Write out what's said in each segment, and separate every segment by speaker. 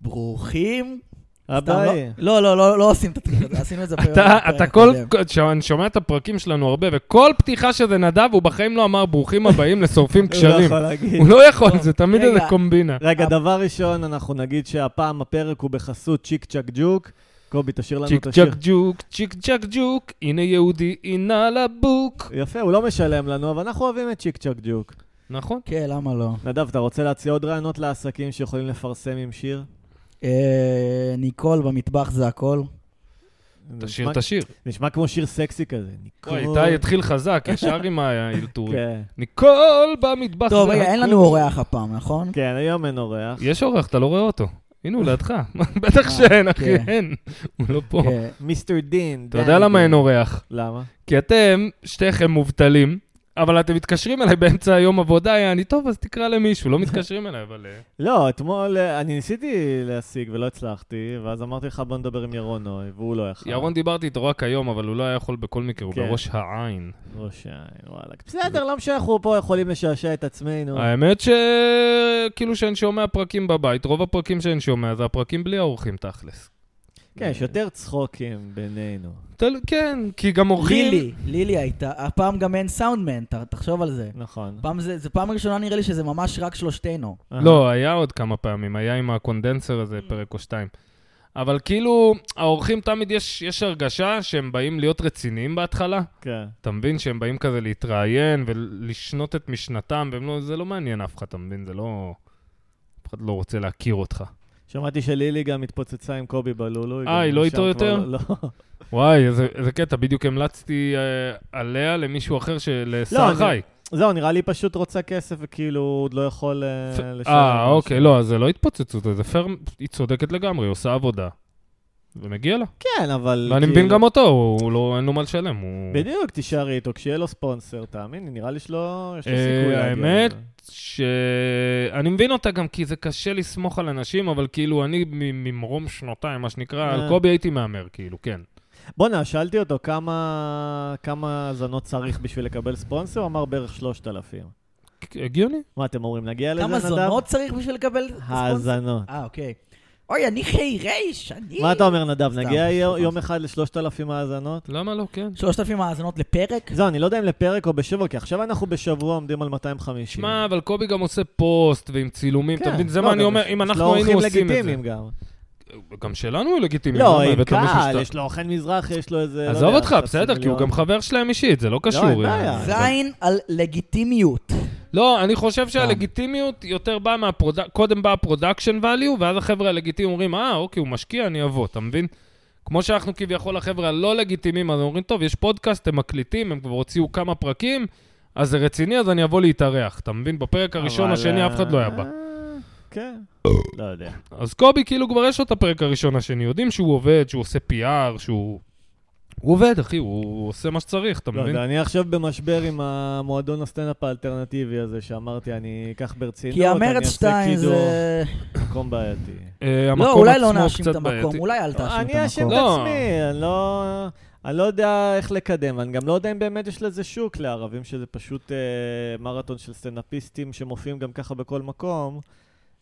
Speaker 1: ברוכים. סתם,
Speaker 2: אביי.
Speaker 1: לא, לא, לא, לא עושים את התחילות, עשינו את זה בפרק
Speaker 3: אתה, אתה
Speaker 1: בפרק
Speaker 3: כל,
Speaker 1: הקודם.
Speaker 3: אני שומע את הפרקים שלנו הרבה, וכל פתיחה שזה נדב, הוא בחיים לא אמר ברוכים הבאים לשורפים
Speaker 2: הוא לא
Speaker 3: קשרים.
Speaker 2: יכול להגיד.
Speaker 3: הוא לא יכול, זה תמיד
Speaker 1: רגע.
Speaker 3: איזה קומבינה.
Speaker 2: רגע, דבר ראשון, אנחנו נגיד שהפעם הפרק הוא בחסות צ'יק צ'אק ג'וק. קובי, תשאיר לנו
Speaker 3: צ'יק
Speaker 2: את השיר.
Speaker 3: צ'ק ג'וק, צ'יק צ'ק ג'וק, הנה יהודי, הנה לבוק.
Speaker 2: יפה, הוא לא משלם לנו, אבל אנחנו אוהבים את צ'יק צ'אק ג'וק.
Speaker 3: נכון.
Speaker 1: כן, למה לא?
Speaker 2: נדב, אתה רוצה להציע עוד רעיונות לעסקים שיכולים לפרסם עם שיר?
Speaker 1: אה, ניקול במטבח זה הכל.
Speaker 2: זה
Speaker 3: תשאיר
Speaker 2: נשמע-
Speaker 3: את השיר.
Speaker 2: נשמע כמו שיר סקסי כזה. ניקול.
Speaker 3: וואי, איתי התחיל חזק, ישר עם האלתורים.
Speaker 2: כן.
Speaker 3: ניקול במטבח.
Speaker 1: טוב,
Speaker 3: זה
Speaker 1: רגע, אין
Speaker 3: הכל.
Speaker 1: לנו אורח הפעם, נכון?
Speaker 2: כן, היום אין אורח.
Speaker 3: יש אורח, אתה לא רואה אותו. הנה, הוא לידך. בטח
Speaker 1: אה,
Speaker 3: שאין, אחי,
Speaker 1: כן.
Speaker 3: אין. הוא לא פה.
Speaker 1: כן.
Speaker 2: מיסטר דין.
Speaker 3: אתה יודע למה אין אורח?
Speaker 2: למה?
Speaker 3: כי אתם, שתיכם מובטלים, אבל אתם מתקשרים אליי באמצע היום עבודה, היה אני טוב, אז תקרא למישהו. לא מתקשרים אליי, אבל... אה,
Speaker 2: לא, אתמול אה, אני ניסיתי להשיג ולא הצלחתי, ואז אמרתי לך בוא נדבר עם ירון נוי, והוא לא יכל.
Speaker 3: ירון, דיברתי איתו רק היום, אבל הוא לא היה יכול בכל מקרה, הוא
Speaker 2: כן.
Speaker 3: בראש העין.
Speaker 2: ראש העין, וואלה. בסדר, לא משנה, אנחנו פה יכולים לשעשע את עצמנו.
Speaker 3: האמת ש... כאילו שאני שומע פרקים בבית, רוב הפרקים שאני שומע זה הפרקים בלי האורחים, תכלס.
Speaker 2: כן,
Speaker 3: אה.
Speaker 2: יש יותר צחוקים בינינו.
Speaker 3: תל- כן, כי גם אורחים...
Speaker 1: לילי, לילי הייתה, הפעם גם אין סאונדמן, ת- תחשוב על זה.
Speaker 2: נכון.
Speaker 1: פעם זה, זה פעם ראשונה נראה לי שזה ממש רק שלושתנו.
Speaker 3: לא, היה עוד כמה פעמים, היה עם הקונדנסר הזה פרק או שתיים. אבל כאילו, האורחים תמיד יש, יש הרגשה שהם באים להיות רציניים בהתחלה.
Speaker 2: כן.
Speaker 3: אתה מבין שהם באים כזה להתראיין ולשנות את משנתם, והם לא, זה לא מעניין אף אחד, אתה מבין? זה לא... אף אחד לא רוצה להכיר אותך.
Speaker 2: שמעתי שלילי גם התפוצצה עם קובי בלולו.
Speaker 3: אה, היא לא
Speaker 2: גם
Speaker 3: איתו
Speaker 2: שם
Speaker 3: יותר?
Speaker 2: כבר לא- לא.
Speaker 3: וואי, איזה, איזה קטע, בדיוק המלצתי אה, עליה למישהו אחר, של- אה, לשר
Speaker 2: לא, אני-
Speaker 3: חי.
Speaker 2: זהו, נראה לי פשוט רוצה כסף וכאילו הוא עוד לא יכול אה,
Speaker 3: פ-
Speaker 2: לשלם.
Speaker 3: אה,
Speaker 2: משהו.
Speaker 3: אוקיי, לא, אז זה לא התפוצצות, זה פייר, היא צודקת לגמרי, היא עושה עבודה. ומגיע לה.
Speaker 2: כן, אבל...
Speaker 3: ואני
Speaker 2: כאילו-
Speaker 3: מבין גם אותו, הוא לא, אין לו מה לשלם. הוא...
Speaker 2: בדיוק, תישארי איתו, כשיהיה לו ספונסר, תאמין לי, נראה לי שלא... יש לו
Speaker 3: אה,
Speaker 2: סיכוי להגיע
Speaker 3: האמת,
Speaker 2: לזה.
Speaker 3: שאני מבין אותה גם כי זה קשה לסמוך על אנשים, אבל כאילו אני מ- ממרום שנותיים, מה שנקרא,
Speaker 2: אה.
Speaker 3: על קובי הייתי מהמר, כאילו, כן.
Speaker 2: בואנה, שאלתי אותו כמה כמה האזנות צריך בשביל לקבל ספונסר, הוא אמר בערך 3,000.
Speaker 3: הגיוני.
Speaker 2: מה אתם אומרים, נגיע לזה, נדב?
Speaker 1: כמה זונות צריך בשביל לקבל ספונסר?
Speaker 2: האזנות.
Speaker 1: אה, אוקיי. אוי, אני חירש, אני...
Speaker 2: מה אתה אומר, נדב?
Speaker 1: סתם,
Speaker 2: נגיע יו-
Speaker 1: סתם.
Speaker 2: יום אחד לשלושת אלפים האזנות?
Speaker 3: למה לא, כן?
Speaker 1: שלושת אלפים האזנות לפרק?
Speaker 2: זהו, אני לא יודע אם לפרק או בשבוע, כי עכשיו אנחנו בשבוע עומדים על 250.
Speaker 3: שמע, אבל קובי גם עושה פוסט ועם צילומים,
Speaker 2: כן,
Speaker 3: אתה מבין? זה
Speaker 2: לא,
Speaker 3: מה אני
Speaker 2: גם
Speaker 3: אומר,
Speaker 2: יש-
Speaker 3: אם
Speaker 2: יש לו
Speaker 3: אנחנו היינו
Speaker 2: אורחים
Speaker 3: עושים את זה.
Speaker 2: לגיטימיים גם.
Speaker 3: גם שלנו הוא לגיטימי.
Speaker 2: לא,
Speaker 3: למה?
Speaker 2: עם
Speaker 3: הבאת לו מישהו
Speaker 2: קהל,
Speaker 3: שאתה-
Speaker 2: יש לו אורחן מזרח, יש לו איזה... לא
Speaker 3: עזוב
Speaker 2: יודע,
Speaker 3: אותך,
Speaker 2: חצי
Speaker 3: בסדר, כי הוא
Speaker 2: מיליון.
Speaker 3: גם חבר שלהם אישית, זה לא קשור.
Speaker 2: אין
Speaker 3: אה,
Speaker 2: בעיה.
Speaker 3: זה-
Speaker 1: זין על לגיטימיות.
Speaker 3: לא, אני חושב
Speaker 2: כן.
Speaker 3: שהלגיטימיות יותר באה מהפרודק... קודם בא הפרודקשן value, ואז החבר'ה הלגיטימיים אומרים, אה, אוקיי, הוא משקיע, אני אבוא, אתה מבין? כמו שאנחנו כביכול החבר'ה הלא לגיטימיים, אז אומרים, טוב, יש פודקאסט, הם מקליטים, הם כבר הוציאו כמה פרקים, אז זה רציני, אז אני אבוא להתארח, אתה מבין? בפרק הראשון,
Speaker 2: אבל,
Speaker 3: השני, אף אחד לא היה בא.
Speaker 2: אה, כן, לא יודע.
Speaker 3: אז קובי, כאילו כבר יש לו את הפרק הראשון, השני, יודעים שהוא עובד, שהוא עושה PR, שהוא... הוא עובד, אחי, הוא הוא עושה מה שצריך, אתה
Speaker 2: לא
Speaker 3: מבין?
Speaker 2: יודע, אני עכשיו במשבר עם המועדון הסטנדאפ האלטרנטיבי הזה, שאמרתי, אני אקח ברצינות,
Speaker 1: כי
Speaker 2: לא, אני
Speaker 1: המרץ
Speaker 2: אעשה
Speaker 1: שתיים
Speaker 2: קידום,
Speaker 1: זה...
Speaker 2: מקום בעייתי.
Speaker 3: אה, המקום
Speaker 1: לא, אולי לא
Speaker 3: עצמו
Speaker 1: נאשים את
Speaker 3: קצת
Speaker 1: המקום,
Speaker 3: בעייתי.
Speaker 1: אולי אל תאשים
Speaker 2: אני
Speaker 1: את
Speaker 2: אאשים את
Speaker 1: המקום.
Speaker 3: לא.
Speaker 2: עצמי, אני לא... אני לא יודע איך לקדם, אני גם לא יודע אם באמת יש לזה שוק לערבים, שזה פשוט אה, מרתון של סטנדאפיסטים שמופיעים גם ככה בכל מקום.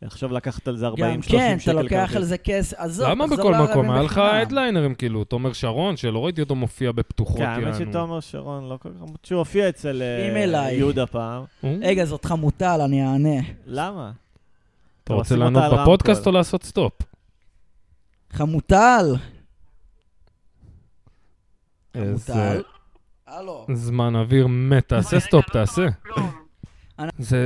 Speaker 2: עכשיו לקחת על זה 40-30
Speaker 1: גם
Speaker 2: שקל.
Speaker 1: כן, אתה לוקח
Speaker 2: כרטיס.
Speaker 1: על זה כסף, עזוב,
Speaker 3: למה
Speaker 1: תחזור
Speaker 3: בכל
Speaker 1: לערבים
Speaker 3: מקום? היה לך
Speaker 1: בחינם.
Speaker 3: הדליינרים, כאילו, תומר שרון, שלא ראיתי אותו מופיע בפתוחות,
Speaker 2: כן, האמת
Speaker 3: יענו.
Speaker 2: שתומר שרון לא כל כך... שהוא הופיע אצל אה,
Speaker 1: אם אליי.
Speaker 2: יהודה פעם.
Speaker 3: הוא?
Speaker 1: רגע, זאת חמוטל, אני אענה.
Speaker 2: למה?
Speaker 3: אתה
Speaker 2: אתם
Speaker 3: רוצה
Speaker 2: עושים אותה
Speaker 3: לענות
Speaker 2: על רמקול.
Speaker 3: בפודקאסט או לעשות סטופ?
Speaker 1: חמוטל!
Speaker 3: איזה
Speaker 1: אה,
Speaker 3: אה,
Speaker 1: חמוטל. הלו.
Speaker 3: זמן אוויר מת, תעשה סטופ, תעשה.
Speaker 4: כלום.
Speaker 3: זה...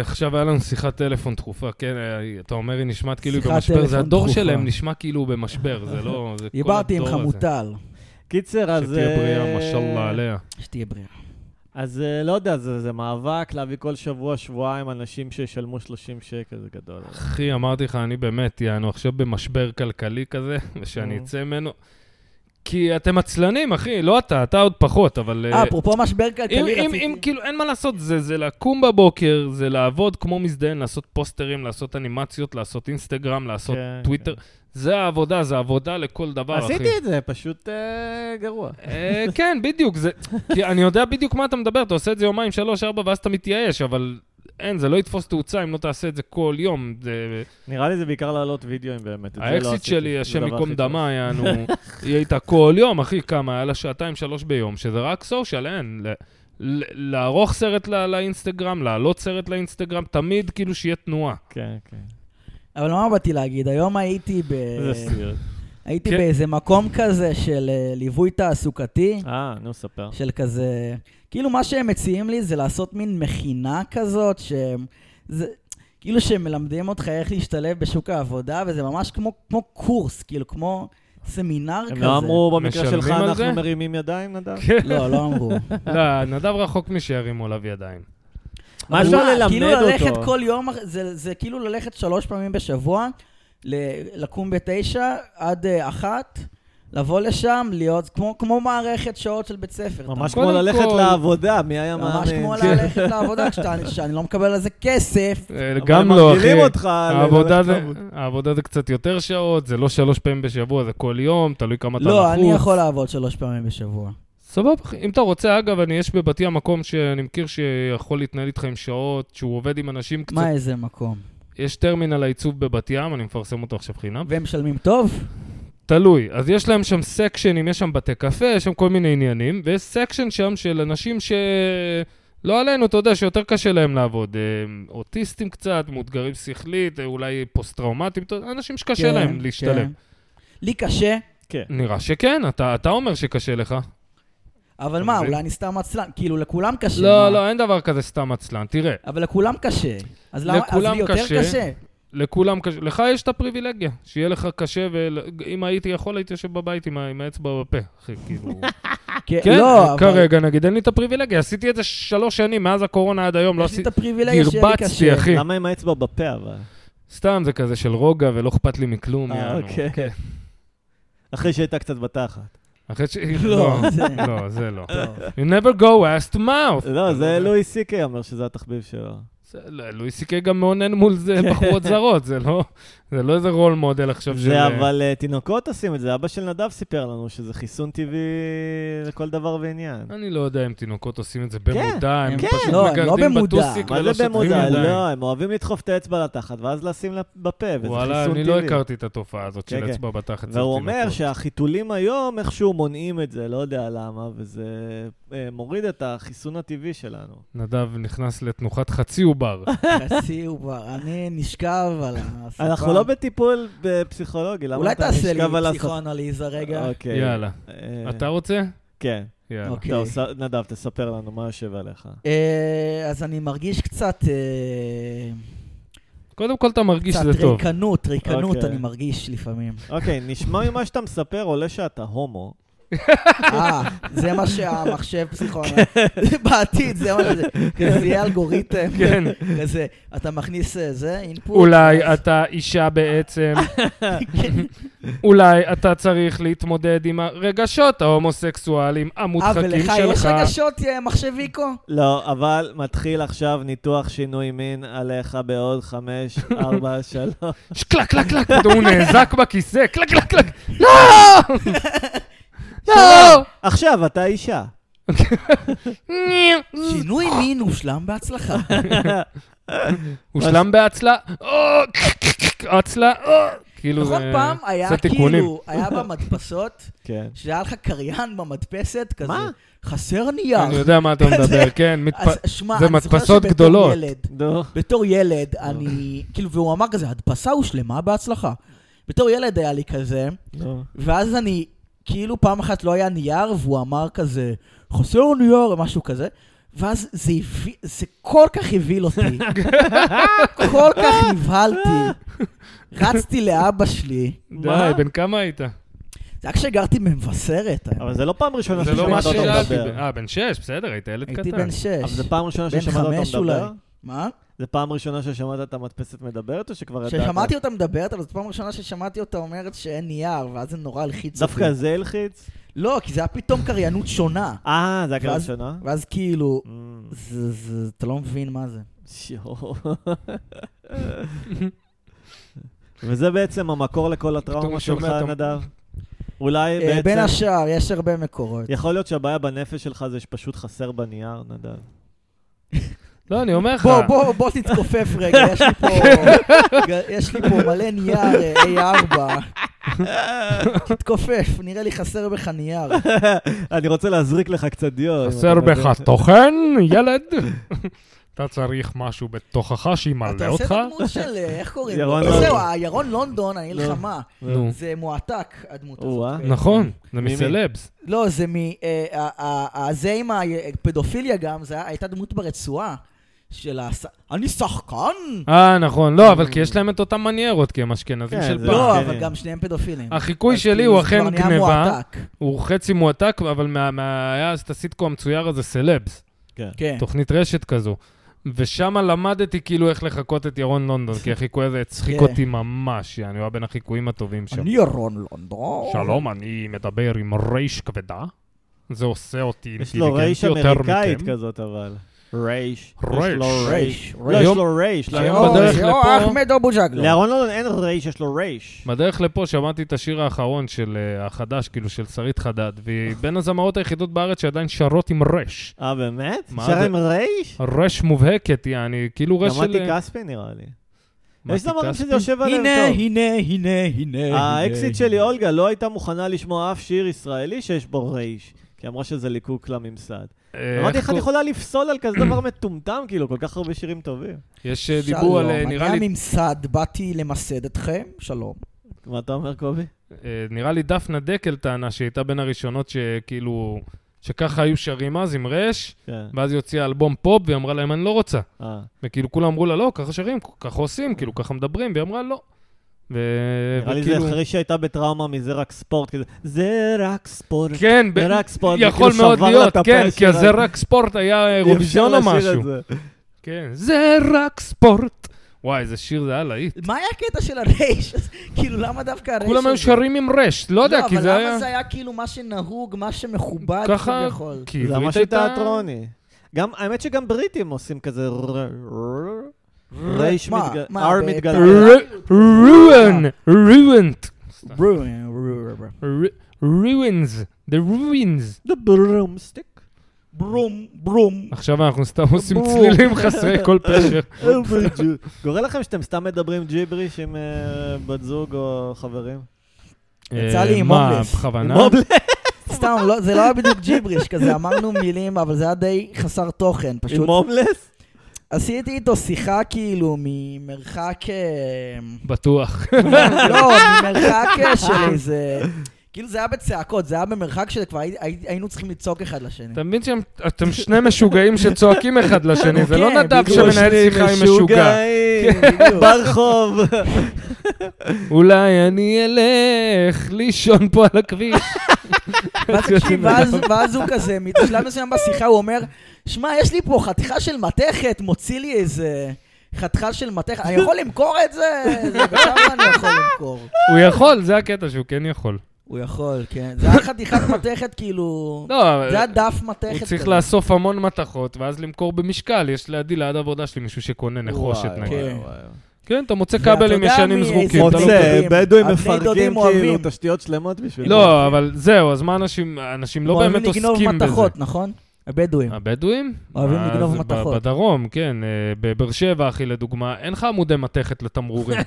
Speaker 3: עכשיו היה לנו שיחת טלפון דחופה, כן, אה, אתה אומר, היא נשמעת כאילו היא
Speaker 1: שיחת
Speaker 3: במשבר, זה
Speaker 1: טלפון
Speaker 3: הדור
Speaker 1: דחופה.
Speaker 3: שלהם נשמע כאילו הוא במשבר, זה לא... זה כל
Speaker 1: דיברתי עם
Speaker 3: הדור הזה.
Speaker 1: חמוטל.
Speaker 2: קיצר, אז...
Speaker 3: שתהיה בריאה,
Speaker 2: אה,
Speaker 3: משאללה עליה.
Speaker 1: שתהיה בריאה.
Speaker 2: אז אה, לא יודע, זה זה מאבק להביא כל שבוע, שבועיים אנשים שישלמו 30 שקל, זה גדול.
Speaker 3: אחי, אמרתי לך, אני באמת, יענו עכשיו במשבר כלכלי כזה, ושאני
Speaker 2: נו.
Speaker 3: אצא ממנו... כי אתם עצלנים, אחי, לא אתה, אתה עוד פחות, אבל...
Speaker 1: אה, אפרופו משבר
Speaker 3: אם,
Speaker 1: כלכלי,
Speaker 3: אם, אם,
Speaker 1: רציתי...
Speaker 3: כאילו, אין מה לעשות, זה, זה לקום בבוקר, זה לעבוד כמו מזדיין, לעשות פוסטרים, לעשות אנימציות, לעשות אינסטגרם, לעשות
Speaker 2: כן,
Speaker 3: טוויטר. זה העבודה, זה עבודה לכל דבר, אחי.
Speaker 2: עשיתי את זה, פשוט אה, גרוע.
Speaker 3: אה, כן, בדיוק, זה... כי אני יודע בדיוק מה אתה מדבר, אתה עושה את זה יומיים, שלוש, ארבע, ואז אתה מתייאש, אבל אין, זה לא יתפוס תאוצה אם לא תעשה את זה כל יום. זה...
Speaker 2: נראה לי זה בעיקר להעלות וידאוים באמת. את זה לא
Speaker 3: האקסיט
Speaker 2: עשיתי.
Speaker 3: שלי,
Speaker 2: זה
Speaker 3: השם
Speaker 2: הדבר
Speaker 3: ייקום
Speaker 2: הכי טוב.
Speaker 3: דמה, היה, נו, היא הייתה כל יום, אחי, כמה, היה לה שעתיים, שלוש ביום, שזה רק סושיאל, אין. ל- ל- לערוך סרט לא- לאינסטגרם, להעלות סרט לאינסטגרם, תמיד כאילו שיהיה תנועה.
Speaker 2: כן, כן.
Speaker 1: אבל מה באתי להגיד? היום הייתי ב...
Speaker 2: איזה סיוט.
Speaker 1: הייתי
Speaker 3: כן.
Speaker 1: באיזה מקום כזה של אה, ליווי תעסוקתי,
Speaker 2: אה, נו, ספר.
Speaker 1: של כזה... כאילו מה שהם מציעים לי זה לעשות מין מכינה כזאת, שהם... זה... כאילו שהם מלמדים אותך איך להשתלב בשוק העבודה, וזה ממש כמו, כמו קורס, כאילו כמו סמינר
Speaker 2: הם
Speaker 1: כזה.
Speaker 2: לא אמרו במקרה
Speaker 3: משלמים
Speaker 2: שלך,
Speaker 3: על
Speaker 2: אנחנו
Speaker 3: זה?
Speaker 2: מרימים ידיים, נדב?
Speaker 3: כן.
Speaker 1: לא, לא אמרו.
Speaker 3: לא, נדב רחוק משירימו עליו ידיים.
Speaker 2: מה
Speaker 1: אבל
Speaker 2: אפשר ללמד
Speaker 1: כאילו
Speaker 2: אותו?
Speaker 1: ללכת כל יום, זה, זה כאילו ללכת שלוש פעמים בשבוע, ל- לקום בתשע עד אה, אחת, לבוא לשם, להיות כמו, כמו מערכת שעות של בית ספר. אתה
Speaker 2: ממש
Speaker 3: קודם
Speaker 2: כמו ללכת
Speaker 3: כל-
Speaker 2: לעבודה, מי היה מאמין?
Speaker 1: ממש כמו
Speaker 2: כן.
Speaker 1: ללכת לעבודה, כשאתה- שאני לא מקבל על זה כסף.
Speaker 3: אה,
Speaker 2: אבל
Speaker 3: גם
Speaker 2: הם
Speaker 3: לא, אחי.
Speaker 2: מרגילים אותך ל-
Speaker 3: העבודה
Speaker 2: ללכת
Speaker 3: זה,
Speaker 2: לעבוד.
Speaker 3: העבודה זה קצת יותר שעות, זה לא שלוש פעמים בשבוע, זה כל יום, תלוי כמה אתה
Speaker 1: לא,
Speaker 3: נחוץ.
Speaker 1: אני יכול לעבוד שלוש פעמים בשבוע.
Speaker 3: סבבה, אחי. אם אתה רוצה, אגב, אני, יש בבתי המקום שאני מכיר שיכול להתנהל איתך עם שעות, שהוא עובד עם אנשים קצת...
Speaker 1: מה איזה מקום?
Speaker 3: יש טרמינל העיצוב בבת ים, אני מפרסם אותו עכשיו חינם.
Speaker 1: והם משלמים טוב?
Speaker 3: תלוי. אז יש להם שם סקשנים, יש שם בתי קפה, יש שם כל מיני עניינים, ויש סקשן שם של אנשים ש... לא עלינו, אתה יודע, שיותר קשה להם לעבוד. הם אוטיסטים קצת, מאותגרים שכלית, אה, אולי פוסט-טראומטיים, אתה יודע, אנשים שקשה
Speaker 1: כן,
Speaker 3: להם להשתלב.
Speaker 1: כן. לי קשה,
Speaker 2: כן.
Speaker 3: נראה שכן, אתה, אתה אומר שקשה לך.
Speaker 1: אבל מה,
Speaker 3: מבין?
Speaker 1: אולי אני סתם עצלן, כאילו לכולם קשה. מה?
Speaker 3: לא, לא, אין דבר כזה סתם עצלן. תראה,
Speaker 1: אבל לכולם קשה. אז למה, אז
Speaker 3: לכולם
Speaker 1: לי יותר
Speaker 3: קשה.
Speaker 1: קשה.
Speaker 3: לכולם קשה, לך יש את הפריבילגיה, שיהיה לך קשה, ואם הייתי יכול, הייתי יושב בבית עם ה- עם האצבע בפה, אחי, כאילו. כן,
Speaker 1: לא, אבל-
Speaker 3: כרגע נגיד, אין לי את הפריבילגיה, עשיתי את זה שלוש שנים, מאז הקורונה עד היום, לא
Speaker 1: יש לי
Speaker 3: עשיתי...
Speaker 1: את הפריבילגיה שיהיה לי קשה.
Speaker 3: דרבצתי, אחי.
Speaker 2: למה עם האצבע בפה, אבל?
Speaker 3: סתם זה כזה של רוגע ולא אכפת לי מכלום,
Speaker 2: אה,
Speaker 3: יענו.
Speaker 2: אוקיי. אחרי שהייתה קצת בתחת.
Speaker 3: אחרי ש...
Speaker 1: לא,
Speaker 3: לא,
Speaker 1: זה-
Speaker 3: לא, זה לא.
Speaker 1: טוב.
Speaker 3: You never go asked mouth.
Speaker 2: לא, זה לואי סי קיי אומר שזה התחביב שלו.
Speaker 3: זה לא- לואי סי קיי גם מאונן מול זה בחורות זרות, זה לא זה לא איזה רול מודל עכשיו של...
Speaker 2: כן. זה אבל אה, תינוקות עושים את זה, אבא של נדב סיפר לנו שזה חיסון טבעי לכל דבר ועניין.
Speaker 3: אני לא יודע אם תינוקות עושים את זה במודע, הם
Speaker 1: כן.
Speaker 3: פשוט
Speaker 1: לא, הם לא
Speaker 3: מגרדים
Speaker 1: במודע.
Speaker 3: בטוסיק ולא
Speaker 2: מה זה
Speaker 3: שוטפים
Speaker 2: במודע?
Speaker 3: ידיים.
Speaker 2: לא, הם אוהבים לדחוף את האצבע לתחת, ואז לשים לה בפה, וזה חיסון טבעי.
Speaker 3: וואלה, אני לא הכרתי את התופעה הזאת
Speaker 2: כן,
Speaker 3: של
Speaker 2: כן.
Speaker 3: אצבע בתחת. של
Speaker 2: והוא אומר
Speaker 3: תינוקות.
Speaker 2: שהחיתולים היום איכשהו מונעים את זה, לא יודע למה, וזה אה, מוריד את החיסון הטבעי שלנו.
Speaker 3: נדב נכנס לתנוחת חצי עובר.
Speaker 1: חצי עובר, אני נשכב על הספה.
Speaker 2: אנחנו לא בטיפול אה, פסיכולוגי, למה
Speaker 1: אולי
Speaker 2: אתה
Speaker 1: תעשה לי
Speaker 2: נשכב על הספ-
Speaker 1: פסיכואנליזה רגע.
Speaker 2: אוקיי.
Speaker 3: יאללה.
Speaker 2: אה,
Speaker 3: אתה רוצה?
Speaker 2: כן.
Speaker 3: יאללה.
Speaker 1: אוקיי.
Speaker 2: טוב, ס- נדב, תספר לנו מה יושב עליך.
Speaker 1: אה, אז אני מרגיש קצת... אה,
Speaker 3: קודם כל אתה מרגיש
Speaker 1: קצת
Speaker 3: שזה טוב.
Speaker 1: ריקנות, ריקנות
Speaker 2: אוקיי.
Speaker 1: אני מרגיש לפעמים.
Speaker 2: אוקיי, נשמע ממה שאתה מספר, עולה שאתה הומו.
Speaker 1: אה, זה מה שהמחשב פסיכואנליזה. בעתיד, זה מה שזה. כזה יהיה אלגוריתם.
Speaker 3: כן.
Speaker 1: כזה, אתה מכניס אה, זה, אינפוט.
Speaker 3: אולי אתה אישה בעצם,
Speaker 1: כן.
Speaker 3: אולי אתה צריך להתמודד עם הרגשות ההומוסקסואליים המודחקים
Speaker 1: אה, ולך יש
Speaker 3: שלך.
Speaker 1: רגשות, אה, מחשביקו?
Speaker 2: לא, אבל מתחיל עכשיו ניתוח שינוי מין עליך בעוד חמש, ארבע, שלוש.
Speaker 3: שקלק, קלק, קלק, פתאום הוא נאזק בכיסא, קלק, קלק, קלק, לא!
Speaker 2: שלום. עכשיו, אתה אישה.
Speaker 3: לא!
Speaker 1: שינוי מין הושלם בהצלחה.
Speaker 3: כאילו הושלם בהצלה, או, הצלה, או. כאילו
Speaker 1: נכון,
Speaker 3: זה...
Speaker 1: פעם היה
Speaker 3: זה תיקונים.
Speaker 1: כאילו, היה במדפסות,
Speaker 2: כן.
Speaker 1: שהיה לך קריין במדפסת, כזה,
Speaker 2: מה?
Speaker 1: חסר
Speaker 3: אני
Speaker 1: נייר.
Speaker 3: יודע מה אתה מדבר,
Speaker 1: כזה.
Speaker 3: כן, מתפ-
Speaker 1: אז שמע,
Speaker 3: זה
Speaker 1: אני זוכר
Speaker 3: מדפסות
Speaker 1: שבתור
Speaker 3: גדולות.
Speaker 1: ילד-
Speaker 2: נו.
Speaker 1: בתור
Speaker 2: לא.
Speaker 1: ילד, אני, כאילו, והוא אמר כזה, הדפסה הושלמה בהצלחה. בתור ילד היה לי כזה,
Speaker 2: נו.
Speaker 1: ואז אני, כאילו פעם אחת לא היה נייר, והוא אמר כזה, חסר נייר, או משהו כזה, ואז זה הביא, זה כל כך הבהיל אותי. כל כך נבהלתי. רצתי לאבא שלי,
Speaker 3: די,
Speaker 2: מה?
Speaker 3: בן כמה היית?
Speaker 1: זה רק כשגרתי במבשרת.
Speaker 2: אבל זה לא פעם ראשונה
Speaker 3: זה לא מה
Speaker 2: ששמעת אותו
Speaker 3: ששאלתי.
Speaker 2: מדבר.
Speaker 3: אה, בן שש, בסדר, היית ילד קטן.
Speaker 1: הייתי בן
Speaker 2: אבל
Speaker 1: שש.
Speaker 2: זה פעם ראשונה
Speaker 1: בן
Speaker 2: ששמעת אותו
Speaker 1: חמש
Speaker 2: מדבר?
Speaker 1: אולי. מה?
Speaker 2: זה פעם ראשונה ששמעת את המדפסת מדברת, או שכבר ידעת?
Speaker 1: כששמעתי אותה מדברת, אבל זו פעם ראשונה ששמעתי אותה אומרת שאין נייר, ואז זה נורא הלחיץ אותי.
Speaker 2: דווקא זה הלחיץ?
Speaker 1: לא, כי זה היה פתאום קריינות שונה.
Speaker 2: אה, זה הקריאה
Speaker 1: ואז-
Speaker 2: הראשונה?
Speaker 1: ואז כאילו,
Speaker 2: Mm,
Speaker 1: זה- זה- אתה לא מבין מה זה.
Speaker 2: שיו. וזה בעצם המקור לכל
Speaker 3: הוא
Speaker 2: הטראומה
Speaker 3: שומע
Speaker 2: שלך,
Speaker 3: את ה-
Speaker 2: נדב? אולי
Speaker 1: אה, בין
Speaker 2: בעצם...
Speaker 1: השאר, יש הרבה מקורות.
Speaker 2: יכול להיות שהבעיה בנפש שלך זה שפשוט חסר בנייר, נדב.
Speaker 3: לא, אני אומר לך.
Speaker 1: בוא, בוא, בוא תתכופף רגע, יש לי פה, יש לי פה מלא נייר אה, A4. תתכופף, נראה לי חסר בך נייר.
Speaker 2: אני רוצה להזריק לך קצת דיו. אם
Speaker 3: חסר
Speaker 2: אתה
Speaker 3: בך
Speaker 2: מבין.
Speaker 3: תוכן, ילד? אתה צריך משהו בתוכך
Speaker 1: אתה
Speaker 3: שימלא
Speaker 1: עושה את
Speaker 3: אותך?
Speaker 1: הדמות של, אה, איך קוראים לו?
Speaker 2: ירון
Speaker 1: זהו, אה,
Speaker 2: לונדון.
Speaker 1: ירון לונדון, אני
Speaker 2: נו.
Speaker 1: אלחמה.
Speaker 3: נו.
Speaker 1: זה מועתק, הדמות
Speaker 2: או-אה.
Speaker 1: הזאת. אה,
Speaker 3: נכון, זה
Speaker 2: מי?
Speaker 3: מסלבס.
Speaker 1: לא, זה מ... אה, ה- ה- ה- זה עם הפדופיליה גם, זה היה- הייתה דמות ברצועה של ה... אני שחקן?
Speaker 3: אה, נכון. לא, אבל כי יש להם את אותן מניירות, כי הם אשכנזים
Speaker 2: כן,
Speaker 3: של
Speaker 2: זה-
Speaker 3: פעם.
Speaker 1: לא,
Speaker 2: כן.
Speaker 1: אבל גם שניהם פדופילים.
Speaker 3: החיקוי
Speaker 1: אז
Speaker 3: שלי
Speaker 1: כאילו
Speaker 3: הוא
Speaker 1: זה
Speaker 3: אכן
Speaker 1: כבר נהיה
Speaker 3: גניבה,
Speaker 1: מועתק.
Speaker 3: הוא חצי מועתק, אבל מה- מה- היה אז את הסitcom המצויר הזה, סלבס.
Speaker 2: כן.
Speaker 1: כן.
Speaker 3: תוכנית רשת כזו. ושם למדתי כאילו איך לחקות את ירון לונדון, כי החיקוי הזה הצחיק
Speaker 1: כן.
Speaker 3: אותי ממש, יעני, הוא היה בין החיקויים הטובים שם.
Speaker 1: אני ירון לונדון.
Speaker 3: שלום, אני מדבר עם רייש כבדה. זה עושה אותי
Speaker 2: יש לו
Speaker 3: אינטליגנטי
Speaker 2: רייש
Speaker 3: יותר
Speaker 2: אמריקאית
Speaker 3: מכם.
Speaker 2: כזאת, אבל. רייש.
Speaker 3: רייש.
Speaker 2: יש לו
Speaker 1: רייש,
Speaker 2: רייש.
Speaker 1: רייש.
Speaker 2: לא, יש לו רייש.
Speaker 3: היום לא.
Speaker 1: יואו,
Speaker 2: לארון לא-
Speaker 3: בדרך
Speaker 1: יואו,
Speaker 3: לפה-
Speaker 1: אחמד אבו ג'אגלו.
Speaker 2: לארון לונדון אין רייש, יש לו רייש.
Speaker 3: בדרך לפה שמעתי את השיר האחרון של אה, החדש, כאילו של שרית חדד, והיא בין הזמרות היחידות בארץ שעדיין שרות עם רייש.
Speaker 2: אה, באמת?
Speaker 3: מה
Speaker 2: שר
Speaker 3: זה?
Speaker 2: עם רייש?
Speaker 3: רייש מובהקת, יעני, כאילו
Speaker 2: גם
Speaker 3: רייש של...
Speaker 2: מתי כספי נראה לי.
Speaker 3: מתי
Speaker 2: יש זמרים שזה
Speaker 3: כספי?
Speaker 2: יושב עליהם
Speaker 1: הנה,
Speaker 2: טוב.
Speaker 1: הנה, הנה, הנה.
Speaker 2: האקסיט שלי, אולגה, לא הייתה מוכנה לשמוע אף שיר ישראלי שיש בו רייש. כי היא אמרה שזה ליקוק לממסד.
Speaker 3: אה,
Speaker 2: אמרתי
Speaker 3: איך
Speaker 2: איך את
Speaker 3: קור-
Speaker 2: יכולה לפסול על כזה דבר מטומטם, כאילו, כל כך הרבה שירים טובים.
Speaker 3: יש אה, דיבור על, אה, נראה
Speaker 1: שלום, אני
Speaker 3: לי,
Speaker 1: הממסד, באתי למסד אתכם, שלום.
Speaker 2: מה אתה אומר, קובי?
Speaker 3: אה, נראה לי דפנה דקל טענה שהייתה בין הראשונות שכאילו, שככה היו שרים אז עם רייש,
Speaker 2: כן.
Speaker 3: ואז היא הוציאה אלבום פופ והיא אמרה להם, אני לא רוצה.
Speaker 2: אה.
Speaker 3: וכאילו כולם אמרו לה, לא, ככה שרים, ככה עושים, כאילו, ככה מדברים, והיא אמרה, לא. ו...
Speaker 2: נראה לי זה
Speaker 3: וכאילו-
Speaker 2: אחרי שהייתה בטראומה מזה רק ספורט, כזה, זה רק ספורט.
Speaker 3: כן, ב-
Speaker 2: זה רק ספורט. זה
Speaker 3: יכול
Speaker 2: כאילו
Speaker 3: מאוד
Speaker 2: שבר לה
Speaker 3: להיות,
Speaker 2: את הפה
Speaker 3: כן, כי
Speaker 2: שלה.
Speaker 3: זה רק ספורט היה
Speaker 2: אי אפשר
Speaker 3: אירוויזיון או
Speaker 2: לשיר
Speaker 3: משהו.
Speaker 2: את זה.
Speaker 3: כן, זה רק ספורט. וואי, איזה שיר זה היה להיט.
Speaker 1: מה היה הקטע של הרייש? כאילו, למה דווקא הרייש?
Speaker 3: כולם היו
Speaker 1: הזה?
Speaker 3: שרים עם רש, לא יודע, כי זה
Speaker 1: לא, אבל
Speaker 3: היה...
Speaker 1: למה זה היה כאילו מה שנהוג, מה שמכובד
Speaker 3: ככה,
Speaker 1: כביכול?
Speaker 3: כי
Speaker 2: זה
Speaker 3: עברית
Speaker 2: משהו
Speaker 3: הייתה-
Speaker 2: תיאטרוני. גם, האמת שגם בריטים עושים כזה ר- ר- רייש
Speaker 1: מה?
Speaker 2: מתגלגל,
Speaker 1: מה,
Speaker 2: R
Speaker 1: ב-
Speaker 2: מתגלגל.
Speaker 3: ר- ruin, ruined.
Speaker 1: רו- רו- רו- רו-
Speaker 3: ר- ruins, the ruins.
Speaker 2: The broomstick.
Speaker 1: ברום, ברום.
Speaker 3: עכשיו אנחנו סתם עושים
Speaker 1: בור.
Speaker 3: צלילים חסרי כל פשר.
Speaker 2: קורה לכם שאתם סתם מדברים ג'יבריש עם אה, בת זוג או חברים?
Speaker 1: יצא לי
Speaker 3: אה,
Speaker 1: עם
Speaker 3: מה,
Speaker 1: הומלס.
Speaker 3: בכוונה?
Speaker 2: מובלס.
Speaker 1: סתם, לא- זה לא היה בדיוק ג'יבריש כזה, אמרנו מילים, אבל זה היה די חסר תוכן,
Speaker 2: עם
Speaker 1: פשוט.
Speaker 2: מובלס?
Speaker 1: עשיתי איתו שיחה כאילו ממרחק... אה,
Speaker 3: בטוח.
Speaker 1: לא, ממרחק אה, של איזה... כאילו זה היה בצעקות, זה היה במרחק שכבר הי- הי- היינו צריכים לצעוק אחד לשני.
Speaker 3: אתה מבין שאתם שני משוגעים שצועקים אחד לשני, זה לא
Speaker 1: כן,
Speaker 3: נדב
Speaker 1: בדיוק.
Speaker 3: שמנהל שיחה עם משוגע.
Speaker 2: משוגעים, כן,
Speaker 1: כן, בדיוק.
Speaker 2: ברחוב.
Speaker 3: אולי אני אלך לישון פה על הכביש.
Speaker 1: ואז
Speaker 3: כן.
Speaker 1: תקשיב, ואז- ואז הוא כזה, בשלב מסוים בשיחה הוא אומר, שמע, יש לי פה חתיכה של מתכת, מוציא לי איזה חתיכה של מתכת, אני יכול למכור את זה? זה בכמה אני יכול למכור.
Speaker 3: הוא יכול, זה הקטע שהוא כן יכול.
Speaker 1: הוא יכול, כן. זה היה חתיכת מתכת, כאילו...
Speaker 3: לא,
Speaker 1: זה היה דף מתכת.
Speaker 3: הוא צריך
Speaker 1: כזה.
Speaker 3: לאסוף המון מתכות, ואז למכור במשקל. יש לידי ליד העבודה שלי מישהו שקונה נחושת
Speaker 2: וואי,
Speaker 3: נגיד.
Speaker 1: כן.
Speaker 2: וואי, וואי.
Speaker 3: כן, אתה מוצא
Speaker 1: ואתה
Speaker 3: כבלים
Speaker 1: יודע
Speaker 3: ישנים
Speaker 1: מי-
Speaker 3: זרוקים. אתה לא
Speaker 1: מוצא.
Speaker 3: מבין.
Speaker 2: רוצה, בדואים
Speaker 1: הבני
Speaker 2: מפרקים
Speaker 1: דודים
Speaker 2: כאילו
Speaker 1: אוהבים.
Speaker 2: תשתיות שלמות בשביל זה.
Speaker 3: לא, אבל זהו, אז מה אנשים, אנשים לא באמת
Speaker 1: אוהבים
Speaker 3: עוסקים
Speaker 1: לגנוב
Speaker 3: בזה. אה,
Speaker 1: מתכות, נכון? הבדואים.
Speaker 3: הבדואים?
Speaker 1: אוהבים
Speaker 3: אז
Speaker 1: לגנוב
Speaker 3: ב-
Speaker 1: מתכות.
Speaker 3: בדרום, כן. אה, בבאר שבע, אחי, לדוגמה, אין לך עמודי מתכת לתמרורים.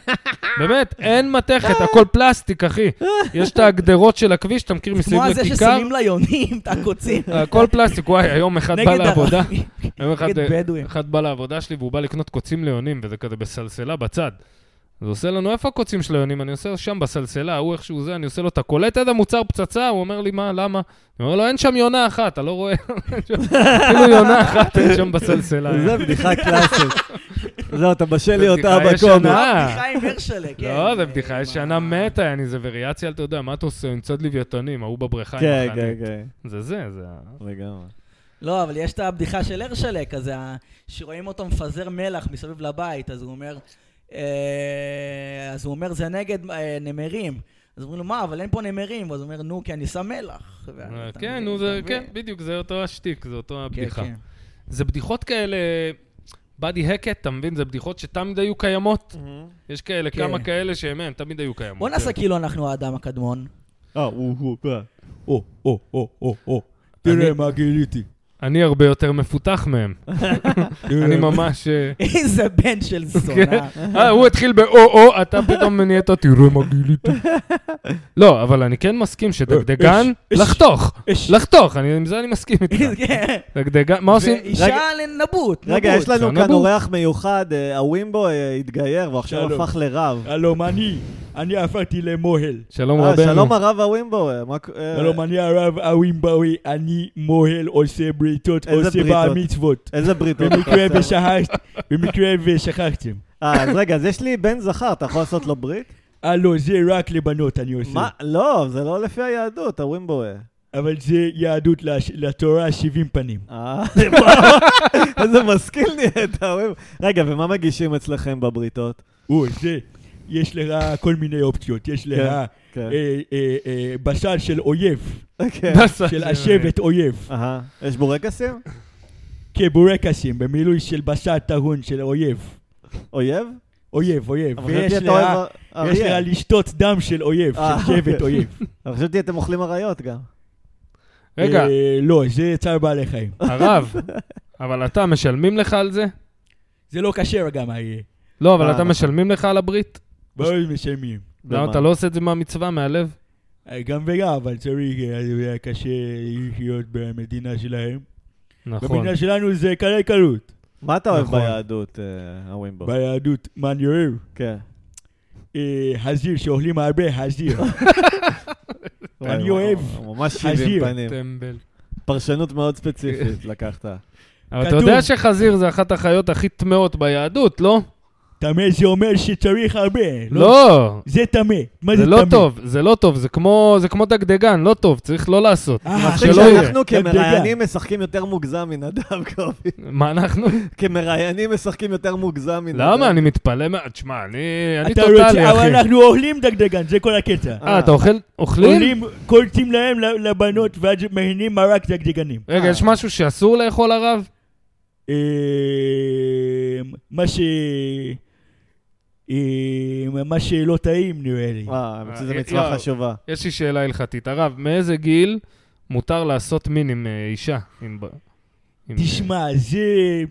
Speaker 3: באמת, אין מתכת, הכל פלסטיק, אחי. יש את הגדרות של הכביש, אתה מכיר מסביב
Speaker 1: כמו זה
Speaker 3: לכיכר?
Speaker 1: ששמים ליונים את הקוצים.
Speaker 3: הכל פלסטיק, וואי, היום אחד בא
Speaker 1: נגד
Speaker 3: לעבודה,
Speaker 1: ערבים,
Speaker 3: היום אחד,
Speaker 1: נגד
Speaker 3: אה,
Speaker 1: בדואים.
Speaker 3: אחד בא לעבודה שלי והוא בא לקנות קוצים ליונים, וזה כזה בסלסלה בצד. אז הוא עושה לנו, איפה הקוצים של היונים? אני עושה שם בסלסלה, ההוא איכשהו זה, אני עושה לו, אתה קולט איזה מוצר פצצה? הוא אומר לי, מה, למה? אני אומר לו, אין שם יונה אחת, אתה לא רואה? אפילו יונה אחת אין שם בסלסלה. לא,
Speaker 2: זה בדיחה קלאסית. זהו, אתה בשל לי
Speaker 3: זה
Speaker 2: אותה
Speaker 3: בדיחה
Speaker 2: בקומי.
Speaker 3: ישנה. אה.
Speaker 1: בדיחה עם הרשלה, כן.
Speaker 3: לא, זו
Speaker 1: אה,
Speaker 3: בדיחה
Speaker 1: מה-
Speaker 3: ישנה מתה, יעני, זה וריאציה, אתה יודע, מה אתה עושה? עם צד לוויתנים, ההוא בבריכה עם
Speaker 2: כן,
Speaker 3: החנית.
Speaker 2: כן, כן.
Speaker 3: זה זה, זה... ה-
Speaker 2: לגמרי.
Speaker 1: לא, אבל יש את הבדיחה של הרשלה, כזה, ה- שרואים אותו מפזר מלח מסביב לבית, אז הוא אומר, אה, אז הוא אומר, זה נגד אה, נמרים. אז אומרים לו, מה, אבל אין פה נמרים. אז הוא אומר, נו, כי אני שם מלח. ואני- אה, אתה
Speaker 3: כן,
Speaker 1: מבין,
Speaker 3: נו,
Speaker 1: אתה
Speaker 3: זה,
Speaker 1: מבין?
Speaker 3: כן, בדיוק, זה אותו השטיק, זה אותו
Speaker 1: כן,
Speaker 3: הבדיחה.
Speaker 1: כן.
Speaker 3: זה בדיחות כאלה, באדי הקט, אתה מבין? זה בדיחות שתמיד היו קיימות. יש כאלה,
Speaker 1: כן.
Speaker 3: כמה כאלה שהם, הם תמיד היו קיימות.
Speaker 1: בוא נעשה כאילו אנחנו האדם הקדמון.
Speaker 2: אה, הוא, הוא, אה.
Speaker 4: Oh, או, או, או, או, או, תראה מה גיליתי.
Speaker 3: אני הרבה יותר מפותח מהם. אני ממש... אה,
Speaker 4: איזה בן של זונה.
Speaker 3: אה, הוא התחיל באו-או, אתה פתאום נהיית, תראה מה גיליתי. לא, אבל אני כן מסכים שדגדגן,
Speaker 4: אש,
Speaker 3: לחתוך,
Speaker 4: אש.
Speaker 3: לחתוך, אני- עם זה אני מסכים איתך.
Speaker 4: כן.
Speaker 3: דגדגן, מה עושים?
Speaker 4: ואישה לנבוט, נבוט.
Speaker 2: רגע, יש לנו
Speaker 3: זה
Speaker 2: כאן
Speaker 3: נבוט.
Speaker 2: אורח מיוחד, אה, הווימבו אה, התגייר ועכשיו
Speaker 4: שלום.
Speaker 2: הפך לרב.
Speaker 4: שלום, אני, אני הפכתי למוהל.
Speaker 3: שלום
Speaker 2: אה,
Speaker 3: רבנו.
Speaker 2: שלום הרב הווימבו, אה, מה ק- אה,
Speaker 4: אני הרב הווימבאווי, אני מוהל, עושה בריתות,
Speaker 2: איזה בריתות?
Speaker 4: מצוות.
Speaker 2: איזה בריתות. אתה עושה?
Speaker 4: ושכחת- במקרה ושכחתם.
Speaker 2: אה, אז רגע, אז יש לי בן זכר, אתה יכול לעשות לו ברית?
Speaker 4: אה לא, זה רק לבנות אני עושה.
Speaker 2: מה? לא, זה לא לפי היהדות, הווימבו. אה.
Speaker 4: אבל זה יהדות לש- לתורה 70 פנים.
Speaker 2: אה, איזה משכיל נהיית, הווימבו. רגע, ומה מגישים אצלכם בבריתות?
Speaker 4: או, זה, יש לך כל מיני אופציות. יש לך
Speaker 2: כן,
Speaker 4: אה,
Speaker 2: כן.
Speaker 4: אה, אה, בשר של אויב,
Speaker 2: כן.
Speaker 3: דסה,
Speaker 4: של
Speaker 3: זה-
Speaker 4: השבט אויב,
Speaker 2: אהה. יש בורקסים?
Speaker 4: כבורקסים, במילוי של בשר טהון של אויב.
Speaker 2: אויב?
Speaker 4: אויב, אויב.
Speaker 2: אבל
Speaker 4: ויש
Speaker 2: חשבתי אתה
Speaker 4: לך-
Speaker 2: אוהב אריה.
Speaker 4: יש לך לשתות דם של אויב,
Speaker 2: אה,
Speaker 4: של שבט
Speaker 2: אוקיי.
Speaker 4: אויב.
Speaker 2: אבל חשבתי אתם אוכלים אריות גם.
Speaker 3: רגע,
Speaker 4: אה, לא, זה צער בעלי חיים.
Speaker 3: הרב, אבל אתה, משלמים לך על זה?
Speaker 4: זה לא כשר גם, אריה.
Speaker 3: לא, אבל
Speaker 2: אה,
Speaker 3: אתה
Speaker 2: נכון.
Speaker 3: משלמים לך על הברית?
Speaker 4: בואו משלמים.
Speaker 3: למה אתה לא עושה את זה מהמצווה, מהלב?
Speaker 4: אה, גם וגם, אבל צריך, אה, זה היה קשה לחיות במדינה שלהם.
Speaker 3: נכון.
Speaker 4: במדינה שלנו זה קלי קלות.
Speaker 2: מה אתה אוהב
Speaker 3: נכון.
Speaker 2: ביהדות, אה, הווימבו?
Speaker 4: ביהדות, מה אני אוהב?
Speaker 2: כן.
Speaker 4: אה, חזיר, שאוכלים הרבה חזיר. אני
Speaker 2: וואי,
Speaker 4: אוהב.
Speaker 2: וואי, ממש
Speaker 4: חזיר.
Speaker 2: שבעים פנים.
Speaker 3: טמבל.
Speaker 2: פרשנות מאוד ספציפית לקחת.
Speaker 3: אבל אתה
Speaker 4: כתוב.
Speaker 3: יודע שחזיר זה אחת החיות הכי טמאות ביהדות, לא?
Speaker 4: טמא זה אומר שצריך הרבה.
Speaker 3: לא.
Speaker 4: זה טמא. מה זה
Speaker 3: זה
Speaker 4: טמא?
Speaker 3: לא טוב, זה לא טוב, זה כמו זה כמו דגדגן, לא טוב, צריך לא לעשות.
Speaker 4: אה,
Speaker 2: מספיק
Speaker 3: שלא יהיה.
Speaker 2: שאנחנו
Speaker 4: דגדגן.
Speaker 2: כמראיינים משחקים יותר מוגזם מנדב קובי.
Speaker 3: מה אנחנו?
Speaker 2: כמראיינים משחקים יותר מוגזם מנדב.
Speaker 3: למה? אני מתפלא מה... תשמע, אני אני
Speaker 4: אתה רוצה,
Speaker 3: טוטאלי,
Speaker 4: אבל
Speaker 3: אחי.
Speaker 4: אנחנו אוכלים דגדגן, זה כל הקטע.
Speaker 3: אה, אתה אוכל... אוכלים?
Speaker 4: אוכלים, קולטים להם לבנות ואז מהנים מרק דגדגנים.
Speaker 3: רגע,
Speaker 2: אה.
Speaker 3: יש משהו שאסור לאכול הרב?
Speaker 4: אה, מה ש... אה, מה שלא טעים נראה לי.
Speaker 2: אה, האמת שזו
Speaker 3: אה,
Speaker 2: מצווה
Speaker 3: לא.
Speaker 2: חשובה.
Speaker 3: יש לי שאלה הלכתית. הרב, מאיזה גיל מותר לעשות מין עם אה, אישה? עם ב- עם-
Speaker 4: תשמע, זה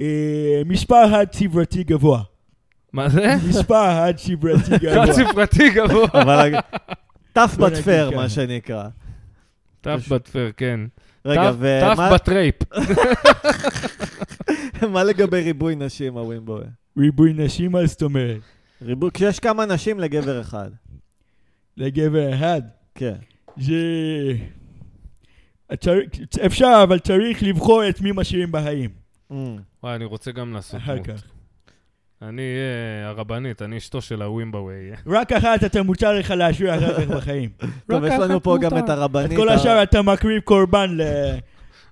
Speaker 4: אה, מספר חד-סברתי גבוה.
Speaker 3: מה זה?
Speaker 4: מספר חד-סברתי גבוה.
Speaker 3: חד ספרתי גבוה.
Speaker 2: אבל טף
Speaker 4: בוא נגיד
Speaker 2: בתפר,
Speaker 4: ככה.
Speaker 2: מה שנקרא.
Speaker 3: טף בתפר, כן.
Speaker 2: רגע,
Speaker 3: טף- טף
Speaker 2: ומה
Speaker 3: בטרייפ.
Speaker 2: מה לגבי ריבוי נשים, הווימבו?
Speaker 4: ריבוי נשים, מה זאת אומרת?
Speaker 2: ריבוי, כשיש כמה נשים לגבר אחד.
Speaker 4: לגבר אחד.
Speaker 2: כן.
Speaker 4: זה... הצר- אפשר, אבל צריך לבחור את מי משאירים בחיים.
Speaker 2: אמ.
Speaker 3: וואי, אני רוצה גם לעשות
Speaker 4: אחר
Speaker 3: דמות.
Speaker 4: כך.
Speaker 3: אני אהיה הרבנית, אני אשתו של הווימבווי.
Speaker 4: רק אחת אתה מותר לך להשאיר אחר כך בחיים.
Speaker 2: טוב, יש לנו פה גם את
Speaker 4: את
Speaker 2: הרבנית.
Speaker 4: כל
Speaker 2: ה-
Speaker 4: השאר אתה מקריב קורבן ל-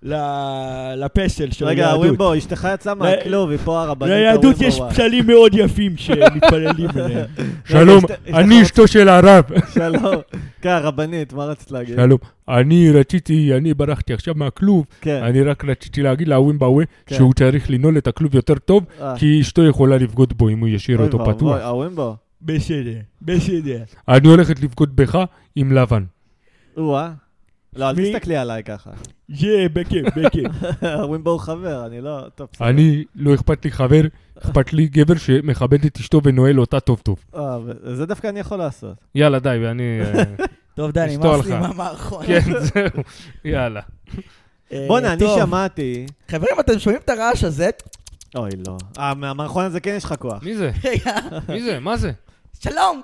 Speaker 4: ל- לפסל של
Speaker 2: רגע,
Speaker 4: היהדות.
Speaker 2: הווימבו, אשתך יצאה מהכלוב, היא פה הרבנית.
Speaker 4: ליהדות
Speaker 2: הווימבו,
Speaker 4: יש
Speaker 2: וואי.
Speaker 4: פסלים מאוד יפים שמתפללים עליהם.
Speaker 2: רגע, שלום, אשת- אשתך אני רוצה-
Speaker 3: אשתו של הרב.
Speaker 2: שלום. כן, הרבנית, מה רצית להגיד?
Speaker 3: שלום, אני רציתי, אני ברחתי עכשיו מהכלוב,
Speaker 2: כן.
Speaker 3: אני רק רציתי להגיד להווימבאווה
Speaker 2: כן.
Speaker 3: שהוא צריך לנעול את הכלוב יותר טוב,
Speaker 2: אה,
Speaker 3: כי אשתו יכולה לבגוד בו אם הוא ישאיר
Speaker 2: אוי
Speaker 3: אותו
Speaker 2: ואבוי, אה,
Speaker 3: פתוח.
Speaker 2: הווימבו.
Speaker 4: בסדר, בסדר.
Speaker 3: אני הולכת לבגוד בך עם לבן.
Speaker 2: או-אה. לא, אל
Speaker 4: מי-
Speaker 2: תסתכלי עליי ככה.
Speaker 4: זה בכיף, בכיף.
Speaker 2: הווימבו הוא חבר, אני לא... טוב, בסדר.
Speaker 3: אני, לא אכפת לי חבר, אכפת לי גבר שמכבד את אשתו ונועל אותה טוב טוב.
Speaker 2: אה, ו- זה דווקא אני יכול לעשות.
Speaker 3: יאללה, די, ואני... אה,
Speaker 4: טוב, דני,
Speaker 3: אשתול
Speaker 4: נמאס לי
Speaker 3: לך.
Speaker 1: נכון.
Speaker 4: מהמערכון.
Speaker 3: כן, זהו, יאללה.
Speaker 4: אה,
Speaker 2: בואנה, אני
Speaker 4: טוב.
Speaker 2: שמעתי...
Speaker 4: חברים, אתם שומעים את הרעש הזה?
Speaker 2: אוי, לא. אה, מהמערכון הזה כן יש לך כוח.
Speaker 3: מי זה?
Speaker 4: רגע,
Speaker 3: מי זה? מה זה?
Speaker 4: שלום,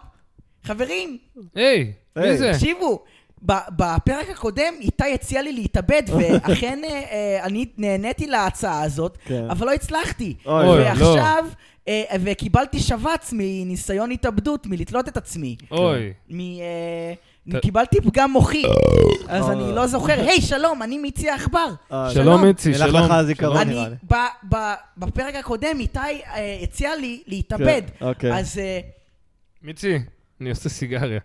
Speaker 4: חברים,
Speaker 3: היי, מי
Speaker 2: היי.
Speaker 3: זה?
Speaker 4: תקשיבו. ב- בפרק הקודם איתי הציע לי להתאבד, ואכן אה, אה, אני נהניתי להצעה הזאת,
Speaker 2: כן.
Speaker 4: אבל לא הצלחתי.
Speaker 2: אוי,
Speaker 3: אוי,
Speaker 4: ועכשיו, אה, וקיבלתי שבץ מניסיון התאבדות, מלתלות את עצמי.
Speaker 3: אוי.
Speaker 4: מ... אה,
Speaker 3: ת-
Speaker 4: קיבלתי פגם מוחי, אז
Speaker 2: אה.
Speaker 4: אני לא זוכר. היי, שלום, אני מיצי העכבר.
Speaker 2: אה,
Speaker 3: שלום,
Speaker 4: שלום.
Speaker 3: איצי,
Speaker 2: ילך
Speaker 3: שלום.
Speaker 2: לך הזיכרון.
Speaker 3: שלום.
Speaker 4: אני,
Speaker 2: נראה לי.
Speaker 4: ב- ב- בפרק הקודם, איתי אה, הציע לי להתאבד.
Speaker 2: כן, אוקיי.
Speaker 4: אז אה,
Speaker 3: מיצי, אני עושה סיגריה.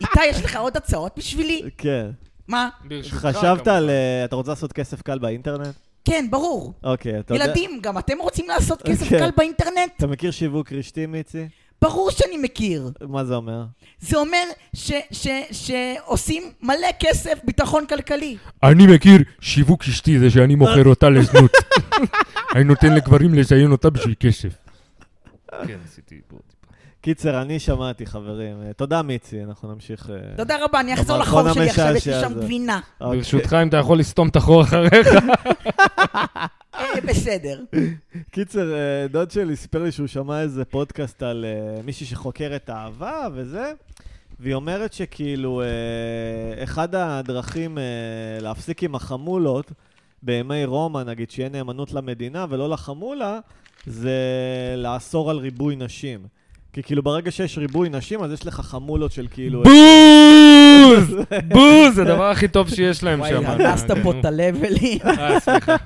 Speaker 4: איתי, יש לך עוד הצעות בשבילי?
Speaker 2: כן.
Speaker 4: מה?
Speaker 3: ברשותך,
Speaker 2: חשבת
Speaker 3: כמובן.
Speaker 2: על... אה, אתה רוצה לעשות כסף קל באינטרנט?
Speaker 4: כן, ברור.
Speaker 2: אוקיי, אתה יודע...
Speaker 4: ילדים, גם אתם רוצים לעשות כסף
Speaker 2: כן.
Speaker 4: קל באינטרנט?
Speaker 2: אתה מכיר שיווק רשתי, מיצי?
Speaker 1: ברור שאני מכיר.
Speaker 2: מה זה אומר?
Speaker 1: זה אומר ש- ש- שעושים מלא כסף ביטחון כלכלי.
Speaker 4: אני מכיר שיווק אשתי, זה שאני מוכר אותה לזנות. אני נותן לגברים לזיין אותה בשביל כסף.
Speaker 3: כן, עשיתי פה טיפה.
Speaker 2: קיצר, אני שמעתי, חברים. אה, תודה, מיצי, אנחנו נמשיך... אה,
Speaker 1: תודה רבה, אני אחזור
Speaker 2: המערכון
Speaker 1: לחוב שלי עכשיו, יש לי
Speaker 2: המשעשע
Speaker 1: שם
Speaker 2: הזה.
Speaker 1: גבינה.
Speaker 2: אוקיי.
Speaker 3: ברשותך, אם אתה יכול לסתום את החור אחריך.
Speaker 1: אה, בסדר.
Speaker 2: קיצר, אה, דוד שלי סיפר לי שהוא שמע איזה פודקאסט על אה, מישהי שחוקרת אהבה וזה, והיא אומרת שכאילו, אה, אחד הדרכים אה, להפסיק עם החמולות בימי רומא, נגיד, שיהיה נאמנות למדינה ולא לחמולה, זה לאסור על ריבוי נשים. כי כאילו ברגע שיש ריבוי נשים, אז יש לך חמולות של כאילו...
Speaker 3: בוז! בוז! זה הדבר הכי טוב שיש להם
Speaker 1: וואי,
Speaker 3: שם.
Speaker 1: הרסת פה את הלבלים.
Speaker 3: אה, סליחה.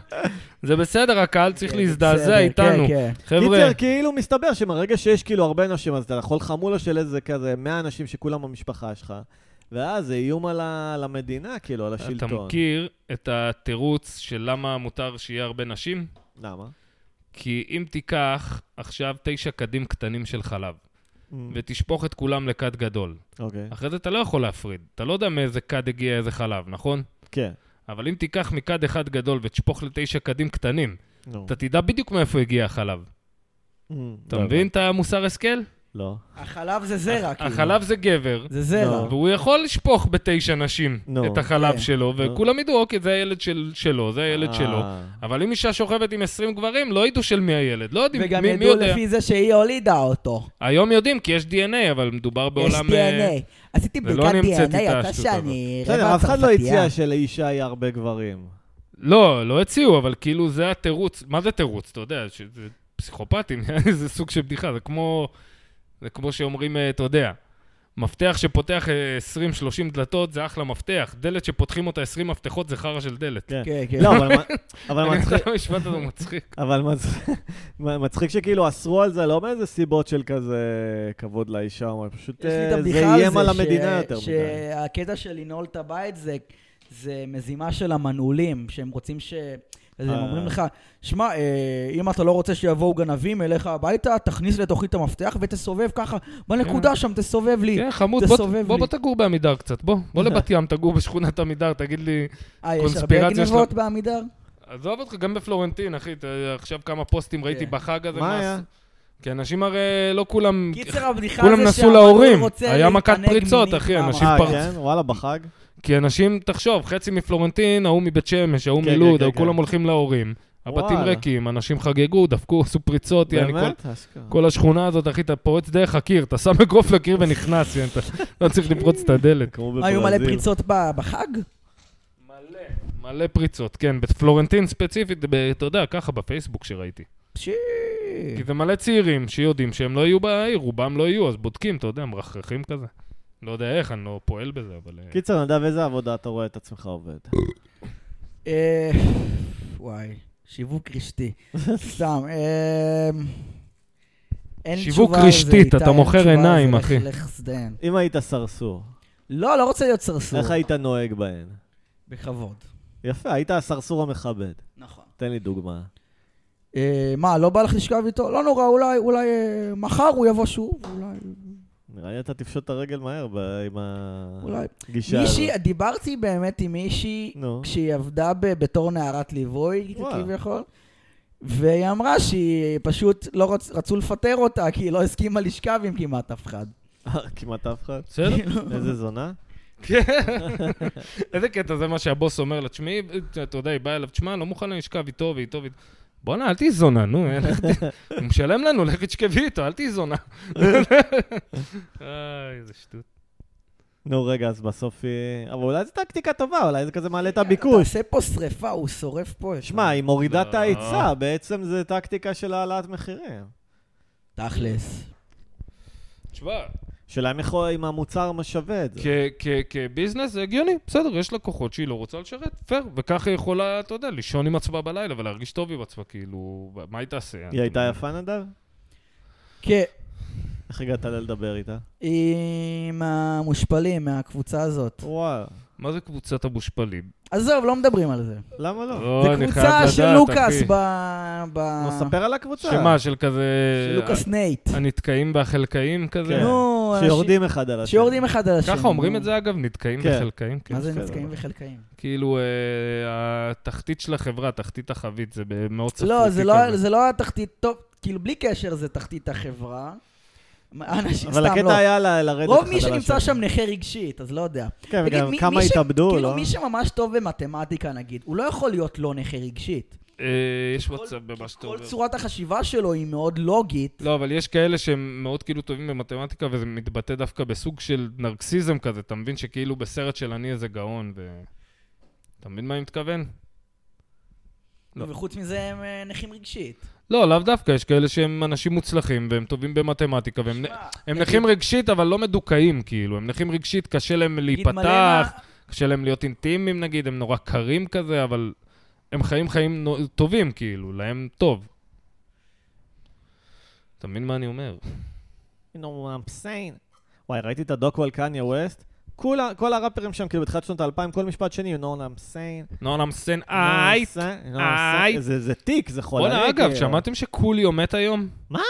Speaker 3: זה בסדר, הקהל צריך
Speaker 1: כן, בסדר,
Speaker 3: להזדעזע איתנו.
Speaker 1: כן,
Speaker 3: חבר'ה,
Speaker 2: קיצר, כאילו מסתבר שמרגע שיש כאילו הרבה נשים, אז אתה יכול חמולה של איזה כזה 100 אנשים שכולם במשפחה שלך, ואז זה איום על, ה... על המדינה, כאילו, על
Speaker 3: אתה
Speaker 2: השלטון.
Speaker 3: מכיר את התירוץ של למה מותר שיהיה הרבה נשים?
Speaker 2: למה?
Speaker 3: כי אם תיקח עכשיו תשע קדים קטנים של חלב,
Speaker 2: Mm.
Speaker 3: ותשפוך את כולם לכד גדול,
Speaker 2: אוקיי.
Speaker 3: אחרי זה אתה לא יכול להפריד. אתה לא יודע מאיזה כד הגיע איזה חלב, נכון?
Speaker 2: כן.
Speaker 3: אבל אם תיקח מכד אחד גדול ותשפוך לתשע קדים קטנים,
Speaker 2: נו.
Speaker 3: אתה תדע בדיוק מאיפה הגיע החלב.
Speaker 2: אמ,
Speaker 3: אתה
Speaker 2: לא
Speaker 3: מבין
Speaker 2: הבנתי.
Speaker 3: את המוסר השכל?
Speaker 2: לא.
Speaker 1: כן. החלב זה זרע, כאילו.
Speaker 3: החלב זה גבר,
Speaker 1: זה זרע.
Speaker 2: לא.
Speaker 3: והוא יכול לשפוך בתשע נשים
Speaker 2: נו,
Speaker 3: את החלב
Speaker 1: כן.
Speaker 3: שלו,
Speaker 2: נו.
Speaker 3: וכולם ידעו, אוקיי, זה הילד של- שלו, זה הילד
Speaker 2: אה,
Speaker 3: שלו. אבל אם אישה שוכבת עם 20 גברים, לא ידעו של מי הילד. לא יודעים,
Speaker 1: וגם
Speaker 3: מי, מי
Speaker 1: ידעו
Speaker 3: יודע.
Speaker 1: לפי זה שהיא הולידה אותו.
Speaker 3: היום יודעים, כי יש DNA, אבל מדובר
Speaker 1: יש
Speaker 3: בעולם... אה,
Speaker 1: DNA. עשיתי
Speaker 3: ולא
Speaker 1: בדיקת
Speaker 3: נמצאתי את
Speaker 1: DNA, יצא
Speaker 3: השטות
Speaker 1: שאני
Speaker 2: בסדר,
Speaker 1: רבע
Speaker 2: אף אחד לא
Speaker 1: צרפתייה.
Speaker 2: הציע שלאישה יהיה הרבה גברים.
Speaker 3: לא, לא הציעו, אבל כאילו זה התירוץ. מה זה תירוץ? אתה יודע, שזה פסיכופטים, זה סוג של בדיחה, זה כמו... זה כמו שאומרים, אה, אתה יודע, מפתח שפותח אה, 20-30 דלתות זה אחלה מפתח, דלת שפותחים אותה 20 מפתחות זה חרא של דלת.
Speaker 2: כן.
Speaker 1: כן, כן.
Speaker 2: לא, אבל מה- אבל
Speaker 3: אני
Speaker 2: מצחיק-
Speaker 3: חושב המשפט הזה הוא מצחיק.
Speaker 2: אבל מצ- מצחיק שכאילו אסרו על זה, לא מאיזה סיבות של כזה כבוד לאישה, או משהו, פשוט
Speaker 1: יש לי את
Speaker 2: אה, זה
Speaker 1: הבדיחה על
Speaker 2: איים
Speaker 1: זה
Speaker 2: על
Speaker 1: ש-
Speaker 2: המדינה יותר מדי.
Speaker 1: שהקטע של לנעול את הבית זה, זה מזימה של המנעולים, שהם רוצים ש... אז הם
Speaker 2: אה.
Speaker 1: אומרים לך, שמע, אה, אם אתה לא רוצה שיבואו גנבים אליך הביתה, תכניס לתוכי את המפתח ותסובב ככה, בנקודה שם תסובב לי.
Speaker 3: כן, חמוד, בוא-
Speaker 1: תסובב
Speaker 3: בוא
Speaker 1: לי.
Speaker 3: בוא תגור בעמידר קצת, בוא. בוא לבת ים, תגור בשכונת עמידר, תגיד לי...
Speaker 1: אה, יש הרבה
Speaker 3: קונספירציה של-
Speaker 1: גנבות בעמידר?
Speaker 3: עזוב אותך, גם בפלורנטין, אחי, אתה- עכשיו כמה פוסטים ראיתי
Speaker 1: כן.
Speaker 3: בחג הזה.
Speaker 2: מה היה?
Speaker 3: הס- כי אנשים הרי לא כולם...
Speaker 1: קיצר, הבדיחה
Speaker 3: כולם
Speaker 1: זה
Speaker 3: נסעו
Speaker 1: שהמנעול
Speaker 3: להורים.
Speaker 1: רוצה
Speaker 3: היה מכת
Speaker 1: להתענג
Speaker 3: פריצות,
Speaker 1: מינית
Speaker 3: אחי, אנשים
Speaker 1: מהמראה.
Speaker 2: אה,
Speaker 3: פרצו.
Speaker 2: כן? וואלה, בחג?
Speaker 3: כי אנשים, תחשוב, חצי מפלורנטין, ההוא מבית שמש, ההוא
Speaker 2: כן, כן,
Speaker 3: מלוד,
Speaker 2: כן,
Speaker 3: ההוא
Speaker 2: כן.
Speaker 3: כולם הולכים להורים. הבתים
Speaker 2: וואלה.
Speaker 3: ריקים, אנשים חגגו, דפקו, עשו פריצות, יעני, כל-
Speaker 2: באמת? אשכרה.
Speaker 3: כל השכונה הזאת, אחי, אתה פורץ דרך הקיר, אתה שם אגרוף לקיר ונכנס, יעני, אתה לא צריך לפרוץ את הדלת.
Speaker 2: כמו
Speaker 1: היו מלא
Speaker 2: בברזיל.
Speaker 1: פריצות ב- בחג?
Speaker 3: מלא, מלא פריצות, כן, בפלורנטין ספציפית, ב- אתה יודע, ככה בפייסבוק שראיתי.
Speaker 1: פשי.
Speaker 4: כן.
Speaker 3: כי זה מלא צעירים שיודעים שהם לא יהיו בעיר, רובם לא יהיו, אז בודקים, אתה יודע, מרחרחים כזה. לא יודע איך, אני לא פועל בזה, אבל... אה,
Speaker 2: קיצר, נדב, איזה עבודה אתה רואה את עצמך עובד?
Speaker 1: אה, וואי, שיווק רשתי. סתם, אה, אין
Speaker 3: שיווק
Speaker 1: תשובה על זה,
Speaker 3: רשתית,
Speaker 1: איתי,
Speaker 3: אתה
Speaker 1: אין
Speaker 3: מוכר
Speaker 1: תשובה על זה,
Speaker 3: עיניים,
Speaker 1: לך-
Speaker 3: אחי.
Speaker 1: לך סדיין.
Speaker 2: אם היית סרסור,
Speaker 1: לא, לא רוצה להיות סרסור.
Speaker 2: איך היית נוהג בהן?
Speaker 1: בכבוד.
Speaker 2: יפה, היית הסרסור המכבד.
Speaker 1: נכון.
Speaker 2: תן לי דוגמה.
Speaker 1: אה, מה, לא בא לך לשכב איתו? לא נורא, אולי, אולי אה, מחר הוא יבוא שוב, אולי,
Speaker 2: נראה לי אתה תפשוט את הרגל מהר ב- עם
Speaker 1: אולי.
Speaker 2: הגישה הזאת.
Speaker 1: מישהי, דיברתי באמת עם מישהי,
Speaker 2: נו.
Speaker 1: כשהיא עבדה ב- בתור נערת ליווי,
Speaker 2: וואו.
Speaker 1: כביכול, והיא אמרה שהיא פשוט לא רצ... רצו לפטר אותה, כי היא לא הסכימה לשכב עם כמעט אף אחד.
Speaker 2: אה, כמעט אף אחד.
Speaker 3: בסדר? כן.
Speaker 2: איזה זונה?
Speaker 3: איזה קטע, זה מה שהבוס אומר לה, תשמעי, אתה יודע, היא באה אליו, תשמע, לא מוכן לשכב איתו ואיתו ואיתו. בואנה, אל תהיי זונה, נו, אה, לך ת- הוא משלם לנו, לכי תשכבי איתו, אל תהיי זונה. איי, איזה שטות.
Speaker 2: נו, רגע, אז בסוף היא... אבל אולי זו טקטיקה טובה, אולי זה כזה מעלה את
Speaker 1: אתה
Speaker 2: הביקוש.
Speaker 1: עושה פה שריפה, הוא שורף פה. את
Speaker 2: שמע, היא מורידה את
Speaker 3: לא.
Speaker 2: ההיצע, בעצם זו טקטיקה של העלאת מחירים.
Speaker 1: ה- תכלס.
Speaker 3: תשמע,
Speaker 2: שאלה אם יכול- אם המוצר משווה את זה.
Speaker 3: כ- כ- כביזנס זה הגיוני, בסדר, יש לקוחות שהיא לא רוצה לשרת, פייר, וככה היא יכולה, אתה יודע, לישון עם עצמה בלילה ולהרגיש טוב עם עצמה, כאילו, מה היא תעשה?
Speaker 2: היא הייתה יפה, נדב?
Speaker 1: כן,
Speaker 2: איך הגעת לדבר איתה?
Speaker 1: עם המושפלים מהקבוצה הזאת.
Speaker 2: וואו.
Speaker 3: מה זה קבוצת המושפלים?
Speaker 1: עזוב, לא מדברים על זה.
Speaker 2: למה לא?
Speaker 3: לא,
Speaker 1: זה
Speaker 3: אני חייב
Speaker 1: קבוצה של
Speaker 3: לדעת,
Speaker 1: לוקאס
Speaker 3: אחי.
Speaker 1: ב... ב...
Speaker 2: נו, ספר על הקבוצה.
Speaker 3: שמה, של כזה...
Speaker 1: של לוקאס נייט.
Speaker 3: כן. הנתקעים והחלקאים כזה?
Speaker 2: כן.
Speaker 1: נו, אנשים-
Speaker 2: שיורדים אחד על השני.
Speaker 1: שיורדים אחד על השני.
Speaker 3: ככה אומרים
Speaker 1: נו.
Speaker 3: את זה, אגב, נתקעים
Speaker 2: כן.
Speaker 3: וחלקאים? כן.
Speaker 1: מה זה
Speaker 2: בסדר.
Speaker 1: נתקעים וחלקאים?
Speaker 3: כאילו, אה, התחתית של החברה, תחתית החבית, זה מאוד צפוי.
Speaker 1: לא, זה לא- זה לא התחתית, טוב, כאילו בלי קשר זה תחתית החברה. אנשים,
Speaker 2: אבל
Speaker 1: סתם לא.
Speaker 2: הקטע היה ל- לרדת אחד על
Speaker 1: רוב
Speaker 2: השני.
Speaker 1: מי שנמצא שם נכה רגשית, אז לא יודע.
Speaker 2: כן,
Speaker 1: תגיד,
Speaker 2: וגם
Speaker 1: מי-
Speaker 2: כמה
Speaker 1: מי ש-
Speaker 2: התאבדו,
Speaker 1: כאילו
Speaker 2: לא?
Speaker 1: מי שממש טוב במתמטיקה נגיד, הוא לא יכול להיות לא נכה רגשית.
Speaker 3: אה, יש וואטסאפ במה שאתה
Speaker 1: כל
Speaker 3: אומר.
Speaker 1: צורת החשיבה שלו היא מאוד לוגית.
Speaker 3: לא, אבל יש כאלה שהם מאוד כאילו טובים במתמטיקה, וזה מתבטא דווקא בסוג של נרקסיזם כזה. אתה מבין שכאילו בסרט של אני איזה גאון, ו... אתה מבין מה אני מתכוון? לא.
Speaker 1: וחוץ מזה הם אה, נכים רגשית.
Speaker 3: לא, לאו דווקא, יש כאלה שהם אנשים מוצלחים, והם טובים במתמטיקה, והם
Speaker 1: שמע,
Speaker 3: הם
Speaker 1: נגיד-
Speaker 3: נכים רגשית, אבל לא מדוכאים, כאילו. הם נכים רגשית, קשה להם
Speaker 1: נגיד מלנה-
Speaker 3: להיפתח, קשה להם להיות אינטימיים, נגיד, הם נורא קרים כזה, אבל הם חיים חיים נו- טובים, כאילו, להם טוב. אתה מבין מה אני אומר?
Speaker 2: You know what I'm saying. וואי, ראיתי את הדוקו על קניה ווסט. כולה- כל הראפרים שם, כאילו, בתחילת שנות האלפיים, כל משפט שני, you know what I'm saying. you know
Speaker 3: נורא נמסן
Speaker 2: what I'm
Speaker 3: אייט.
Speaker 2: saying, you know what I'm
Speaker 3: אייט.
Speaker 2: saying. זה זה טיק, זה חולני.
Speaker 3: בואנה, אגב,
Speaker 2: כאילו.
Speaker 3: שמעתם שקוליו מת היום?
Speaker 2: מה? אה?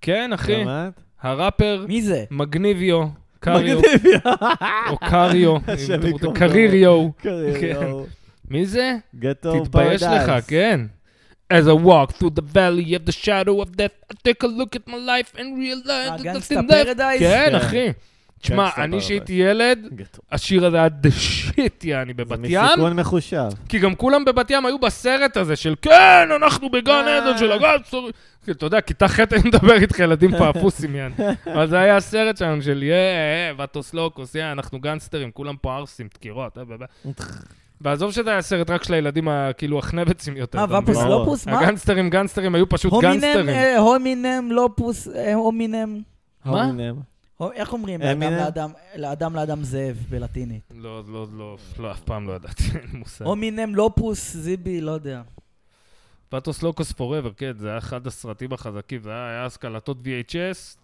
Speaker 3: כן, אחי.
Speaker 2: באמת?
Speaker 3: הראפר
Speaker 1: מי זה?
Speaker 3: מגניביו, קריו,
Speaker 2: מגניב.
Speaker 3: או קריו, אם
Speaker 2: השם
Speaker 3: אתם רוצים,
Speaker 2: ייקום דמו.
Speaker 3: קריריו. כן.
Speaker 2: קריו.
Speaker 3: מי זה?
Speaker 2: גטו
Speaker 3: תתבייש
Speaker 2: פרדייס.
Speaker 3: לך, כן. As I walk through the valley of the shadow of death, I take a look at my life and
Speaker 2: אה,
Speaker 3: realize that
Speaker 1: הגנגסטה
Speaker 3: nothing left.
Speaker 1: אה, פרדייז?
Speaker 3: כן,
Speaker 2: כן.
Speaker 3: אחי. תשמע,
Speaker 2: גנגסטה
Speaker 3: אני
Speaker 2: פרדייז.
Speaker 3: שהייתי ילד,
Speaker 2: גטו.
Speaker 3: השיר הזה היה דה שיט, יעני, בבת
Speaker 2: זה
Speaker 3: ים.
Speaker 2: מסיכון מחושב.
Speaker 3: כי גם כולם בבת ים היו בסרט הזה של כן, אנחנו בגן
Speaker 1: אה.
Speaker 3: עדן של הגלסטורים. אתה יודע, כיתה ח' אני מדבר איתך, ילדים פעפוסים, יעני. אבל זה היה הסרט שלנו של יא, אה, ואטוס לוקוס, יא, אנחנו גנסטרים, כולם פה ערסים, דקירות. אה, אה, אה. ועזוב שזה היה סרט רק של הילדים, ה- כאילו, החנבצים יותר.
Speaker 1: מה,
Speaker 3: אתה מבין?
Speaker 1: ואפוס
Speaker 2: ברור.
Speaker 1: לופוס? אה, מה?
Speaker 3: הגנסטרים, גנסטרים, היו פשוט
Speaker 1: הומינם,
Speaker 3: גנסטרים.
Speaker 1: אה, הומינם, לופוס, אה, הומינם.
Speaker 3: מה?
Speaker 2: הומינם.
Speaker 1: הו- איך אומרים?
Speaker 2: אמינם?
Speaker 1: לאדם לאדם- לאדם לאדם זאב בלטינית.
Speaker 3: לא, לא, לא, לא, אף פעם לא ידעתי, אין לי מושג.
Speaker 1: הומינם, לופוס, זיבי, לא
Speaker 3: אה.
Speaker 1: יודע.
Speaker 3: פטוס לוקוס פוראבר, כן, זה היה אחד הסרטים החזקים, זה היה היה אז קלטות VHS,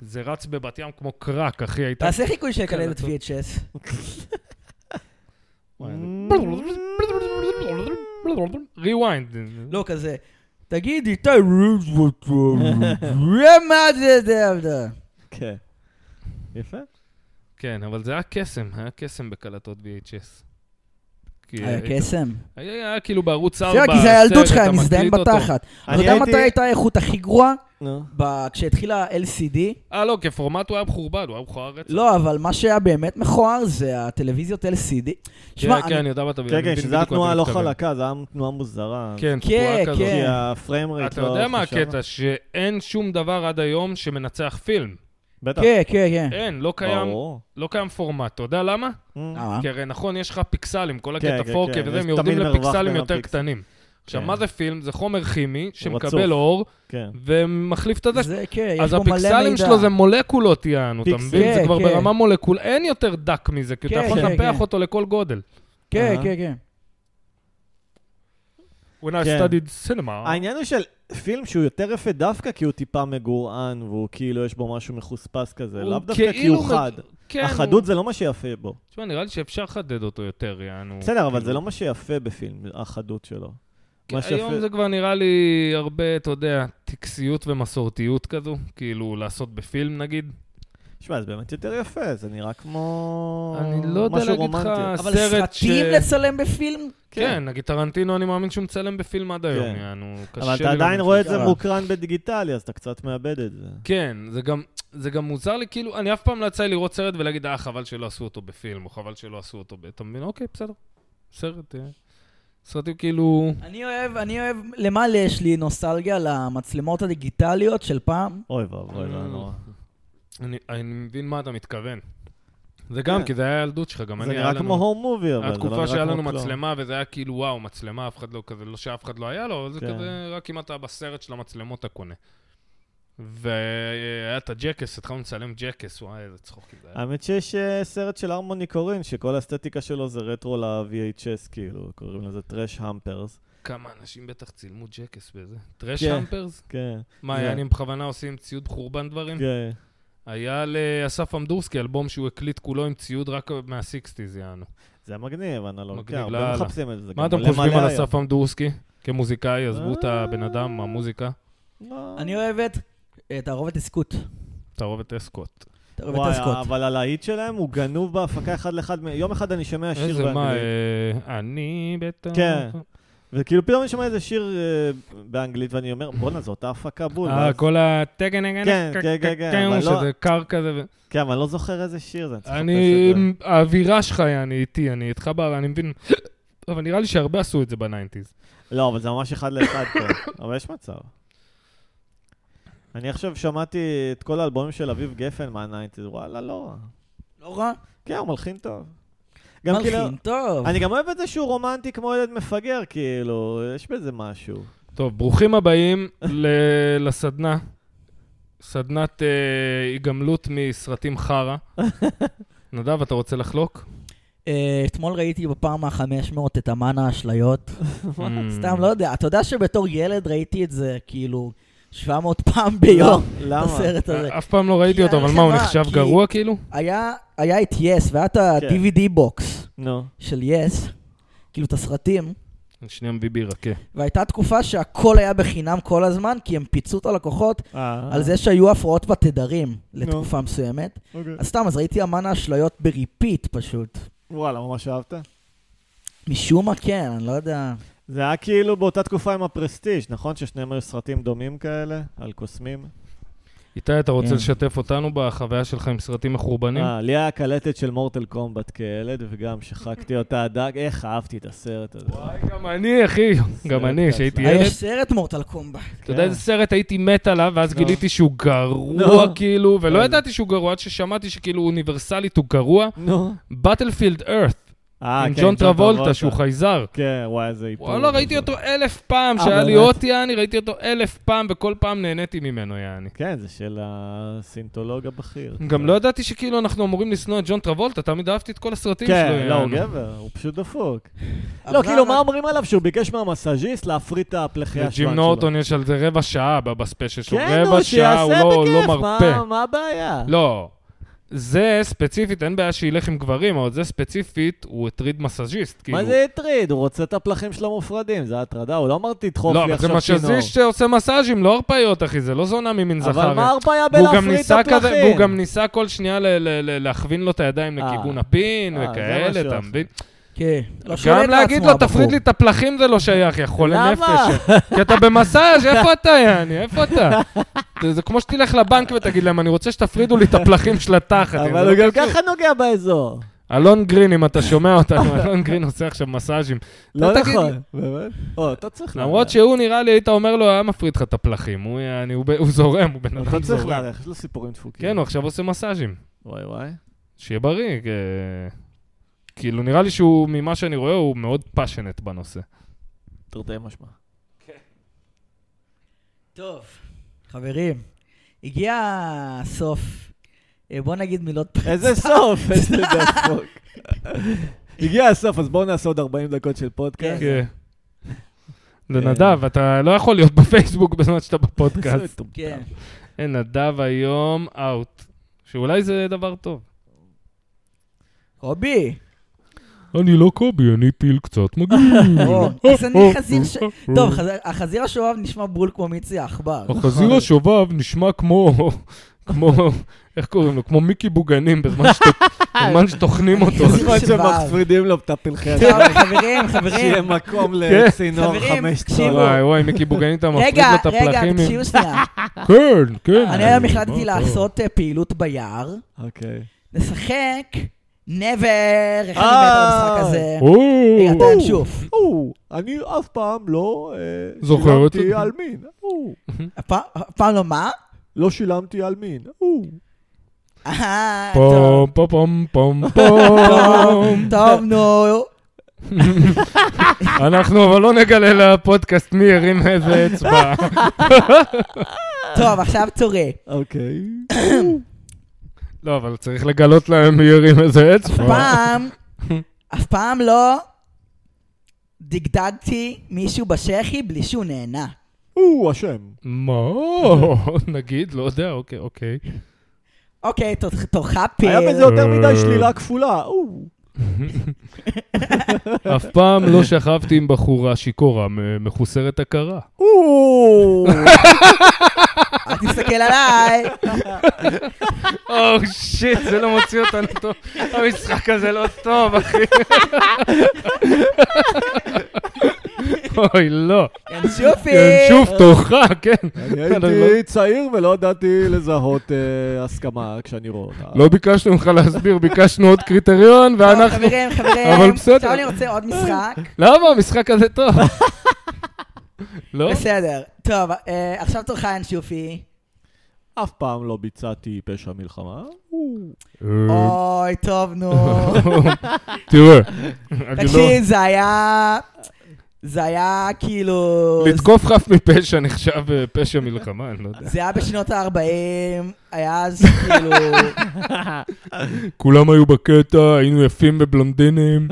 Speaker 3: זה רץ בבת ים כמו קרק, אחי, הייתה...
Speaker 1: תעשה חיקוי של
Speaker 2: כן,
Speaker 1: כלבת
Speaker 3: קלטות.
Speaker 1: VHS.
Speaker 3: Mm. ריוויינד.
Speaker 1: לא, כזה. תגיד, איתי ריבוט, אה, מה זה זה?
Speaker 2: כן. יפה.
Speaker 3: כן, אבל זה היה קסם, היה קסם בקלטות VHS. כי
Speaker 1: היה
Speaker 3: היית-
Speaker 1: אה, קסם.
Speaker 3: היה היה כאילו בערוץ 4,
Speaker 1: בסדר, כי זה הילדות שלך, אני מזדיין בתחת.
Speaker 2: אני
Speaker 1: אתה יודע
Speaker 2: הייתי-
Speaker 1: מתי הייתה האיכות הכי גרועה?
Speaker 2: נו.
Speaker 1: ב- כשהתחילה ה-LCD?
Speaker 3: אה, לא, כפורמט הוא היה מחורבן, הוא היה מכוער רצח.
Speaker 1: לא, אבל מה שהיה באמת מכוער זה הטלוויזיות LCD. שמע,
Speaker 3: כן, כן, אני יודע מה אתה מבין.
Speaker 2: כן,
Speaker 3: אני
Speaker 2: כן,
Speaker 3: מבין
Speaker 2: שזה היה
Speaker 3: בדיוק מה
Speaker 2: תנועה
Speaker 3: אתה
Speaker 2: לא
Speaker 3: מתכוון.
Speaker 2: חלקה, זה היה תנועה מוזרה.
Speaker 3: כן,
Speaker 1: כן,
Speaker 3: תקועה כזאת.
Speaker 2: כי
Speaker 1: כן.
Speaker 2: הפריים רייט לא...
Speaker 3: אתה יודע מה
Speaker 2: חשב.
Speaker 3: הקטע? שאין שום דבר עד היום שמנצח פילם.
Speaker 2: בטח.
Speaker 1: כן, כן, כן.
Speaker 3: אין, לא קיים,
Speaker 2: ברור.
Speaker 3: לא קיים פורמט. אתה יודע למה?
Speaker 2: אה,
Speaker 1: למה?
Speaker 3: כי הרי נכון, יש לך פיקסלים, כל
Speaker 2: כן,
Speaker 3: הקטע
Speaker 2: כן,
Speaker 3: פורקה
Speaker 2: כן,
Speaker 3: וזה,
Speaker 2: יש
Speaker 3: הם יורדים
Speaker 2: תמיד מרווח
Speaker 3: לפיקסלים
Speaker 2: בין
Speaker 3: יותר
Speaker 2: הפיקסלים.
Speaker 3: קטנים. עכשיו,
Speaker 2: כן.
Speaker 3: מה זה פילם? זה חומר כימי
Speaker 2: רצוף.
Speaker 3: שמקבל אור
Speaker 2: כן.
Speaker 3: ומחליף את הזה.
Speaker 1: זה כן, יש
Speaker 3: אז
Speaker 1: בו מלא מידע.
Speaker 3: הפיקסלים שלו זה מולקולות, יענו, אתה
Speaker 2: פיקסל.
Speaker 3: מבין? זה
Speaker 1: כן,
Speaker 3: כבר
Speaker 1: כן.
Speaker 3: ברמה מולקול, אין יותר דק מזה, כי אתה
Speaker 1: כן,
Speaker 3: יכול
Speaker 1: כן,
Speaker 3: לנפח
Speaker 1: כן.
Speaker 3: אותו לכל גודל.
Speaker 1: כן,
Speaker 2: אה.
Speaker 1: כן, כן.
Speaker 3: When I
Speaker 2: כן.
Speaker 3: studied cinema.
Speaker 2: העניין הוא של פילם שהוא יותר יפה דווקא כי הוא טיפה מגורען, והוא כאילו יש בו משהו מחוספס כזה,
Speaker 3: הוא
Speaker 2: לאו דווקא כי
Speaker 3: כאילו
Speaker 2: הוא
Speaker 3: מג-
Speaker 2: חד.
Speaker 3: כן, הוא-
Speaker 2: החדות זה לא מה שיפה בו.
Speaker 3: תשמע, נראה לי שאפשר לחדד אותו יותר, יענו.
Speaker 2: בסדר, אבל
Speaker 3: כאילו.
Speaker 2: זה לא מה שיפה בפילם, החדות שלו.
Speaker 3: כי
Speaker 2: מה
Speaker 3: היום זה
Speaker 2: שיפה...
Speaker 3: כבר נראה לי הרבה, אתה יודע, טקסיות ומסורתיות כזו, כאילו לעשות בפילם נגיד.
Speaker 2: שמע, זה באמת יותר יפה, זה נראה כמו...
Speaker 3: אני לא יודע
Speaker 2: משהו
Speaker 3: להגיד לך-
Speaker 2: רומנטי.
Speaker 1: אבל
Speaker 3: הסרט ש-
Speaker 1: סרטים לצלם בפילם?
Speaker 3: כן, נגיד טרנטינו, אני מאמין שהוא מצלם בפילם עד היום,
Speaker 2: כן.
Speaker 3: יענו, קשה לי
Speaker 2: אבל אתה
Speaker 3: להאמין
Speaker 2: עדיין
Speaker 3: שהוא
Speaker 2: רואה את זה
Speaker 3: מצלם.
Speaker 2: מוקרן בדיגיטלי, אז אתה קצת מאבד את זה.
Speaker 3: כן, זה גם, זה גם מוזר לי, כאילו, אני אף פעם לא יצא לי לראות סרט ולהגיד, אה, חבל שלא עשו אותו בפילם, או חבל שלא עשו אותו ב... אתה מבין? אוקיי, בסדר. סרט, אה, סרטים כאילו...
Speaker 1: אני אוהב, אני אוהב, למה לי יש לי נוסטלגיה? למצלמות הדיגיטליות של פעם?
Speaker 2: אוי
Speaker 3: אה,
Speaker 2: ואבוי, זה היה נורא.
Speaker 3: אני, אני מבין מה אתה מתכוון. זה גם,
Speaker 2: כן.
Speaker 3: כי זה היה הילדות שלך, גם
Speaker 2: זה
Speaker 3: אני... היה
Speaker 2: נראה
Speaker 3: לנו-
Speaker 2: כמו הום מובי, אבל זה לא נראה כמו כלום.
Speaker 3: התקופה שהיה לנו מצלמה, וזה היה כאילו, וואו, מצלמה, אף אחד לא כזה, לא שאף אחד לא היה לו, אבל זה
Speaker 2: כן.
Speaker 3: כזה, רק אם אתה בסרט של המצלמות אתה קונה. והיה את הג'קס, התחלנו לצלם ג'קס, וואי, איזה צחוקים זה היה.
Speaker 2: האמת שיש אה, סרט של הרמוני קורין, שכל האסתטיקה שלו זה רטרו ל-VHS, כאילו, קוראים לזה טרש המפרס.
Speaker 3: כמה אנשים בטח צילמו ג'קס בזה. טרש
Speaker 2: כן.
Speaker 3: המפרס?
Speaker 2: כן,
Speaker 3: מה,
Speaker 2: זה-
Speaker 3: היה, אני בכוונה עושה עם ציוד חורבן דברים?
Speaker 2: כן.
Speaker 3: היה לאסף אמדורסקי אלבום שהוא הקליט כולו עם ציוד רק מה-60's, יענו.
Speaker 2: זה מגניב, אנלוג.
Speaker 3: מגניב
Speaker 2: כן, הרבה
Speaker 3: לאללה.
Speaker 2: מחפשים את זה. גם
Speaker 3: מה אתם
Speaker 2: מלא
Speaker 3: חושבים
Speaker 2: מלא
Speaker 3: על
Speaker 2: היום.
Speaker 3: אסף עמדורסקי? כמוזיקאי, עזבו את
Speaker 2: אה.
Speaker 3: הבן אדם, המוזיקה,
Speaker 2: לא.
Speaker 1: אני אוהבת אה, תערובת עסקות.
Speaker 3: תערובת אסקוט.
Speaker 1: תערובת
Speaker 2: וואי, אה,
Speaker 1: עסקות.
Speaker 2: אבל הלהיט שלהם הוא גנוב בהפקה אחד לאחד. מ- יום אחד אני שומע שיר
Speaker 3: איזה מה,
Speaker 2: באנגלית,
Speaker 3: אה, אני בטח...
Speaker 2: כן. וכאילו פתאום אני שומע איזה שיר אה, באנגלית, ואני אומר, בואנה, זו אותה הפקה בול.
Speaker 3: אה,
Speaker 2: ואז-
Speaker 3: כל הטגן, הגן,
Speaker 2: כן,
Speaker 3: הקק,
Speaker 2: כן, כן,
Speaker 3: הקק,
Speaker 2: כן,
Speaker 3: כן,
Speaker 2: אבל לא-
Speaker 3: שזה קר כזה. ו-
Speaker 2: כן, אבל אני לא זוכר איזה שיר זה, אני צריך
Speaker 3: אני,
Speaker 2: לחפש את זה.
Speaker 3: האווירה שלך, אני איתי, אני איתך ב... אני מבין... אבל נראה לי שהרבה עשו את זה בניינטיז.
Speaker 2: לא, אבל זה ממש אחד לאחד פה, אבל יש מצב. אני עכשיו שמעתי את כל האלבומים של אביב גפן מהניינטיז, וואלה, לא. רע.
Speaker 1: לא רע.
Speaker 2: כן, הוא מלחין טוב. גם כאילו...
Speaker 1: מלחין, טוב.
Speaker 2: אני גם אוהב את זה שהוא רומנטי כמו ילד מפגר, כאילו, יש בזה משהו.
Speaker 3: טוב, ברוכים הבאים ל- לסדנה. סדנת אה, היגמלות מסרטים חרא. נדב, אתה רוצה לחלוק?
Speaker 1: אה, אתמול ראיתי בפעם ה-500 את אמן האשליות.
Speaker 3: אמ,
Speaker 1: סתם, לא יודע. אתה יודע שבתור ילד ראיתי את זה כאילו 700 פעם ביום, את
Speaker 2: למה?
Speaker 1: הסרט הזה.
Speaker 3: אה, אף פעם לא ראיתי
Speaker 1: כי
Speaker 3: אותו, אבל מה, הוא
Speaker 1: החברה,
Speaker 3: נחשב
Speaker 1: כי-
Speaker 3: גרוע כאילו?
Speaker 1: היה היה את יס, והיה
Speaker 2: כן.
Speaker 1: את ה-DVD בוקס
Speaker 2: נו.
Speaker 1: של יס, כאילו את הסרטים.
Speaker 3: אני שנייה מביא בירה, כן.
Speaker 1: והייתה תקופה שהכל היה בחינם כל הזמן, כי הם פיצו את הלקוחות
Speaker 2: אה,
Speaker 1: על זה שהיו הפרעות בתדרים לתקופה מסוימת.
Speaker 2: אוקיי.
Speaker 1: אז סתם, אז ראיתי אמן האשליות בריפיט פשוט.
Speaker 2: וואלה, ממש אהבת?
Speaker 1: משום מה כן, אני לא יודע.
Speaker 2: זה היה כאילו באותה תקופה עם הפרסטיג', נכון? ששניהם היו סרטים דומים כאלה, על קוסמים.
Speaker 3: איתי, אתה רוצה
Speaker 1: כן.
Speaker 3: לשתף אותנו בחוויה שלך עם סרטים מחורבנים?
Speaker 2: אה, לי היה קלטת של מורטל קומבט כילד, וגם שחקתי אותה עד דג, איך אהבתי את הסרט הזה.
Speaker 3: וואי, גם אני, אחי, גם
Speaker 2: כן.
Speaker 3: אני, שהייתי
Speaker 1: אה,
Speaker 3: ילד.
Speaker 1: יש סרט מורטל קומבה.
Speaker 3: אתה יודע איזה סרט הייתי מת עליו, ואז
Speaker 2: נו. כן.
Speaker 3: גיליתי שהוא גרוע
Speaker 2: נו.
Speaker 3: כאילו, ולא
Speaker 2: אז-
Speaker 3: ידעתי שהוא גרוע עד ששמעתי שכאילו אוניברסלית הוא גרוע.
Speaker 2: נו.
Speaker 3: בטלפילד ארת,
Speaker 2: אה, כן,
Speaker 3: עם ג'ון טרבולטה, שהוא חייזר.
Speaker 2: כן, וואי, איזה איפור.
Speaker 3: וואלה, ראיתי אותו אלף פעם,
Speaker 2: אה,
Speaker 3: שהיה לי
Speaker 2: באמת?
Speaker 3: אות יעני, ראיתי אותו אלף פעם, וכל פעם נהניתי ממנו יעני.
Speaker 2: כן, זה של הסינטולוג הבכיר.
Speaker 3: גם לא ידעתי שכאילו אנחנו אמורים לשנוא את ג'ון טרבולטה, תמיד אהבתי את כל הסרטים שלו.
Speaker 2: כן, לא, הוא
Speaker 3: יעני.
Speaker 2: גבר, הוא פשוט דפוק. לא, כאילו, מה אומרים עליו? שהוא ביקש מהמסאז'יסט להפריט את הפלחי
Speaker 3: לג'ים
Speaker 2: השוואן שלו.
Speaker 3: נורטון יש על זה רבע שעה ב- בספיישל שלו,
Speaker 2: כן, נו,
Speaker 3: רבע שעה, הוא
Speaker 2: שיעשה
Speaker 3: לא- הוא
Speaker 2: בכיף,
Speaker 3: לא מרפה.
Speaker 2: מה- מה הבעיה?
Speaker 3: לא. זה ספציפית, אין בעיה שילך עם גברים, אבל זה ספציפית, הוא הטריד מסאז'יסט. כאילו.
Speaker 2: מה זה הטריד? הוא רוצה את הפלחים שלו מופרדים, זה הטרדה, הוא לא אמר תדחוף
Speaker 3: לא,
Speaker 2: לי
Speaker 3: אבל זה
Speaker 2: עכשיו צינור.
Speaker 3: מסאז'יסט שעושה מסאז'ים, לא הרפאיות, אחי, זה לא זונה ממין זכרת.
Speaker 2: אבל מה הרפאיה
Speaker 3: והוא גם
Speaker 2: בלהפריד את
Speaker 3: ניסה
Speaker 2: הפלחים?
Speaker 3: כזה, והוא גם ניסה כל שנייה ל- ל- ל- להכווין לו את הידיים
Speaker 2: אה.
Speaker 3: לכיוון הפין
Speaker 2: אה, זה
Speaker 3: וכאלה,
Speaker 2: משהו
Speaker 3: אתה
Speaker 2: אחר.
Speaker 3: מבין?
Speaker 1: כן. לא שולט
Speaker 3: גם להגיד
Speaker 1: לעצמו
Speaker 3: לו,
Speaker 1: הבחור.
Speaker 3: תפריד לי את הפלחים זה לא שייך, יא חולה
Speaker 2: למה?
Speaker 3: נפש. כי אתה במסאז', איפה אתה, יעני? איפה אתה? זה- זה כמו שתלך לבנק ותגיד להם, אני רוצה שתפרידו לי את הפלחים של התחת. זה
Speaker 2: אבל
Speaker 3: לא
Speaker 2: הוא גם כאילו-
Speaker 3: קשור.
Speaker 2: ככה נוגע באזור.
Speaker 3: אלון גרין, אם אתה שומע אותנו, אלון גרין עושה עכשיו מסאז'ים.
Speaker 2: לא
Speaker 3: אתה תגיד-
Speaker 2: נכון. באמת? או, אתה צריך
Speaker 3: למרות
Speaker 2: לארח.
Speaker 3: שהוא, נראה לי, היית אומר לו, היה מפריד לך את הפלחים. הוא יעני, הוא ב- הוא זורם, הוא בן אדם
Speaker 2: אתה צריך
Speaker 3: זורם.
Speaker 2: לארח, יש לו סיפורים דפוקים.
Speaker 3: כן, הוא עכשיו עושה מסאז'ים.
Speaker 2: וואי וואי.
Speaker 3: שיהיה בריא. כ- כאילו, נראה לי שהוא, ממה שאני רואה, הוא מאוד פאשנט בנושא.
Speaker 2: תרתי משמע.
Speaker 1: טוב, חברים, הגיע הסוף. אה, בוא נגיד מילות פרצה.
Speaker 2: איזה סוף, איזה דפוק. הגיע הסוף, אז בואו נעשה עוד 40 דקות של פודקאסט.
Speaker 1: כן.
Speaker 3: לנדב, אתה לא יכול להיות בפייסבוק בזמן שאתה בפודקאסט.
Speaker 2: איזה מטומטם.
Speaker 1: כן.
Speaker 3: אין, נדב היום אאוט. שאולי זה דבר טוב.
Speaker 1: קובי,
Speaker 4: אני לא קובי, אני פיל קצת מגעיל.
Speaker 1: או, אז אני חזיר אה, ש... טוב, חז- החזיר השובב נשמע בול כמו מיצי העכבר.
Speaker 4: נכון.
Speaker 3: החזיר השובב נשמע כמו, כמו, איך קוראים לו? כמו מיקי בוגנים בזמן שת- בזמן שטוחנים אותו.
Speaker 1: חזיר
Speaker 2: נכון
Speaker 1: שבב.
Speaker 2: שמפרידים לו את הפלחי
Speaker 1: טוב,
Speaker 2: הזה.
Speaker 1: חברים, חברים,
Speaker 2: שיהיה מקום
Speaker 3: כן.
Speaker 2: לצינור
Speaker 1: חברים,
Speaker 2: חמש
Speaker 1: תקשיבו.
Speaker 2: צורות.
Speaker 3: וואי, וואי, מיקי בוגנים, אתה מפריד
Speaker 1: רגע,
Speaker 3: לו את
Speaker 1: רגע,
Speaker 3: הפלחים. עם-
Speaker 1: תקשיבו שנייה.
Speaker 4: כן, כן.
Speaker 1: אני היום החלטתי
Speaker 4: מה,
Speaker 1: לעשות אה, פעילות ביער,
Speaker 2: אוקיי.
Speaker 1: לשחק נבר, איך אני מת על המשחק הזה.
Speaker 4: טוב. או,
Speaker 1: רגע, תנשוף.
Speaker 2: או, אני אף פעם לא אה,
Speaker 4: זוכר
Speaker 2: שילמתי
Speaker 4: אותו.
Speaker 2: על מין. או,
Speaker 1: פעם לא מה?
Speaker 2: לא שילמתי על מין. או.
Speaker 1: אה, טוב.
Speaker 4: פום פום פום פום פום.
Speaker 1: טוב, נו.
Speaker 3: אנחנו אבל לא נגלה לפודקאסט מי הרים איזה אצבע.
Speaker 1: טוב, עכשיו צורה.
Speaker 2: אוקיי.
Speaker 3: לא, אבל צריך לגלות להם מי הרים איזה אצבע.
Speaker 1: פעם, אף פעם לא דגדגתי מישהו בשחי בלי שהוא נהנה.
Speaker 2: או, אשם.
Speaker 3: מה? נגיד, לא יודע, אוקיי, אוקיי.
Speaker 1: אוקיי, תור- תורך פיר.
Speaker 3: אה.
Speaker 2: היה בזה יותר מדי שלילה כפולה. או.
Speaker 3: אף פעם לא שכבתי עם בחורה שיכורה, מ- מחוסרת הכרה.
Speaker 1: או, אל תסתכל עליי.
Speaker 3: או, שיט, Oh, זה לא מוציא אותנו טוב. המשחק הזה לא טוב, אחי. אוי, לא.
Speaker 1: ינשופי.
Speaker 3: שוב תורך, כן.
Speaker 2: אני
Speaker 3: אני לא-
Speaker 2: הייתי צעיר ולא ידעתי לזהות אה, הסכמה כשאני רואה אותה.
Speaker 4: לא ביקשנו ממך להסביר, ביקשנו עוד קריטריון,
Speaker 1: טוב,
Speaker 4: ואנחנו...
Speaker 1: חברים, חברים.
Speaker 4: אבל בסדר.
Speaker 1: עכשיו לא, אני רוצה עוד משחק.
Speaker 3: למה? המשחק הזה טוב. לא?
Speaker 1: בסדר. טוב, אה, עכשיו תורך ינשופי.
Speaker 2: אף פעם לא ביצעתי פשע מלחמה.
Speaker 4: אה,
Speaker 1: אוי, טוב, נו.
Speaker 4: תראה, אני לא...
Speaker 1: תקשיב, זה היה... זה היה כאילו...
Speaker 4: לתקוף חף מפשע נחשב אה, פשע מלחמה, אני לא יודע.
Speaker 1: זה היה בשנות ה-40, היה אז כאילו...
Speaker 4: כולם היו בקטע, היינו יפים ובלונדינים,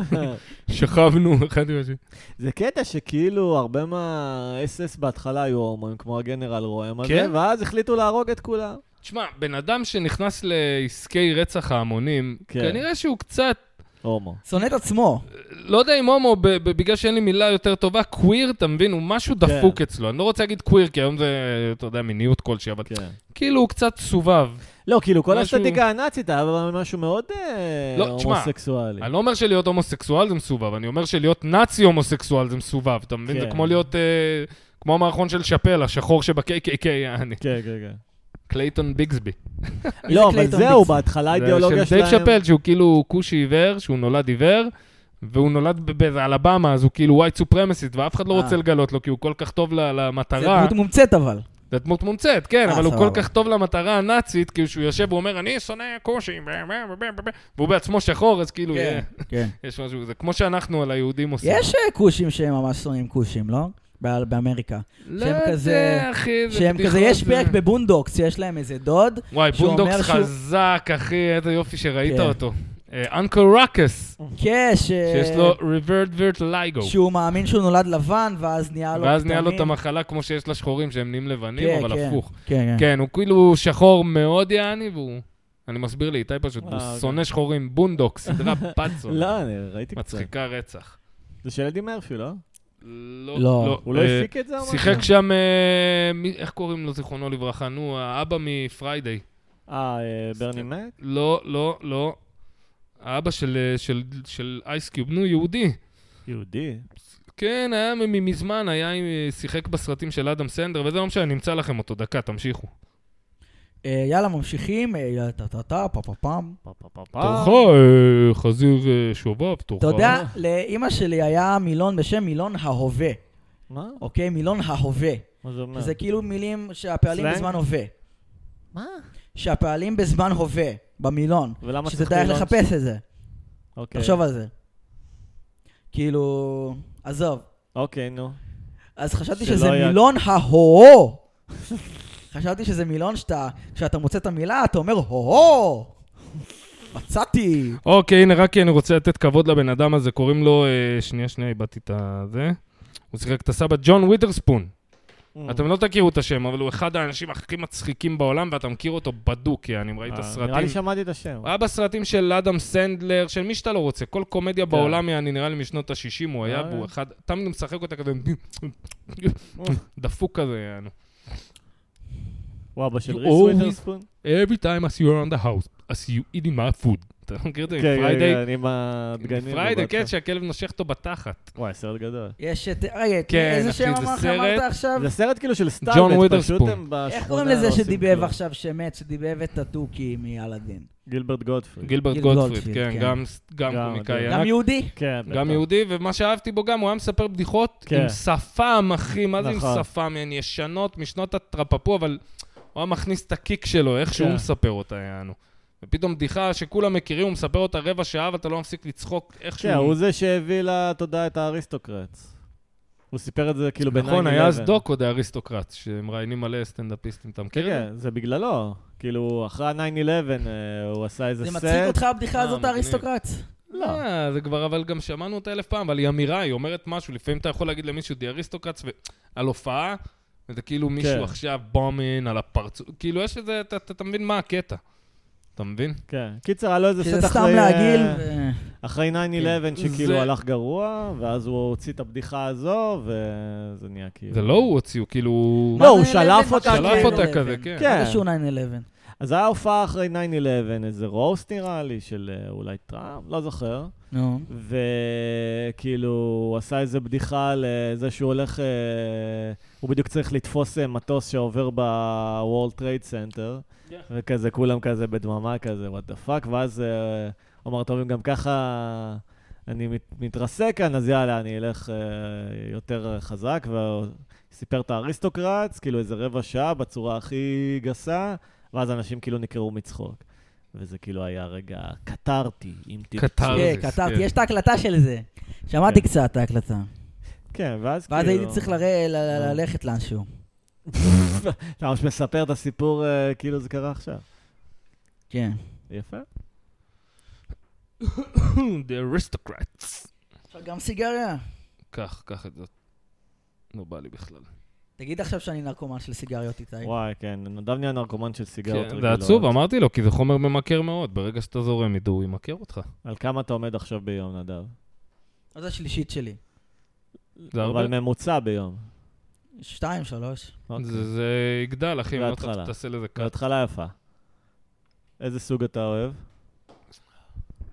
Speaker 4: שכבנו אחד עם השני.
Speaker 2: אה, זה קטע שכאילו הרבה מה-SS בהתחלה היו הומואים, כמו הגנרל רועם
Speaker 3: כן?
Speaker 2: הזה, ואז החליטו להרוג את כולם.
Speaker 3: תשמע, בן אדם שנכנס לעסקי רצח ההמונים,
Speaker 2: כן.
Speaker 3: כנראה שהוא קצת,
Speaker 2: הומו.
Speaker 1: שונא את עצמו.
Speaker 3: לא יודע אם הומו, ב- ב- בגלל שאין לי מילה יותר טובה, קוויר, אתה מבין? הוא משהו
Speaker 4: כן.
Speaker 3: דפוק אצלו. אני לא רוצה להגיד קוויר, כי היום זה, אתה יודע, מיניות כלשהי, אבל
Speaker 2: כן.
Speaker 3: כאילו הוא קצת סובב.
Speaker 2: לא, כאילו כל
Speaker 3: משהו-
Speaker 2: האסתטיקה הנאצית היה בה משהו מאוד אה,
Speaker 3: לא, תשמע,
Speaker 2: הומוסקסואלי.
Speaker 3: אני לא אומר שלהיות הומוסקסואל זה מסובב, אני אומר שלהיות נאצי הומוסקסואל זה מסובב, אתה מבין? זה
Speaker 2: כן.
Speaker 3: כמו להיות... אה, כמו המערכון של שאפל, השחור שבקי.קיי.קיי, יעני.
Speaker 2: כן, כן, כן.
Speaker 3: קלייטון ביגסבי.
Speaker 2: לא, אבל
Speaker 1: קלייטון
Speaker 2: זהו,
Speaker 1: דיקסון?
Speaker 2: בהתחלה
Speaker 3: זה
Speaker 2: האידיאולוגיה
Speaker 3: של
Speaker 2: שלהם...
Speaker 3: דייב שאפל, שהוא כאילו כושי עיוור, שהוא נולד עיוור, והוא נולד ב- באיזה אלבמה, אז הוא כאילו ווייט סופרמסיסט, ואף אחד לא
Speaker 1: אה.
Speaker 3: רוצה לגלות לו, כי הוא כל כך טוב ל-
Speaker 1: זה
Speaker 3: למטרה.
Speaker 1: דמות מומצאת אבל.
Speaker 3: זה דמות מומצאת, כן,
Speaker 1: אה,
Speaker 3: אבל הוא כל
Speaker 1: סבבה.
Speaker 3: כך טוב למטרה הנאצית, כאילו שהוא יושב ואומר, אני שונא כושים, והוא בעצמו שחור, אז כאילו,
Speaker 1: כן.
Speaker 3: אה,
Speaker 1: כן.
Speaker 3: יש משהו כזה. כמו שאנחנו על היהודים עושים.
Speaker 1: יש אה, כושים שהם ממש שונאים כושים, לא? בא- באמריקה.
Speaker 3: לא
Speaker 1: שהם
Speaker 3: יודע,
Speaker 1: כזה-
Speaker 3: אחי, זה
Speaker 1: שהם כזה,
Speaker 3: בדיחות,
Speaker 1: יש
Speaker 3: זה-
Speaker 1: פרק בבונדוקס, יש להם איזה דוד.
Speaker 3: וואי,
Speaker 1: שהוא אומר
Speaker 3: בונדוקס
Speaker 1: שהוא-
Speaker 3: חזק, אחי, איזה יופי שראית
Speaker 1: כן.
Speaker 3: אותו. אנקל רוקס,
Speaker 1: כן, ש...
Speaker 3: שיש לו ריברד וירט לייגו.
Speaker 1: שהוא מאמין שהוא נולד לבן, ואז נהיה לו...
Speaker 3: ואז נהיה לו את
Speaker 1: כתמים.
Speaker 3: המחלה כמו שיש לשחורים, שהם נהיים לבנים,
Speaker 1: כן,
Speaker 3: אבל
Speaker 1: כן.
Speaker 3: הפוך.
Speaker 1: כן, כן.
Speaker 3: כן, הוא כאילו שחור מאוד יעני, והוא... אני מסביר לי, איתי פשוט,
Speaker 2: אה,
Speaker 3: הוא
Speaker 2: אוקיי.
Speaker 1: כן.
Speaker 3: שונא שחורים, בונדוק, סדרה פאצון.
Speaker 2: לא, אני ראיתי קצת.
Speaker 3: מצחיקה רצח.
Speaker 2: זה של אדי מרפי, לא?
Speaker 3: לא.
Speaker 1: לא.
Speaker 2: הוא לא
Speaker 3: אה,
Speaker 2: הפיק את זה? או משהו?
Speaker 3: שיחק שם, אה, מי- איך קוראים לו, זיכרונו לברכה? נו, האבא מפריידיי.
Speaker 2: אה, אה, ברני מק?
Speaker 3: לא, לא, לא. האבא של, אה, של, של אייסקיוב, נו, יהודי.
Speaker 2: יהודי.
Speaker 3: כן, היה מ- מ- מזמן, היה, עם- אה, שיחק בסרטים של אדם סנדר, וזה לא משנה, נמצא לכם אותו, דקה, תמשיכו.
Speaker 1: אה, יאללה, ממשיכים. אה, יאללה, טה-טה-טה, פה-פה-פם.
Speaker 2: פה, פה, פה,
Speaker 4: תורך,
Speaker 2: פה.
Speaker 4: אה, חזיר אה, שובב, תורך.
Speaker 1: אתה יודע, לאימא שלי היה מילון בשם מילון ההווה,
Speaker 2: מה?
Speaker 1: אוקיי? מילון ההווה.
Speaker 2: מה זה אומר?
Speaker 1: זה כאילו מילים שהפעלים
Speaker 2: אה. סלנג?
Speaker 1: בזמן הווה.
Speaker 2: מה?
Speaker 1: שהפעלים בזמן הווה, במילון.
Speaker 2: ולמה צריך
Speaker 1: שתדע איך
Speaker 2: לילון?
Speaker 1: לחפש את זה.
Speaker 2: אוקיי.
Speaker 1: תחשוב על זה. כאילו, עזוב.
Speaker 2: אוקיי, נו.
Speaker 1: אז חשבתי
Speaker 2: שלא
Speaker 1: שזה
Speaker 2: היה-
Speaker 1: מילון ההו. חשבתי שזה מילון שאתה, כשאתה מוצא את המילה, אתה אומר הו. מצאתי.
Speaker 3: אוקיי, הנה, רק כי אני רוצה לתת כבוד לבן אדם הזה, קוראים לו... אה, שנייה, שנייה, איבדתי את הזה. הוא שיחק את הסבא ג'ון וויטרספון.
Speaker 2: אה.
Speaker 3: אתם לא תכירו את השם, אבל הוא אחד האנשים הכי מצחיקים בעולם, ואתה מכיר אותו בדוק, יעני, אם ראית
Speaker 2: אה, נראה
Speaker 3: סרטים. אה?
Speaker 2: לי שמעתי את השם.
Speaker 3: הוא היה בסרטים של אדם סנדלר, של מי שאתה לא רוצה, כל קומדיה בעולם, יעני, נראה לי משנות ה-60 הוא היה,
Speaker 2: אה.
Speaker 3: והוא אחד, תמיד משחק אותה כזה, דפוק כזה, יענו.
Speaker 2: הוא אבא של
Speaker 3: You
Speaker 2: ריס
Speaker 3: always-
Speaker 2: וויטרספון?
Speaker 3: Every time I see you around the house, I see you eating my food. אתה לא מכיר את זה?
Speaker 2: כן, כן,
Speaker 3: פריידי,
Speaker 2: כן, אני עם הדגנים.
Speaker 3: פריידי, כן,
Speaker 2: ובהתחלה.
Speaker 3: שהכלב נושך אותו בתחת.
Speaker 2: וואי, סרט גדול.
Speaker 1: יש את... רגע,
Speaker 3: כן,
Speaker 1: איזה
Speaker 3: אחי,
Speaker 1: שם
Speaker 3: זה
Speaker 1: אמר-
Speaker 3: סרט.
Speaker 1: אמרת עכשיו?
Speaker 2: זה סרט כאילו של
Speaker 3: ג'ון
Speaker 2: סטארבט, פשוט
Speaker 3: וויתרספון.
Speaker 2: הם בשכונה
Speaker 1: איך קוראים לזה
Speaker 2: לא עושים
Speaker 1: שדיבב
Speaker 2: כלום.
Speaker 1: עכשיו, שמת, שדיבב את התוכי מאלאדין?
Speaker 2: גילברט גודפרי.
Speaker 3: גילברט
Speaker 1: גיל
Speaker 3: גולדפריד,
Speaker 1: גולדפריד,
Speaker 3: כן,
Speaker 1: כן.
Speaker 3: גם- גם
Speaker 2: גם-
Speaker 3: קומיקאי
Speaker 1: גם
Speaker 3: ענק,
Speaker 1: יהודי?
Speaker 2: כן, בטח.
Speaker 3: גם יהודי, ומה שאהבתי בו גם, הוא היה מספר בדיחות
Speaker 2: כן.
Speaker 3: עם שפם, אחי, מה זה עם
Speaker 2: נכון.
Speaker 3: שפם? הן ישנות משנות הטרפפו, אבל הוא היה מכניס את הקיק שלו, איך שהוא
Speaker 2: כן.
Speaker 3: מספר אותה, יענו. ופתאום בדיחה שכולם מכירים, הוא מספר אותה רבע שעה, ואתה לא מפסיק לצחוק איך
Speaker 2: כן, הוא
Speaker 3: שהוא...
Speaker 2: זה שהביא לתודעה את האריסטוקרטס. הוא סיפר את זה כאילו ב-9-11.
Speaker 3: נכון, היה אז דוקו דה אריסטוקרט, שמראיינים מלא סטנדאפיסטים, אתה מכיר? את זה?
Speaker 2: כן, זה בגללו. כאילו, אחרי ה-9-11 אה, הוא עשה איזה
Speaker 1: זה
Speaker 2: סט.
Speaker 1: מצחיק אותך הבדיחה
Speaker 3: אה,
Speaker 1: הזאת,
Speaker 3: מגניב.
Speaker 1: האריסטוקרט?
Speaker 2: לא.
Speaker 3: אה, זה כבר, אבל גם שמענו אותה אלף פעם, אבל היא אמירה, היא אומרת משהו, לפעמים אתה יכול להגיד למישהו די אריסטוקרטס ו- על הופעה, וזה כאילו
Speaker 2: כן.
Speaker 3: מישהו עכשיו בומין על הפרצוף, כאילו יש איזה, אתה- אתה אתה מבין מה הקטע, אתה מבין?
Speaker 2: כן. קיצר, היה לו איזה סט
Speaker 1: שזה
Speaker 2: אחרי...
Speaker 1: סתם להגעיל.
Speaker 2: אה,
Speaker 1: ו- כן.
Speaker 2: אחרי 9-11 שכאילו
Speaker 3: זה-
Speaker 2: הלך גרוע, ואז הוא הוציא את הבדיחה הזו, וזה נהיה כאילו...
Speaker 3: זה לא הוא הוציא, הוא כאילו...
Speaker 2: לא, הוא
Speaker 1: מה,
Speaker 2: שלף
Speaker 1: מה,
Speaker 2: אותה,
Speaker 1: מה,
Speaker 3: שלף
Speaker 1: כן,
Speaker 2: כאילו.
Speaker 3: אותה
Speaker 1: כן.
Speaker 3: כזה, כן.
Speaker 2: כן.
Speaker 1: זה שהוא 9-11.
Speaker 2: אז היה הופעה אחרי 9-11, איזה רוסט נראה לי, של אה, אולי טראמפ, לא זוכר.
Speaker 1: נו.
Speaker 2: וכאילו, הוא עשה איזה בדיחה על אה, זה שהוא הולך... אה, הוא בדיוק צריך לתפוס אה, מטוס שעובר ב-World Trade Center,
Speaker 3: כן.
Speaker 2: וכזה, כולם כזה בדממה כזה, what the fuck, ואז אה, הוא אמר, טוב, אם גם ככה אני מת- מתרסק כאן, אז יאללה, אני אלך אה, יותר חזק, וסיפר את האריסטוקרטס, כאילו איזה רבע שעה בצורה הכי גסה, ואז אנשים כאילו נקרעו מצחוק. וזה כאילו היה רגע קטרתי, אם תרצו.
Speaker 3: קטר.
Speaker 1: כן,
Speaker 3: זה,
Speaker 1: כתבתי,
Speaker 3: כן.
Speaker 1: יש את ההקלטה של זה. שמעתי
Speaker 2: כן.
Speaker 1: קצת את ההקלטה.
Speaker 2: כן, ואז כאילו... לא.
Speaker 1: ואז הייתי צריך לרא- ל- ל- ללכת לאנשהו.
Speaker 2: אתה ממש מספר את הסיפור אה, כאילו זה קרה עכשיו.
Speaker 1: כן.
Speaker 2: יפה.
Speaker 3: The aristocrats.
Speaker 1: עכשיו גם סיגריה.
Speaker 3: קח, קח את זאת. לא בא לי בכלל.
Speaker 1: תגיד עכשיו שאני נרקומן של סיגריות, איתי.
Speaker 2: וואי, כן, נדב נהיה נרקומן של סיגרות
Speaker 3: כן,
Speaker 2: רגילות.
Speaker 3: זה עצוב, אמרתי לו, כי זה חומר ממכר מאוד. ברגע שאתה זורם איתו, הוא ימכר אותך.
Speaker 2: על כמה אתה עומד עכשיו ביום, נדב?
Speaker 1: אז השלישית שלי.
Speaker 3: זה הרבה.
Speaker 2: אבל ממוצע ביום.
Speaker 1: שתיים, שלוש.
Speaker 2: אוקיי.
Speaker 3: זה- זה יגדל, אחי, אם לא
Speaker 2: בהתחלה.
Speaker 3: תעשה- תעשה לזה קאט.
Speaker 2: בהתחלה יפה. איזה סוג אתה אוהב?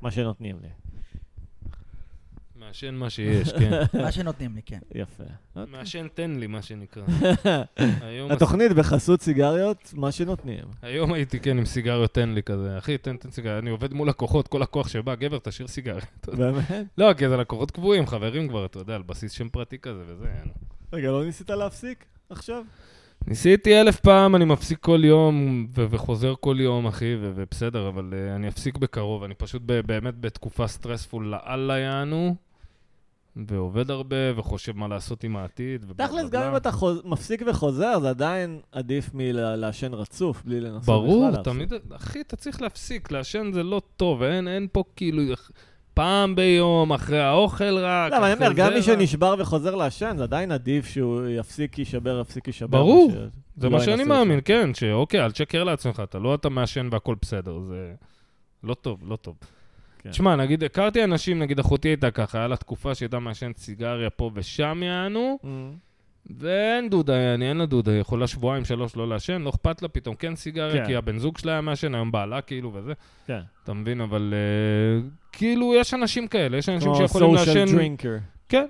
Speaker 2: מה שנותנים לי.
Speaker 3: מעשן מה שיש, כן.
Speaker 1: מה שנותנים לי, כן.
Speaker 2: יפה.
Speaker 3: מעשן תן לי, מה שנקרא. היום הס-
Speaker 2: התוכנית בחסות סיגריות, מה שנותנים.
Speaker 3: היום הייתי, כן, עם סיגריות תן לי כזה. אחי, תן, תן סיגריה. אני עובד מול לקוחות, כל לקוח שבא, גבר, תשאיר סיגריה.
Speaker 2: באמת?
Speaker 3: לא, כי זה לקוחות קבועים, חברים כבר, אתה יודע, על בסיס שם פרטי כזה וזה. יענו.
Speaker 2: רגע, לא ניסית להפסיק עכשיו?
Speaker 3: ניסיתי אלף פעם, אני מפסיק כל יום ו- וחוזר כל יום, אחי, ו- ובסדר, אבל אה, אני אפסיק בקרוב. אני פשוט ב- באמת בתקופה סטרספול לאללה יענו, ועובד הרבה, וחושב מה לעשות עם העתיד. ובלה,
Speaker 2: תכלס,
Speaker 3: בלה,
Speaker 2: גם אם
Speaker 3: בלה.
Speaker 2: אתה חוז- מפסיק וחוזר, זה עדיין עדיף מלעשן רצוף, בלי לנסות בכלל
Speaker 3: ברור,
Speaker 2: להפסיק.
Speaker 3: תמיד, אחי, אתה צריך להפסיק, לעשן זה לא טוב, אין, אין פה כאילו פעם ביום, אחרי האוכל רק,
Speaker 2: לא, אבל אני
Speaker 3: אחרי
Speaker 2: אומר, גם מי
Speaker 3: זה רק.
Speaker 2: שנשבר וחוזר לעשן, זה עדיין עדיף שהוא יפסיק, יישבר, יפסיק, יישבר.
Speaker 3: ברור.
Speaker 2: מאשר-
Speaker 3: זה
Speaker 2: לא
Speaker 3: מה
Speaker 2: ינסה
Speaker 3: שאני
Speaker 2: את
Speaker 3: מאמין,
Speaker 2: זה.
Speaker 3: כן, שאוקיי, אל תשקר לעצמך, אתה לא אתה מעשן והכל בסדר, זה לא טוב, לא טוב.
Speaker 2: כן.
Speaker 3: תשמע, נגיד, הכרתי אנשים, נגיד אחותי הייתה ככה, היה לה תקופה שהייתה מעשנת סיגריה פה ושם יענו,
Speaker 2: אמ,
Speaker 3: ואין דודה, יעני, אין לה דודה, היא יכולה שבועיים, שלוש לא לעשן, לא אכפת לה פתאום כן סיגריה,
Speaker 2: כן.
Speaker 3: כי הבן זוג שלה היה מעשן, היום בעלה כאילו וזה.
Speaker 2: כן.
Speaker 3: אתה מבין, אבל אה, כאילו, יש אנשים כאלה, יש אנשים
Speaker 2: כמו
Speaker 3: שיכולים לעשן...
Speaker 2: social drinker.
Speaker 3: כן.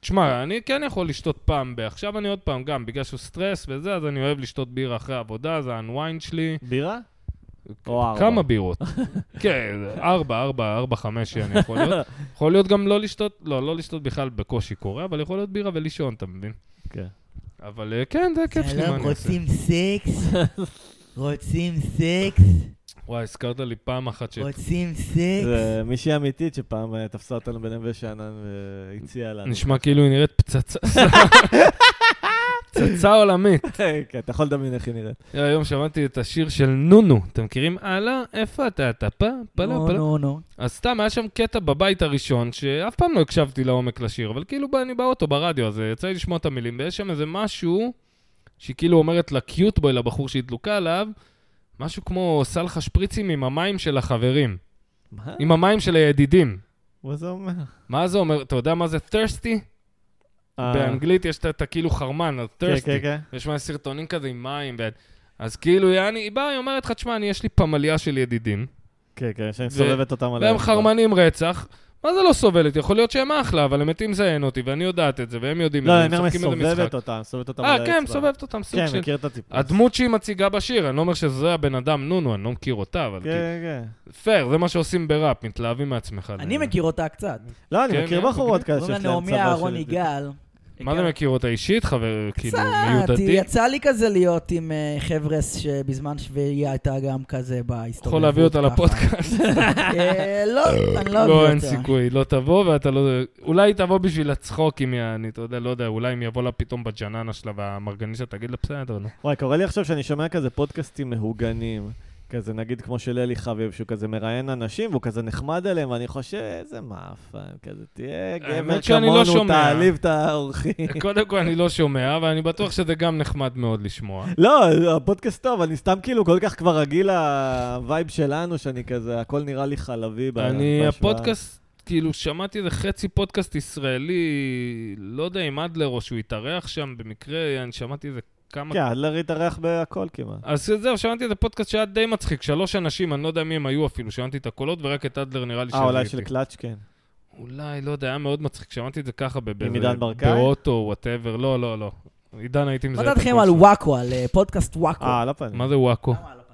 Speaker 3: תשמע, אני כן יכול לשתות פעם ב... עכשיו אני עוד פעם, גם בגלל שהוא סטרס וזה, אז אני אוהב לשתות בירה אחרי העבודה, זה ה-unwind שלי.
Speaker 2: בירה? או ארבע.
Speaker 3: כמה בירות. כן, ארבע, ארבע, ארבע, חמש אני יכול להיות. יכול להיות גם לא לשתות, לא, לא לשתות בכלל בקושי קורה, אבל יכול להיות בירה ולישון, אתה מבין?
Speaker 2: כן.
Speaker 3: אבל אה, כן, זה הכיף שלי, מה
Speaker 1: שלום,
Speaker 3: אני אעשה?
Speaker 1: לא רוצים סקס? רוצים סקס?
Speaker 3: וואי, הזכרת לי פעם אחת ש...
Speaker 1: רוצים סקס?
Speaker 2: זה מישהי אמיתית שפעם אה, תפסה אותנו בנווה שאנן והציעה לנו.
Speaker 3: נשמע כאילו היא נראית פצצה. פצצה עולמית.
Speaker 2: כן, אתה יכול לדמיין איך היא נראית.
Speaker 3: אה, היום שמעתי את השיר של נונו, אתם מכירים? הלאה, איפה אתה? אתה פה?
Speaker 2: לא,
Speaker 3: פלה
Speaker 1: נו,
Speaker 3: פלה.
Speaker 1: נו, נו.
Speaker 3: אז סתם, היה שם קטע בבית הראשון, שאף פעם לא הקשבתי לעומק לשיר, אבל כאילו בא- אני באוטו, ברדיו, אז אה, יצא לי לשמוע את המילים, ויש שם איזה משהו, שהיא כאילו אומרת לקיוט בוי, לבחור שהיא דלוקה עליו, משהו כמו עושה לך שפריצים עם המים של החברים,
Speaker 2: מה?
Speaker 3: עם המים של הידידים.
Speaker 2: מה זה אומר?
Speaker 3: מה זה אומר? אתה יודע מה זה thirsty?
Speaker 2: אה,
Speaker 3: באנגלית יש את- את הכאילו חרמן, אז
Speaker 2: כן, כן,
Speaker 3: thirsty.
Speaker 2: כן.
Speaker 3: יש מלא סרטונים כזה עם מים, ו... אז כאילו, יעני, היא באה, היא אומרת לך, תשמע, אני, יש לי פמליה של ידידים,
Speaker 2: כן, כן, שאני סובבת אותם על
Speaker 3: והם
Speaker 2: האצבע.
Speaker 3: חרמנים רצח. מה זה לא סובלת? יכול להיות שהם אחלה, אבל הם מתים לזיין אותי, ואני יודעת את זה, והם יודעים
Speaker 2: לא,
Speaker 3: את זה,
Speaker 2: אני אומר
Speaker 3: משחקים איזה משחק.
Speaker 2: מסובבת אותם, מסובבת אותם על
Speaker 3: אה,
Speaker 2: האצבע.
Speaker 3: כן, מסובבת אותם, סוג
Speaker 2: כן,
Speaker 3: של...
Speaker 2: מכיר את הטיפוס.
Speaker 3: הדמות שהיא מציגה בשיר, אני לא אומר שזה הבן אדם נונו, אני לא מכיר אותה, אבל
Speaker 2: כן, כן, כן.
Speaker 3: כאילו... פייר, זה מה שעושים בראפ, מתלהבים מעצמך.
Speaker 1: אני
Speaker 3: ל-
Speaker 1: מכיר אותה קצת.
Speaker 2: לא,
Speaker 3: כן,
Speaker 2: אני מכיר
Speaker 3: כן,
Speaker 2: בחורות כאלה שיש
Speaker 1: קוראים
Speaker 2: להם
Speaker 1: לה
Speaker 2: צבא של...
Speaker 1: נעמי אהרון יגאל.
Speaker 3: מה זה מכיר אותה אישית, חבר, כאילו,
Speaker 1: כן. קצת,
Speaker 3: מיודעתי?
Speaker 1: יצא לי כזה להיות עם אה, חבר'ה שבזמן שביעייה הייתה גם כזה בהיסטוריה.
Speaker 3: יכול להביא אותה לפודקאסט.
Speaker 1: אה, לא, אני לא
Speaker 3: לא,
Speaker 1: אביא
Speaker 3: אין
Speaker 1: אותה.
Speaker 3: סיכוי, לא תבוא ואתה לא... אולי היא תבוא בשביל הצחוק אם היא... אני אתה יודע, לא יודע, אולי אם יבוא לה פתאום בג'ננה שלה והמרגנישה תגיד לה בסדר, נו.
Speaker 2: וואי, קורה לי עכשיו שאני שומע כזה פודקאסטים מהוגנים. כזה, נגיד כמו של אלי חביב, שהוא כזה מראיין אנשים, והוא כזה נחמד אליהם, ואני חושב, איזה מאפן, כזה, תהיה גבר
Speaker 3: האמת שאני לא
Speaker 2: כמונו,
Speaker 3: שומע.
Speaker 2: תעליב את האורחים.
Speaker 3: קודם כל אני לא שומע, אבל אני בטוח שזה גם נחמד מאוד לשמוע.
Speaker 2: לא, הפודקאסט טוב, אני סתם כאילו כל כך כבר רגיל לווייב שלנו, שאני כזה, הכל נראה לי חלבי. ב-
Speaker 3: אני,
Speaker 2: בהשוואה.
Speaker 3: הפודקאסט כאילו, שמעתי איזה חצי פודקאסט ישראלי, לא יודע אם אדלר או שהוא התארח שם, במקרה, אני שמעתי איזה כמה...
Speaker 2: כן, אדלר התארח בהכל כמעט.
Speaker 3: אז זהו, שמעתי איזה פודקאסט שהיה די מצחיק, שלוש אנשים, אני לא יודע מי הם היו אפילו, שמעתי את הקולות, ורק את אדלר נראה לי
Speaker 2: אה, אולי
Speaker 3: שראיתי.
Speaker 2: של קלאץ', כן.
Speaker 3: אולי, לא יודע, היה מאוד מצחיק, שמעתי את זה ככה ב- באיזה-
Speaker 2: עידן ברקאי?
Speaker 3: באוטו, וואטאבר, לא, לא, לא. עידן, הייתי
Speaker 1: מה
Speaker 3: מזהה את
Speaker 1: דעתכם
Speaker 3: הקול
Speaker 1: על
Speaker 3: שלו.
Speaker 1: וואקו, על אה, פודקאסט וואקו?
Speaker 2: אה, על הפנים.
Speaker 3: מה זה וואקו?
Speaker 1: למה על הפנים?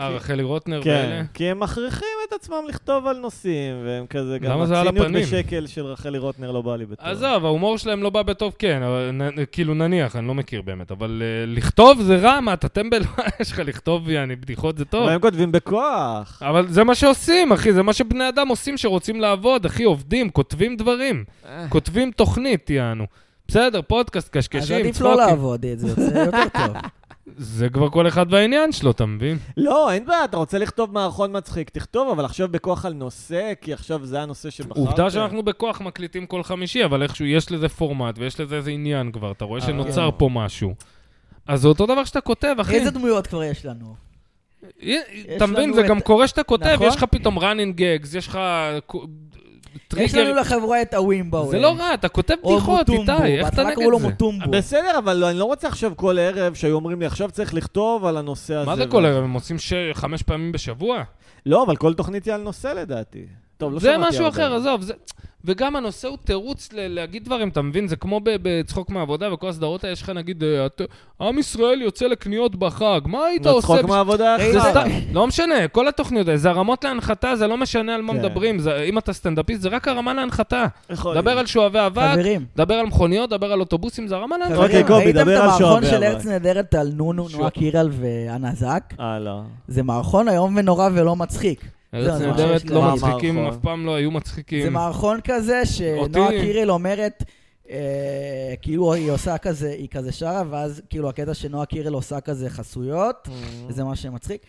Speaker 3: אה, רחלי רוטנר ואלה?
Speaker 2: כן, כי הם מכריחים את עצמם לכתוב על נושאים, והם כזה גם
Speaker 3: למה זה על
Speaker 2: הציניות
Speaker 3: הפנים?
Speaker 2: בשקל של רחלי רוטנר לא בא לי בטוב.
Speaker 3: עזוב, ההומור שלהם לא בא בטוב, כן, אבל נ- כאילו נניח, אני לא מכיר באמת, אבל אה, לכתוב זה רע, מה, אתה טמבל? יש לך לכתוב, יעני, בדיחות זה טוב.
Speaker 2: אבל הם כותבים בכוח.
Speaker 3: אבל זה מה שעושים, אחי, זה מה שבני אדם עושים שרוצים לעבוד, אחי, עובדים, כותבים דברים,
Speaker 1: אה.
Speaker 3: כותבים תוכנית, יענו. בסדר, פודקאסט,
Speaker 1: אז
Speaker 3: קשקשים,
Speaker 1: עדיף לא
Speaker 3: צחוקים.
Speaker 1: לעבוד, אה, זה יוצא יותר טוב.
Speaker 3: זה כבר כל אחד והעניין שלו, אתה מבין?
Speaker 2: לא, אין בעיה, אתה רוצה לכתוב מערכון מצחיק, תכתוב, אבל עכשיו בכוח על נושא, כי עכשיו זה הנושא שבחרת.
Speaker 3: עובדה שאנחנו בכוח מקליטים כל חמישי, אבל איכשהו יש לזה פורמט ויש לזה איזה עניין כבר, אתה רואה
Speaker 2: אה.
Speaker 3: שנוצר פה משהו. אז זה אותו דבר שאתה כותב, אחי.
Speaker 1: כן.
Speaker 3: אה,
Speaker 1: איזה דמויות כבר יש לנו?
Speaker 3: אתה מבין,
Speaker 1: לנו
Speaker 3: זה
Speaker 1: את-
Speaker 3: גם קורה שאתה כותב,
Speaker 1: נכון.
Speaker 3: יש לך פתאום running gags, יש לך קו-
Speaker 1: יש לנו
Speaker 3: טריגר.
Speaker 1: לחבורה את הווימבו.
Speaker 3: זה
Speaker 1: אה,
Speaker 3: לא רע, אתה כותב
Speaker 1: או
Speaker 3: בדיחות,
Speaker 1: מוטומבו,
Speaker 3: איתי, איך אתה
Speaker 1: בהתחלה קראו לו
Speaker 3: נגד זה?
Speaker 1: מוטומבו.
Speaker 2: בסדר, אבל לא- אני לא רוצה עכשיו כל ערב שהיו אומרים לי, עכשיו צריך לכתוב על הנושא הזה.
Speaker 3: מה זה
Speaker 2: ו-
Speaker 3: כל ערב? הם עושים ש- חמש פעמים בשבוע?
Speaker 2: לא, אבל כל תוכנית היא על נושא לדעתי. טוב, לא
Speaker 3: זה
Speaker 2: שמעתי
Speaker 3: משהו
Speaker 2: הרבה.
Speaker 3: אחר, עזוב. זה- וגם הנושא הוא תירוץ ל- להגיד דברים, אתה מבין? זה כמו ב- בצחוק מעבודה וכל הסדרות האלה, יש לך נגיד, אה, את- עם ישראל יוצא לקניות בחג, מה היית
Speaker 2: נו,
Speaker 3: עושה?
Speaker 2: צחוק
Speaker 3: בשביל-
Speaker 2: מהעבודה
Speaker 3: זה
Speaker 2: אחת.
Speaker 3: סתם, לא משנה, כל התוכניות האלה, זה הרמות להנחתה, זה לא משנה על מה
Speaker 2: כן.
Speaker 3: מדברים, זה- אם אתה סטנדאפיסט, זה רק הרמה להנחתה.
Speaker 2: יכול להיות.
Speaker 3: דבר על שואבי אבק,
Speaker 1: חברים,
Speaker 3: דבר על מכוניות, דבר על אוטובוסים, זה הרמה להנחתה.
Speaker 2: אוקיי,
Speaker 1: חברים,
Speaker 2: קובי,
Speaker 1: ראיתם
Speaker 2: דבר
Speaker 1: את
Speaker 2: על
Speaker 1: המערכון
Speaker 2: שואבי
Speaker 1: של
Speaker 2: אבק.
Speaker 1: ארץ נהדרת על נונו, נועה קירל ואנה זק?
Speaker 2: אה, לא.
Speaker 1: זה מערכון איום ונורא ולא מצחיק.
Speaker 3: ארץ
Speaker 1: זה ממש
Speaker 3: נהדרת
Speaker 1: כאילו
Speaker 3: לא
Speaker 2: מה
Speaker 3: מצחיקים,
Speaker 2: המערכון.
Speaker 3: אף פעם לא היו
Speaker 1: זה
Speaker 3: מצחיקים.
Speaker 1: מערכון כזה שנועה
Speaker 3: אותי-
Speaker 1: קירל אומרת, אה, כאילו היא עושה כזה, היא כזה שרה, ואז כאילו הקטע שנועה קירל עושה כזה חסויות, זה מה שמצחיק.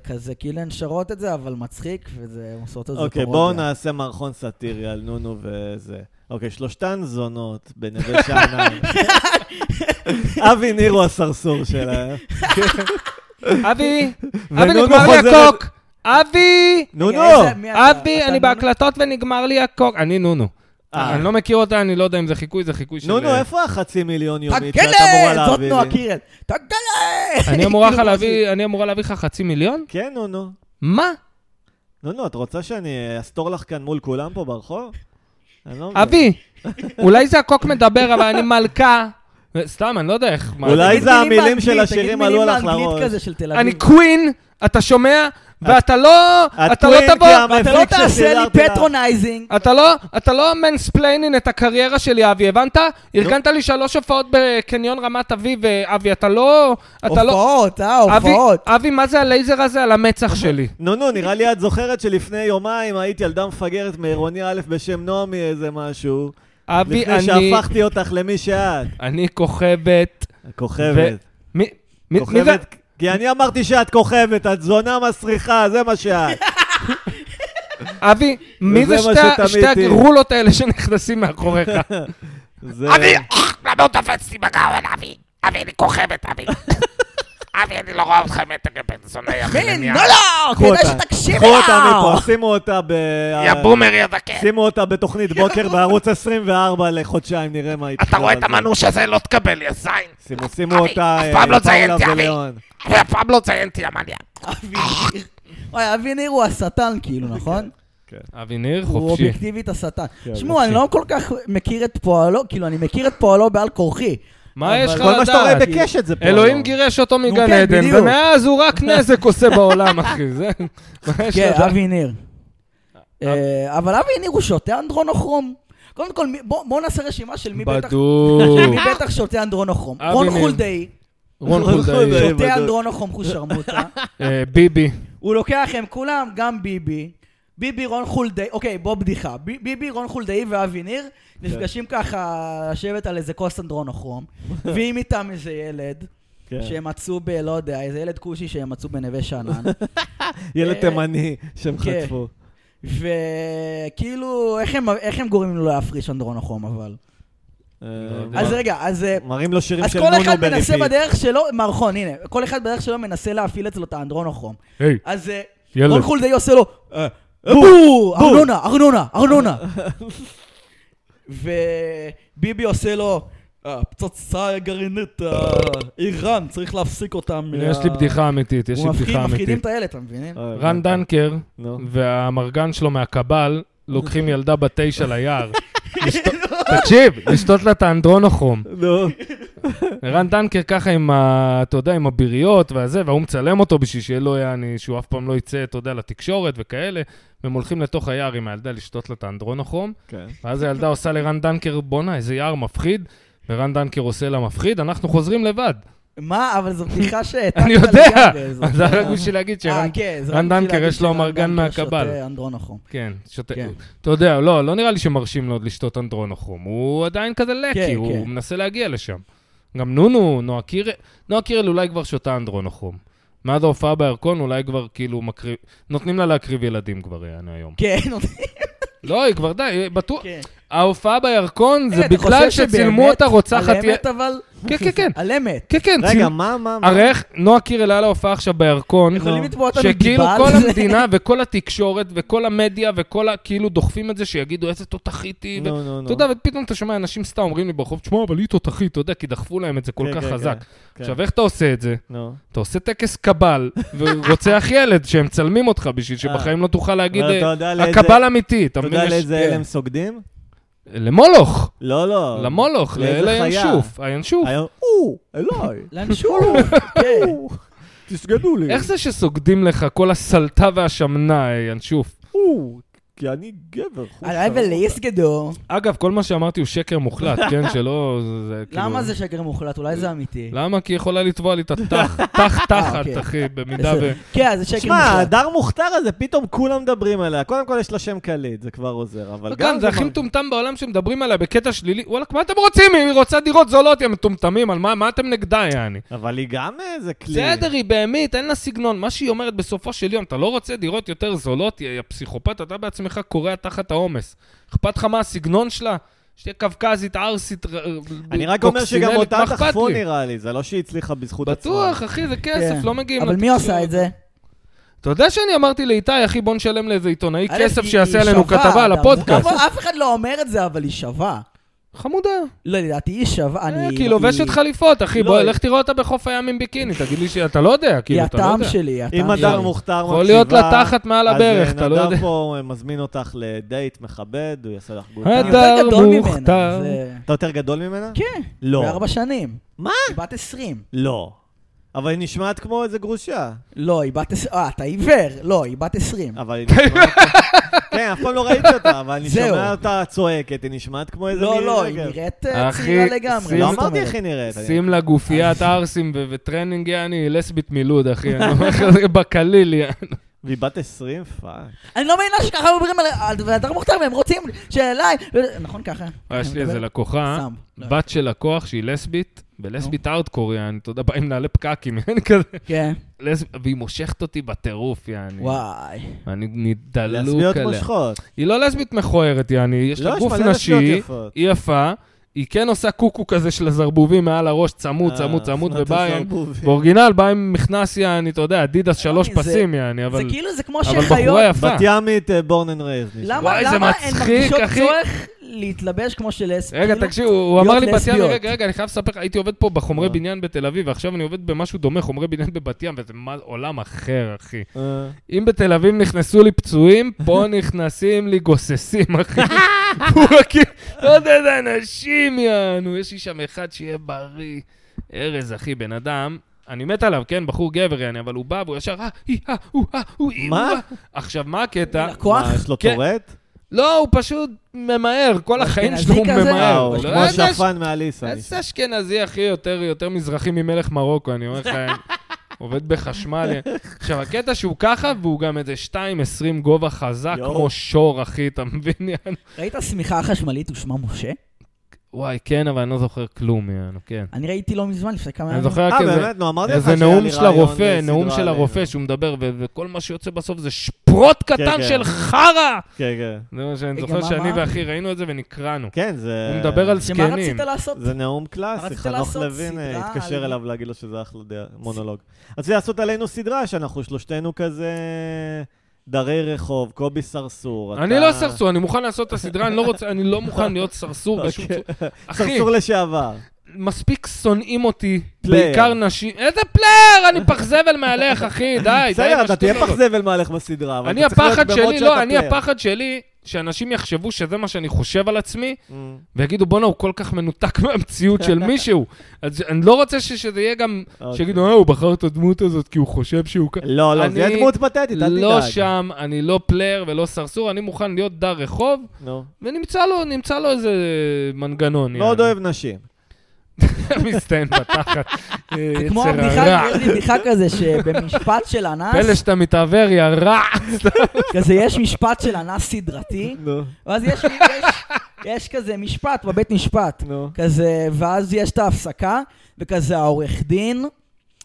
Speaker 1: וכזה כאילו הן שרות את זה, אבל מצחיק, וזה הן עושות את זה
Speaker 2: אוקיי, בואו
Speaker 1: קורודיה.
Speaker 2: נעשה מערכון סאטירי על נונו וזה. אוקיי, שלושתן זונות בנווה שאנן. אבי ניר הוא הסרסור שלהם.
Speaker 3: אבי, אבי
Speaker 2: ונונו
Speaker 3: נגמר לי
Speaker 2: חוזרת-
Speaker 3: הקוק! אבי!
Speaker 1: רגע,
Speaker 2: נונו!
Speaker 1: איזה- מי אתה?
Speaker 3: אבי,
Speaker 1: אתה
Speaker 3: אני
Speaker 1: נונו?
Speaker 3: בהקלטות ונגמר לי הקוק. אני נונו.
Speaker 2: אה,
Speaker 3: אני לא מכיר אותה, אני לא יודע אם זה חיקוי, זה חיקוי של... אה,
Speaker 2: נונו, איפה החצי מיליון יומית שאת אמורה
Speaker 1: תגלה! זאת
Speaker 2: להביא
Speaker 1: נועה
Speaker 2: לי?
Speaker 1: קירל. תגלה!
Speaker 3: אני אמורה לך
Speaker 1: כאילו
Speaker 3: להביא, אני אמורה להביא לך חצי מיליון?
Speaker 2: כן, נונו.
Speaker 3: מה?
Speaker 2: נונו, את רוצה שאני אסתור לך כאן מול כולם פה ברחוב? אני לא מבין.
Speaker 3: אבי, אולי זה הקוק מדבר, אבל אני מלכה. סתם, אני לא יודע איך... מה-
Speaker 2: אולי
Speaker 1: תגיד
Speaker 2: זה
Speaker 1: מילים
Speaker 2: המילים
Speaker 1: באנגלית,
Speaker 2: של
Speaker 1: תגיד
Speaker 2: השירים
Speaker 1: מילים
Speaker 2: עלו לך
Speaker 1: באנגלית
Speaker 2: לראש.
Speaker 1: כזה של תל
Speaker 3: אני
Speaker 1: אביב.
Speaker 3: קווין, אתה שומע? ואתה לא...
Speaker 2: את
Speaker 3: אתה לא
Speaker 2: קווין,
Speaker 3: תבוא...
Speaker 2: כי המפיק
Speaker 1: אתה לא תעשה לי
Speaker 2: שסידרתי לך.
Speaker 1: פטרונייזינג.
Speaker 3: אתה לא, אתה לא מנספליינינג את הקריירה שלי, אבי, הבנת? ארגנת לי שלוש הופעות בקניון רמת אביב, אה, אבי, אתה לא... אתה לא...
Speaker 1: הופעות, אה,
Speaker 3: אבי,
Speaker 1: הופעות.
Speaker 3: אבי, מה זה הלייזר הזה על המצח שלי?
Speaker 2: נונו, נראה לי את זוכרת שלפני יומיים היית ילדה מפגרת מעירוני א' בשם נעמי איזה משהו.
Speaker 3: אבי,
Speaker 2: לפני
Speaker 3: אני...
Speaker 2: שהפכתי אותך למי שאת.
Speaker 3: אני כוכבת.
Speaker 2: כוכבת.
Speaker 3: מי... מי... מי זה...
Speaker 2: כוכבת. כי אני אמרתי שאת כוכבת, את זונה מסריחה, זה מה שאת.
Speaker 3: אבי, מי זה
Speaker 2: וזה מה
Speaker 3: שתי,
Speaker 2: שתמיד
Speaker 3: שתי
Speaker 2: תהיי.
Speaker 3: הגרולות האלה שנכנסים מאחוריך?
Speaker 2: זה...
Speaker 5: למה הוא תפסתי בגרון, אבי? אבי, אני כוכבת, אבי. אבי, אני לא רואה אותך מטר בן זונה, אחי.
Speaker 1: מין,
Speaker 5: אני-
Speaker 1: לא לא!
Speaker 2: קחו
Speaker 1: כדאי
Speaker 2: אותה.
Speaker 1: שתקשיבי
Speaker 2: קחו אותה
Speaker 1: לה!
Speaker 2: מפה, שימו אותה ב...
Speaker 5: יא בומרי הזקן.
Speaker 2: שימו אותה בתוכנית בוקר בערוץ 24 לחודשיים, נראה מה יקרה.
Speaker 5: אתה רואה את
Speaker 2: בזה.
Speaker 5: המנוש הזה? לא תקבל, יא זין.
Speaker 2: שימו, שימו אותה,
Speaker 5: אף
Speaker 2: אה,
Speaker 5: פעם לא
Speaker 2: פאולה
Speaker 5: זיינתי, אבי.
Speaker 2: וליאון.
Speaker 5: אני אף פעם לא ציינתי, המניה.
Speaker 1: אבי ניר. אוי, אבי ניר הוא השטן כאילו, נכון?
Speaker 3: אבי ניר,
Speaker 1: הוא
Speaker 3: חופשי.
Speaker 1: אובייקטיבית השטן.
Speaker 2: כן,
Speaker 1: שמעו, אני לא כל כך מכיר את פועלו, כאילו, אני מכיר את פועלו בעל כורחי.
Speaker 3: מה יש לך
Speaker 1: אבל-
Speaker 2: כל מה שאתה רואה
Speaker 3: לדעת?
Speaker 2: בקשת זה פה.
Speaker 3: אלוהים
Speaker 2: לא.
Speaker 3: גירש אותו מגן
Speaker 1: כן,
Speaker 3: עדן,
Speaker 1: בדיוק.
Speaker 3: ומאז הוא רק נזק עושה בעולם, אחי. זה... מה יש
Speaker 1: כן,
Speaker 3: לדעת?
Speaker 1: אבי ניר. אה, אבל אבי ניר הוא שותה אנדרונוכרום. קודם כל, מי- בוא בוא נעשה רשימה של מי בטח-
Speaker 3: בדוק.
Speaker 1: מי בטח שותה אנדרונוכרום.
Speaker 3: אבי
Speaker 1: רון
Speaker 3: ניר.
Speaker 1: חולדאי
Speaker 3: רון
Speaker 2: רון
Speaker 3: חולדאי,
Speaker 2: חולדאי.
Speaker 1: שותה
Speaker 2: בדוק.
Speaker 1: אנדרונוכרום חושרמוטה.
Speaker 3: אה, ביבי.
Speaker 1: הוא לוקח הם כולם, גם ביבי. ביבי, רון חולדאי, אוקיי, בוא בדיחה. ב- ביבי, רון חולדאי ואבי ניר
Speaker 2: כן.
Speaker 1: נפגשים ככה לשבת על איזה כוס אנדרונוכרום, ואם איתם איזה ילד,
Speaker 2: כן.
Speaker 1: שהם מצאו ב... לא יודע, איזה ילד כושי שהם מצאו בנווה שאנן.
Speaker 2: ילד
Speaker 1: אה,
Speaker 2: תימני שהם
Speaker 1: כן.
Speaker 2: חטפו.
Speaker 1: וכאילו, איך הם- איך הם גורמים לו להפריש אנדרונוכרום אבל?
Speaker 2: אה,
Speaker 3: יודע.
Speaker 1: אז
Speaker 2: מר-
Speaker 1: רגע, אז... אה,
Speaker 2: מראים לו שירים
Speaker 1: אז
Speaker 2: של
Speaker 1: כל
Speaker 2: נונו אה,
Speaker 1: אחד מנסה
Speaker 2: בריבית.
Speaker 1: בדרך שלו, מערכון, הנה, כל אחד בדרך שלו מנסה להפעיל אצלו את האנדרונוכרום.
Speaker 4: היי,
Speaker 1: אז אה,
Speaker 4: ילד.
Speaker 1: רון חולדאי עושה לו, אה, בו! ארנונה, ארנונה, ארנונה. וביבי עושה לו, הפצצה הגרעינית, אה, איראן, צריך להפסיק אותה. מה-
Speaker 3: יש לי בדיחה אמיתית, יש לי
Speaker 1: הוא מפחיד-
Speaker 3: בדיחה
Speaker 1: מפחידים
Speaker 3: אמיתית.
Speaker 1: את הילד, אתה מבין?
Speaker 2: אה,
Speaker 3: רן דנקר
Speaker 2: נו.
Speaker 3: והמרגן שלו מהקבל לוקחים ילדה בת תשע ליער. לשתות- תקשיב, לשתות לה את האנדרונוכרום.
Speaker 2: נו.
Speaker 3: רן דנקר ככה עם ה... אתה יודע, עם הביריות והזה, וההוא מצלם אותו בשביל שיהיה לו יעני, שהוא אף פעם לא יצא, אתה יודע, לתקשורת וכאלה, והם הולכים לתוך היער עם הילדה לשתות לה את האנדרונוכרום,
Speaker 2: כן.
Speaker 3: ואז הילדה עושה לרן דנקר, בואנה, איזה יער מפחיד, ורן דנקר עושה לה מפחיד, אנחנו חוזרים לבד.
Speaker 1: מה? אבל זו בדיחה שהעתקת
Speaker 3: אני יודע!
Speaker 1: לגמרי, זאת-
Speaker 3: זה רק בשביל להגיד שרן...
Speaker 1: אה, כן, זה
Speaker 3: רן
Speaker 1: רק בשביל
Speaker 3: דנקר,
Speaker 1: להגיד
Speaker 3: יש לו
Speaker 1: שרן
Speaker 3: אמרגן
Speaker 1: דנקר
Speaker 3: מהקבל.
Speaker 1: שותה אנדרונוכרום.
Speaker 3: כן, שותה.
Speaker 1: כן.
Speaker 3: אתה יודע, לא, לא נראה לי שמרשים לו עוד לשתות אנדרונוכרום. הוא עדיין כזה לקי,
Speaker 1: כן,
Speaker 3: הוא
Speaker 1: כן.
Speaker 3: מנסה להגיע לשם. גם נונו, נועה קירל, נועה קירל אולי כבר שותה אנדרונוכרום. מאז ההופעה בירקון אולי כבר כאילו מקריב... נותנים לה להקריב ילדים כבר, יענו היום.
Speaker 1: כן,
Speaker 3: לא, היא כבר די, היא בטוח.
Speaker 1: כן.
Speaker 3: ההופעה בירקון זה
Speaker 1: אה, אתה
Speaker 3: בגלל
Speaker 1: חושב
Speaker 3: שצילמו
Speaker 1: שבאמת-
Speaker 3: אותה רוצחת...
Speaker 1: על
Speaker 3: י-
Speaker 1: אמת אבל,
Speaker 3: כן, כן, כן.
Speaker 1: על אמת.
Speaker 3: כן, כן,
Speaker 2: רגע,
Speaker 3: צילמו...
Speaker 2: מה, מה, מה?
Speaker 3: הרי איך נועה קירל היה לה הופעה עכשיו בירקון.
Speaker 1: יכולים לתבוע אותנו
Speaker 3: שכאילו
Speaker 1: דיבה על
Speaker 3: כל
Speaker 1: זה.
Speaker 3: המדינה וכל התקשורת וכל המדיה וכל ה... כאילו דוחפים את זה שיגידו איזה תותחית היא. ו-
Speaker 2: נו, נו, נו.
Speaker 3: אתה יודע, ופתאום אתה שומע אנשים סתם אומרים לי ברחוב, תשמע, אבל היא תותחית, אתה יודע, כי דחפו להם את זה כל
Speaker 2: כן,
Speaker 3: כך
Speaker 2: כן,
Speaker 3: חזק.
Speaker 2: כן.
Speaker 3: עכשיו, איך אתה עושה את זה?
Speaker 2: נו.
Speaker 3: אתה עושה טקס קבל ורוצח ילד שהם מצלמים אותך בשביל שבחיים לא תוכל להגיד,
Speaker 2: אה. אבל אתה
Speaker 3: אה,
Speaker 2: יודע לאיזה-
Speaker 3: הקבל אמיתי. אתה
Speaker 2: אתה
Speaker 3: מבין?
Speaker 2: יודע
Speaker 3: יש-
Speaker 2: לאיזה
Speaker 1: כן.
Speaker 2: אלה הם סוגדים?
Speaker 3: למולוך,
Speaker 2: לא, לא.
Speaker 3: למולוך,
Speaker 2: לאיזה חיה?
Speaker 3: לינשוף, הינשוף.
Speaker 2: היה- או, אליי.
Speaker 1: לנשור. כן.
Speaker 2: תסגדו לי.
Speaker 3: איך זה שסוגדים לך כל הסלטה והשמנה, אה, ינשוף?
Speaker 2: או, כי אני גבר. חוש
Speaker 1: הלוואי
Speaker 2: ארוך.
Speaker 1: וליסגדו.
Speaker 3: אגב, כל מה שאמרתי הוא שקר מוחלט, כן? שלא... זה- זה כאילו-
Speaker 1: למה זה שקר מוחלט? אולי זה אמיתי.
Speaker 3: למה? כי היא יכולה לתבוע לי את התח, תח תחת,
Speaker 1: אוקיי.
Speaker 3: אחי, במידה ו...
Speaker 1: בסדר. כן, זה שקר
Speaker 2: שמע,
Speaker 1: מוחלט.
Speaker 2: הדר מוכתר הזה, פתאום כולם מדברים עליה. קודם כל יש לה שם קליט, זה כבר עוזר. אבל
Speaker 3: גם כן, זה הכי
Speaker 2: מר-
Speaker 3: מטומטם בעולם שמדברים עליה בקטע שלילי. וואלכ, מה אתם רוצים? היא רוצה דירות זולות, יא מטומטמים, על מה מה אתם נגדה, יעני?
Speaker 2: אבל היא גם איזה כלי.
Speaker 3: בסדר, היא בהמית, אין לה סגנון. מה שהיא אומרת בסופו של יום, אתה לא רוצה דירות יותר זולות, יא יא פסיכופת, אתה בעצמך כורע תחת העומס. אכפת לך מה הסגנון שלה? שתהיה קווקזית, ערסית, ר-
Speaker 2: אני רק אומר שגם
Speaker 3: קוקסינלית,
Speaker 2: אותה
Speaker 3: מה אכפת
Speaker 2: דחפו
Speaker 3: לי?
Speaker 2: נראה לי, זה לא שהיא הצליחה בזכות עצמה.
Speaker 3: בטוח, אחי, זה
Speaker 1: כן.
Speaker 3: כסף, לא
Speaker 2: כאילו
Speaker 3: מגיעים...
Speaker 1: אבל מי
Speaker 3: לתקשורת.
Speaker 1: עושה את זה?
Speaker 3: אתה יודע שאני אמרתי לאיתי, אחי, בוא נשלם לאיזה עיתונאי
Speaker 1: א',
Speaker 3: כסף
Speaker 1: היא
Speaker 3: שיעשה עלינו
Speaker 1: שווה,
Speaker 3: כתבה על
Speaker 1: אתה-
Speaker 3: הפודקאסט.
Speaker 1: אבל אף אחד לא אומר את זה, אבל היא שווה.
Speaker 3: חמודה.
Speaker 1: לא, לדעתי היא שווה.
Speaker 3: אה,
Speaker 1: אני...
Speaker 3: כי היא לובשת חליפות, אחי,
Speaker 2: לא,
Speaker 3: בוא,
Speaker 2: היא-
Speaker 3: לך תראה אותה בחוף הים עם ביקיני, תגיד לי שאתה לא יודע,
Speaker 1: היא
Speaker 3: כאילו, אתה לא
Speaker 1: הטעם
Speaker 3: יודע.
Speaker 1: שלי, היא
Speaker 2: אם
Speaker 1: הטעם שלי.
Speaker 2: הדר מוכתר מקשיבה...
Speaker 3: יכול להיות לה תחת מעל
Speaker 2: אז,
Speaker 3: הברך,
Speaker 2: אה,
Speaker 3: אתה לא יודע. אה,
Speaker 2: נדב פה אה, מזמין אותך לדייט מכבד, הוא יעשה לך גוטה.
Speaker 1: אני יותר
Speaker 3: הדר
Speaker 1: גדול ממנה,
Speaker 3: מוכתר.
Speaker 1: זה-
Speaker 2: אתה יותר גדול ממנה?
Speaker 1: כן,
Speaker 2: לא.
Speaker 1: בארבע שנים.
Speaker 2: מה?
Speaker 1: היא בת 20.
Speaker 2: לא. אבל היא נשמעת כמו איזה גרושה.
Speaker 1: לא, היא בת 20. אה, אתה עיוור. לא, היא בת 20.
Speaker 2: אבל היא נשמעת... כן, אף פעם לא ראיתי אותה, אבל אני
Speaker 1: זהו.
Speaker 2: שומע אותה צועקת, היא נשמעת כמו איזה
Speaker 1: לא,
Speaker 2: מירי
Speaker 1: לא, היא
Speaker 2: רגב.
Speaker 1: נראית אה,
Speaker 3: אחי,
Speaker 1: צעירה לגמרי.
Speaker 3: שים-
Speaker 2: אוקיי. לא
Speaker 1: מה זאת
Speaker 2: אמרתי
Speaker 1: אומרת?
Speaker 2: איך היא נראית. אני-
Speaker 3: שים לה גופיית ערסים ו- וטרנינג, יעני, לסבית מלוד, אחי, אני אומר לך, זה בקליל, יעני.
Speaker 2: והיא בת 20? פאק.
Speaker 1: אני לא מאמינה שככה מדברים על- על הדר מוכתר והם רוצים שאליי. ו- נכון ככה?
Speaker 3: אה, יש לי איזה לקוחה,
Speaker 1: סם. לא.
Speaker 3: בת של לקוח שהיא לסבית, ולסבית ארטקור, יעני, אתה יודע, באים נעלי פקקים, יעני, כזה.
Speaker 1: כן.
Speaker 3: לס- והיא מושכת אותי בטירוף, יעני.
Speaker 1: וואי.
Speaker 3: אני נדלוק
Speaker 2: להסביות
Speaker 3: עליה.
Speaker 2: מושכות.
Speaker 3: היא לא לסבית מכוערת, יעני, יש
Speaker 2: לא,
Speaker 3: לה
Speaker 2: יש
Speaker 3: גוף
Speaker 2: מלא לסביות
Speaker 3: נשי,
Speaker 2: יפות.
Speaker 3: היא יפה, היא כן עושה קוקו כזה של הזרבובים מעל הראש, צמוד,
Speaker 2: אה, כן.
Speaker 3: צמוד, צמוד,
Speaker 2: שנות
Speaker 3: ובאה עם...
Speaker 2: הזרבובים.
Speaker 3: באורגינל באה עם מכנס, יעני, אתה יודע, אדידס שלוש
Speaker 1: אה, זה-
Speaker 3: פסים, יעני,
Speaker 1: זה
Speaker 3: אבל...
Speaker 1: כאילו, זה כמו
Speaker 3: אבל בחורה
Speaker 1: שחיות...
Speaker 3: יפה.
Speaker 2: בת ימית אה, בורן אנד רייז.
Speaker 1: למה
Speaker 3: וואי, זה
Speaker 1: למה הן
Speaker 3: מצחיק,
Speaker 1: מרגישות
Speaker 3: אחי.
Speaker 1: צורך להתלבש כמו של אס?
Speaker 3: רגע,
Speaker 1: כאילו-
Speaker 3: תקשיב, הוא הוא אמר
Speaker 1: להיות
Speaker 3: לי בת ים,
Speaker 1: לסביות.
Speaker 3: רגע, רגע, אני חייב לספר לך, הייתי עובד פה בחומרי
Speaker 2: אה.
Speaker 3: בניין בתל אביב, ועכשיו אני עובד במשהו דומה, חומרי בניין בבת ים, וזה מה- עולם אחר, אחי.
Speaker 2: אה,
Speaker 3: אם בתל אביב נכנסו לי פצועים, פה נכנסים לי גוססים, אחי. פורקים, לא יודע, איזה אנשים יענו, יש לי שם אחד שיהיה בריא. ארז, אחי, בן אדם, אני מת עליו, כן, בחור גבר, יעני, אבל הוא בא והוא ישר, אה, היא, אה, הוא, אה, הוא, היא, הוא,
Speaker 2: מה?
Speaker 3: אה. עכשיו, מה הקטע?
Speaker 1: לקוח?
Speaker 2: מה, יש לו
Speaker 3: כן.
Speaker 2: טורט?
Speaker 3: לא, הוא פשוט ממהר, כל החיים שלו הוא
Speaker 1: אשכנזי כזה?
Speaker 2: אה,
Speaker 3: ממהר.
Speaker 2: הוא
Speaker 3: לא
Speaker 2: כמו
Speaker 3: יודע
Speaker 2: השפן
Speaker 1: אה,
Speaker 2: מאליסה.
Speaker 3: איזה אשכנזי, אחי, יותר, יותר מזרחי ממלך מרוקו, אני אומר לך, עובד בחשמל. עכשיו, הקטע שהוא ככה, והוא גם איזה 2.20 גובה חזק,
Speaker 2: יואו.
Speaker 3: כמו שור, אחי, אתה מבין? יענו?
Speaker 1: ראית שמיכה חשמלית ושמה משה?
Speaker 3: וואי, כן, אבל אני לא זוכר כלום, יענו, כן.
Speaker 1: אני ראיתי לא מזמן, לפני כמה
Speaker 3: אני
Speaker 1: ימים.
Speaker 3: זוכר
Speaker 2: אה,
Speaker 3: רק איזה...
Speaker 2: באמת? נו, אמרתי לך
Speaker 3: איזה
Speaker 2: שהיה לי
Speaker 3: נאום של
Speaker 2: רעיון
Speaker 3: הרופא,
Speaker 2: לסדרה
Speaker 3: נאום של
Speaker 2: עלינו.
Speaker 3: הרופא שהוא מדבר, ו- וכל מה שיוצא בסוף זה שפרוט קטן
Speaker 2: כן.
Speaker 3: של חרא!
Speaker 2: כן, כן.
Speaker 3: זה מה שאני
Speaker 1: רגע,
Speaker 3: זוכר
Speaker 1: מה-
Speaker 3: שאני
Speaker 1: מה?
Speaker 3: ואחי ראינו את זה ונקרענו.
Speaker 2: כן, זה...
Speaker 3: הוא מדבר על
Speaker 1: שמה
Speaker 3: זקנים.
Speaker 1: רצית לעשות?
Speaker 2: זה נאום
Speaker 1: מה
Speaker 2: קלאסי,
Speaker 1: רצית
Speaker 2: חנוך
Speaker 1: לעשות?
Speaker 2: לוין אה,
Speaker 1: סדרה
Speaker 2: התקשר
Speaker 1: על-
Speaker 2: אליו להגיד לו שזה אחלה דעה, מונולוג. רציתי לעשות עלינו סדרה, שאנחנו שלושתנו כזה דרי רחוב, קובי סרסור.
Speaker 3: אני
Speaker 2: אתה-
Speaker 3: לא סרסור, אני מוכן לעשות את הסדרה, אני לא רוצה, אני לא מוכן להיות סרסור בשום
Speaker 2: אוקיי.
Speaker 3: צורה. אחי, אה,
Speaker 2: סרסור לשעבר.
Speaker 3: מספיק שונאים אותי,
Speaker 2: פלייר.
Speaker 3: בעיקר נשים. איזה פלייר? אני פח זבל מעליך, אחי, די, די. עם
Speaker 2: בסדר, אתה
Speaker 3: השטויות
Speaker 2: תהיה
Speaker 3: הזאת.
Speaker 2: פח זבל מהלך בסדרה, אבל
Speaker 3: לא אני
Speaker 2: אתה צריך להיות
Speaker 3: הפחד
Speaker 2: במוד
Speaker 3: שלי,
Speaker 2: שאתה
Speaker 3: לא, אני
Speaker 2: פלייר.
Speaker 3: הפחד שלי, שאנשים יחשבו שזה מה שאני חושב על עצמי,
Speaker 2: Mm.
Speaker 3: ויגידו, בואנה, הוא כל כך מנותק מהמציאות של מישהו. אז אני לא רוצה ש- שזה יהיה גם,
Speaker 2: אוקיי.
Speaker 3: שיגידו, אה, הוא בחר את הדמות הזאת כי הוא חושב שהוא... כ-"
Speaker 2: לא, לא, זה יהיה
Speaker 3: אני
Speaker 2: דמות פתטית, אל תדאג.
Speaker 3: לא שם, אני לא פלייר ולא סרסור, אני מוכן להיות דר רחוב,
Speaker 2: נו.
Speaker 3: ונמצא לו, נמצא לו איזה מנגנון.
Speaker 2: מאוד
Speaker 3: יעני.
Speaker 2: אוהב נשים.
Speaker 3: מסתיים בתחת. אה,
Speaker 1: זה כמו
Speaker 3: יצר
Speaker 1: הבדיחה,
Speaker 3: הרע.
Speaker 1: יש לי בדיחה כזה שבמשפט של
Speaker 3: פלא
Speaker 1: אנס,
Speaker 3: שאתה מתעוור, יא רע.
Speaker 1: כזה יש משפט של אנס סדרתי,
Speaker 2: נו,
Speaker 1: ואז יש, יש, יש כזה משפט בבית משפט,
Speaker 2: נו.
Speaker 1: כזה, ואז יש את ההפסקה, וכזה העורך דין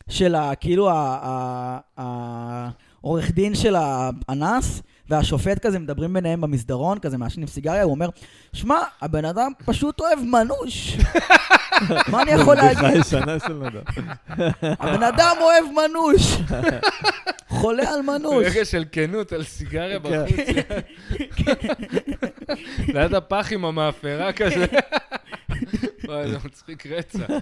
Speaker 1: של ה... כאילו ה- ה- ה- העורך דין של האנס, והשופט כזה מדברים ביניהם במסדרון, כזה מעשנים סיגריה, הוא אומר, שמע, הבן אדם פשוט אוהב מנוש. מה אני יכול
Speaker 2: בדיחה
Speaker 1: להגיד?
Speaker 2: ישנה של נדב.
Speaker 1: הבן אדם אוהב מנוש. חולה על מנוש.
Speaker 3: רגע של כנות על סיגריה
Speaker 2: כן.
Speaker 3: בחוץ.
Speaker 1: כן.
Speaker 3: ליד הפח עם המאפרה כזה. וואי, זה מצחיק רצח. אה.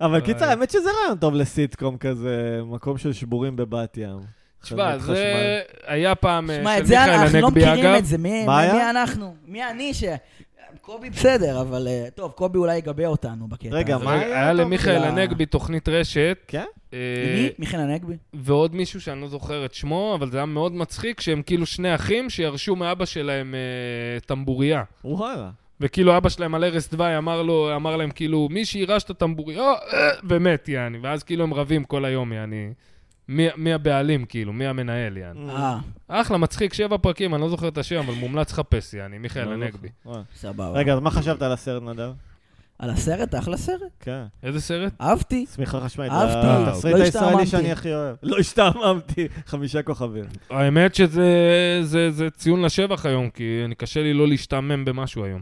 Speaker 2: אבל קיצר, האמת שזה רעיון טוב לסיטקום כזה, מקום של שבורים בבת ים.
Speaker 3: תשמע,
Speaker 2: חנק חשמל.
Speaker 3: זה היה פעם אה,
Speaker 1: שמע,
Speaker 3: של
Speaker 1: את זה אנחנו
Speaker 3: מיכאל
Speaker 1: לא
Speaker 3: הנגבי,
Speaker 1: מכירים את
Speaker 3: אגב.
Speaker 1: זה, מי
Speaker 2: מה
Speaker 1: מי-
Speaker 2: היה?
Speaker 1: מי אנחנו? מי אני ש... קובי בסדר, אבל אה, טוב, קובי אולי יגבה אותנו בקטע.
Speaker 2: רגע,
Speaker 1: הזה.
Speaker 2: מה היה
Speaker 3: היה
Speaker 2: אותו?
Speaker 3: למיכאל
Speaker 1: אה.
Speaker 3: הנגבי תוכנית רשת,
Speaker 2: כן?
Speaker 3: אה,
Speaker 1: מי? מיכאל הנגבי?
Speaker 3: ועוד מישהו שאני לא זוכר את שמו, אבל זה היה מאוד מצחיק, שהם כאילו שני אחים שירשו מאבא שלהם אה, טמבוריה.
Speaker 2: וואלה.
Speaker 3: וכאילו אבא שלהם על ערש דווי אמר, לו, אמר להם כאילו, מי שירש את הטמבוריה, אה, ומת, יעני. ואז כאילו הם רבים כל היום, יעני. מי, מי הבעלים, כאילו, מי המנהל, יעני.
Speaker 2: Mm,
Speaker 1: אה,
Speaker 3: אחלה, מצחיק, שבע פרקים, אני לא זוכר את השם, אבל מומלץ חפש, יעני, מיכאל הנגבי.
Speaker 2: וואלה.
Speaker 1: סבבה.
Speaker 2: רגע, אז מה חשבת על הסרט, נדב?
Speaker 1: על הסרט, אחלה סרט.
Speaker 2: כן.
Speaker 3: איזה סרט?
Speaker 1: אהבתי.
Speaker 2: צמיחה חשמלית.
Speaker 1: אהבתי.
Speaker 2: זה
Speaker 1: לא
Speaker 2: התסריט הישראלי
Speaker 1: השתעממתי.
Speaker 2: שאני הכי אוהב. לא השתעממתי. חמישה כוכבים.
Speaker 3: האמת שזה זה, זה ציון לשבח היום, כי אני קשה לי לא להשתעמם במשהו היום.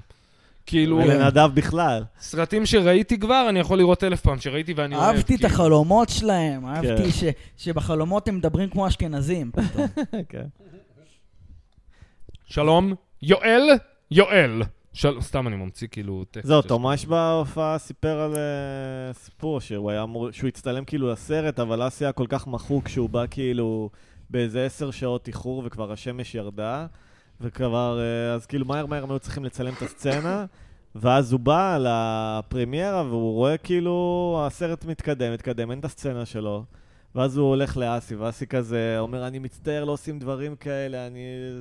Speaker 3: כאילו,
Speaker 2: ולנדב בכלל.
Speaker 3: סרטים שראיתי כבר, אני יכול לראות אלף פעם, שראיתי ואני אוהב.
Speaker 1: אהבתי את
Speaker 3: כאילו.
Speaker 1: החלומות שלהם,
Speaker 2: כן.
Speaker 1: אהבתי ש- שבחלומות הם מדברים כמו אשכנזים. פתאום.
Speaker 2: כן.
Speaker 3: שלום, יואל, יואל. של... סתם אני ממציא כאילו טקסט.
Speaker 2: זהו,
Speaker 3: של-
Speaker 2: תומש בהופעה סיפר על אה, סיפור שהוא היה אמור, שהוא הצטלם כאילו לסרט, אבל אסי היה כל כך מחוק שהוא בא כאילו באיזה עשר שעות איחור וכבר השמש ירדה, וכבר, אה, אז כאילו מהר מהר הם היו צריכים לצלם את הסצנה, ואז הוא בא לפרמיירה והוא רואה כאילו הסרט מתקדם, מתקדם, אין את הסצנה שלו. ואז הוא הולך לאסי, ואסי כזה אומר, אני מצטער, לא עושים דברים כאלה, אני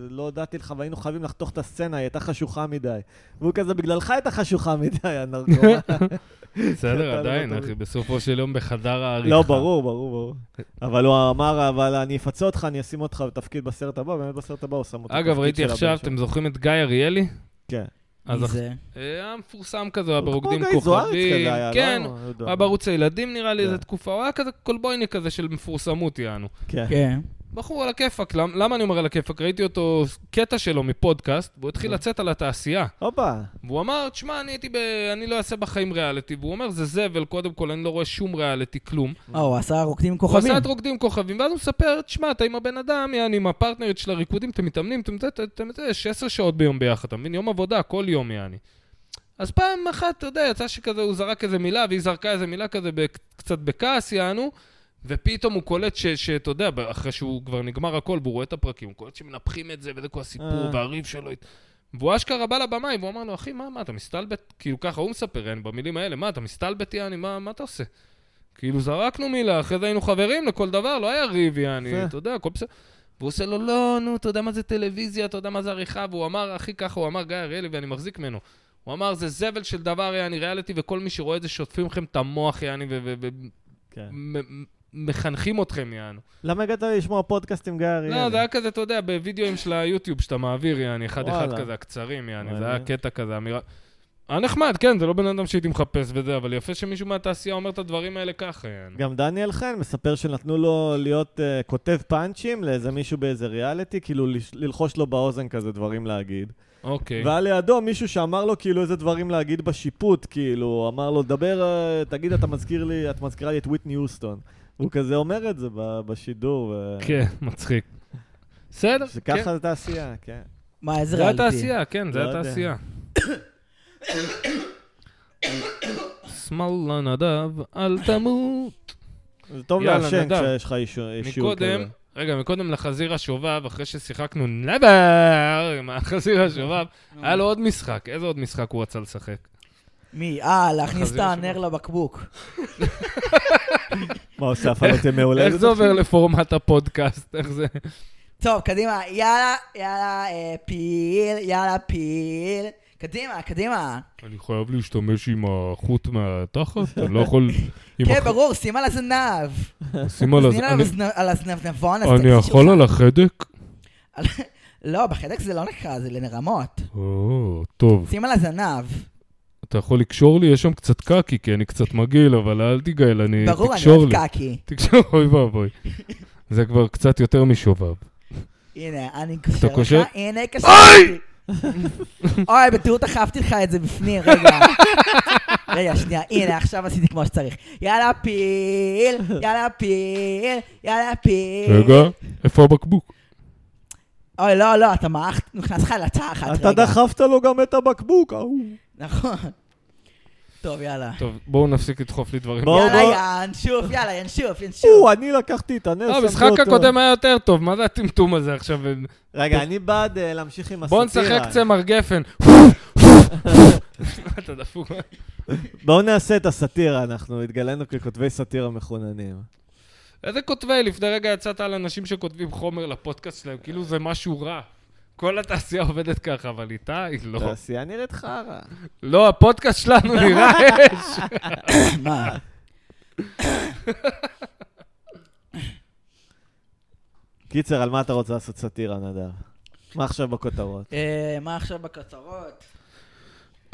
Speaker 2: לא הודעתי לך, והיינו חייבים לחתוך את הסצנה, היא הייתה חשוכה מדי. והוא כזה, בגללך הייתה חשוכה מדי, הנרקומן.
Speaker 3: בסדר,
Speaker 2: אתה לא
Speaker 3: עדיין,
Speaker 2: תמיד.
Speaker 3: אחי, בסופו של יום בחדר העריכה.
Speaker 2: לא, ברור, ברור, ברור. אבל הוא אמר, אבל אני אפצה אותך, אני אשים אותך בתפקיד בסרט הבא, באמת בסרט הבא הוא שם אותו.
Speaker 3: אגב,
Speaker 2: בתפקיד
Speaker 3: ראיתי
Speaker 2: של הבן
Speaker 3: עכשיו,
Speaker 2: שלו.
Speaker 3: אתם זוכרים את גיא אריאלי?
Speaker 2: כן.
Speaker 3: אז
Speaker 1: מי
Speaker 3: אח-
Speaker 1: זה?
Speaker 3: אה, היה מפורסם כזה, הוא היה ברוקדים
Speaker 2: הוא כמו גיא זוארץ
Speaker 3: כוכבים.
Speaker 2: כזה היה, לא?
Speaker 3: כן,
Speaker 2: הוא
Speaker 3: הוא
Speaker 2: יודע.
Speaker 3: היה בערוץ הילדים נראה לי
Speaker 2: כן.
Speaker 3: איזה תקופה, הוא היה כזה קולבויניק כזה של מפורסמות יענו.
Speaker 2: כן.
Speaker 1: כן.
Speaker 3: בחור על הכיפאק, למ- למה אני אומר על הכיפאק? ראיתי אותו, קטע שלו מפודקאסט, והוא התחיל לצאת על התעשייה.
Speaker 2: הופה.
Speaker 3: והוא אמר, תשמע, אני הייתי ב... אני לא אעשה בחיים ריאליטי. והוא אומר, זה זבל, קודם כל, אני לא רואה שום ריאליטי, כלום.
Speaker 1: אה, הוא עשה רוקדים עם
Speaker 3: הוא
Speaker 1: כוכבים.
Speaker 3: עשה את רוקדים עם כוכבים, ואז הוא מספר, תשמע, אתה עם הבן אדם, יעני, עם הפרטנרית של הריקודים, אתם מתאמנים, אתם יודעים, אתם יודעים, 16 שעות ביום ביחד, אתה מבין? יום עבודה, כל יום, יעני. אז פעם אחת, אתה יודע, יצא שכזה, הוא זרק איזה מילה, והיא זרקה איזה מילה כזה, ב- קצת בכעס, יענו, ופתאום הוא קולט ש- שאתה יודע, אחרי שהוא כבר נגמר הכל, והוא רואה את הפרקים, הוא קולט שמנפחים את זה, וזה כל הסיפור,
Speaker 2: אה.
Speaker 3: והריב שלו. הת- והוא אשכרה בא לבמאי, והוא אמר לו, אחי, מה, מה, אתה מסתלבט? כאילו, ככה הוא מספר, יעני, במילים האלה, מה, אתה מסתלבט, יעני, מה, מה אתה עושה? כאילו, זרקנו מילה, אחרי זה היינו חברים לכל דבר, לא היה ריב, יעני,
Speaker 2: יפה.
Speaker 3: אתה יודע, הכל בסדר. והוא עושה לו, לא, נו, אתה יודע מה זה טלוויזיה, אתה יודע מה זה עריכה, והוא אמר, אחי, ככה הוא אמר, גיא אריאלי, ואני מחזיק ממנו. הוא אמר, זה זבל של דבר, יעני, ריאליטי, וכל מי שרואה את זה, שוטפים לכם את המוח, יעני,
Speaker 2: כן.
Speaker 3: ומחנכים אתכם, יענו.
Speaker 2: למה הגעת לשמוע פודקאסט עם גיא אריאלי?
Speaker 3: לא, זה היה כזה, אתה יודע, בווידאוים של היוטיוב שאתה מעביר, יעני, אחד-אחד
Speaker 2: וואלה.
Speaker 3: כזה, הקצרים, יעני, זה
Speaker 2: מעניין.
Speaker 3: היה קטע כזה, אמירה... היה נחמד, כן, זה לא בן אדם שהייתי מחפש וזה, אבל יפה שמישהו מהתעשייה אומר את הדברים האלה ככה, יעני.
Speaker 2: גם דניאל חן מספר שנתנו לו להיות uh, כותב פאנצ'ים לאיזה מישהו באיזה ריאליטי, כאילו לש- ללחוש לו באוזן כזה דברים להגיד.
Speaker 3: אוקיי.
Speaker 2: והיה לידו מישהו שאמר לו כאילו איזה דברים להגיד בשיפוט, כאילו, אמר לו, דבר, אה, תגיד, אתה מזכיר לי, את מזכירה לי את וויטני יוסטון. הוא כזה אומר את זה ב- בשידור. ו-
Speaker 3: כן, מצחיק. בסדר, כן.
Speaker 2: שככה זה תעשייה, כן.
Speaker 1: מה, איזה
Speaker 3: זה
Speaker 1: ריאליטי?
Speaker 3: התעשייה, כן,
Speaker 2: לא
Speaker 3: זה
Speaker 2: יודע.
Speaker 3: התעשייה. שמאלה נדב, אל תמות.
Speaker 2: זה טוב
Speaker 3: יאללה,
Speaker 2: לעשן
Speaker 3: נדב.
Speaker 2: כשיש לך אישו- אישור כזה.
Speaker 3: מקודם, רגע, מקודם לחזיר השובב, אחרי ששיחקנו נבר עם החזיר השובב, היה לו עוד משחק. איזה עוד משחק הוא רצה לשחק?
Speaker 1: מי? אה, להכניס את
Speaker 3: החזיר
Speaker 1: הנר לבקבוק.
Speaker 2: מה עושה הפעלות ימי הולדת?
Speaker 3: איך זה עובר לפורמט הפודקאסט? איך זה?
Speaker 1: טוב, קדימה, יאללה, יאללה, אה, פיל, יאללה, פיל. קדימה, קדימה.
Speaker 4: אני חייב להשתמש עם החוט מהתחת? אני לא יכול... עם
Speaker 1: כן,
Speaker 4: הח-
Speaker 1: ברור, שים על הזנב.
Speaker 4: שים על
Speaker 3: לא,
Speaker 1: אז
Speaker 4: הז-
Speaker 1: תני
Speaker 4: אני-
Speaker 1: לנו זנב- על הזנבנבון. אז
Speaker 4: אני
Speaker 1: תגישו
Speaker 4: יכול
Speaker 1: לך.
Speaker 4: על החדק?
Speaker 1: לא, בחדק זה לא נקרא, זה לנרמות.
Speaker 4: או, טוב.
Speaker 1: שים על הזנב.
Speaker 4: אתה יכול לקשור לי? יש שם קצת קקי, כי אני קצת מגעיל, אבל אל תיגעל, אני...
Speaker 1: ברור, אני
Speaker 4: תקשור
Speaker 1: אוהב
Speaker 4: לי.
Speaker 1: קקי.
Speaker 4: תקשור, אוי ואבוי. זה כבר קצת יותר משובב.
Speaker 1: הנה, אני קושר
Speaker 4: קושר?
Speaker 1: לך, הנה, קשרתי. אוי, בטעות דחפתי לך את זה בפנים, רגע. רגע, שנייה, הנה, עכשיו עשיתי כמו שצריך. יאללה, פיל, יאללה, פיל, יאללה, פיל.
Speaker 4: רגע, איפה הבקבוק?
Speaker 1: אוי, לא, לא, אתה מעכת, נכנס לך לתחת, רגע.
Speaker 2: אתה דחפת לו גם את הבקבוק, אה, ההוא.
Speaker 1: נכון. טוב, יאללה.
Speaker 3: טוב, בואו נפסיק לדחוף לי דברים. אה,
Speaker 2: בואו,
Speaker 1: יאללה,
Speaker 2: בואו.
Speaker 1: ינשוף, יאללה, ינשוף, ינשוף.
Speaker 2: או, אני לקחתי את הנר,
Speaker 3: לא,
Speaker 2: שמתי
Speaker 3: המשחק
Speaker 2: אותו.
Speaker 3: הקודם היה יותר טוב, מה זה הטמטום הזה עכשיו?
Speaker 2: רגע, אני בעד אה, להמשיך עם הסאטירה.
Speaker 3: בואו נשחק צמר גפן. אתה דפוק.
Speaker 2: בואו נעשה את הסאטירה, אנחנו התגלנו ככותבי סאטירה מחוננים.
Speaker 3: איזה כותבי, לפני רגע יצאת על אנשים שכותבים חומר לפודקאסט שלהם, כאילו זה משהו רע. כל התעשייה עובדת ככה, אבל איתי, לא.
Speaker 1: אה.
Speaker 2: תעשייה נראית חרא.
Speaker 3: לא, הפודקאסט שלנו נראה אש.
Speaker 1: מה?
Speaker 2: קיצר, על מה אתה רוצה לעשות סאטירה, נדב? מה עכשיו בכותרות?
Speaker 1: אה, מה עכשיו בכותרות?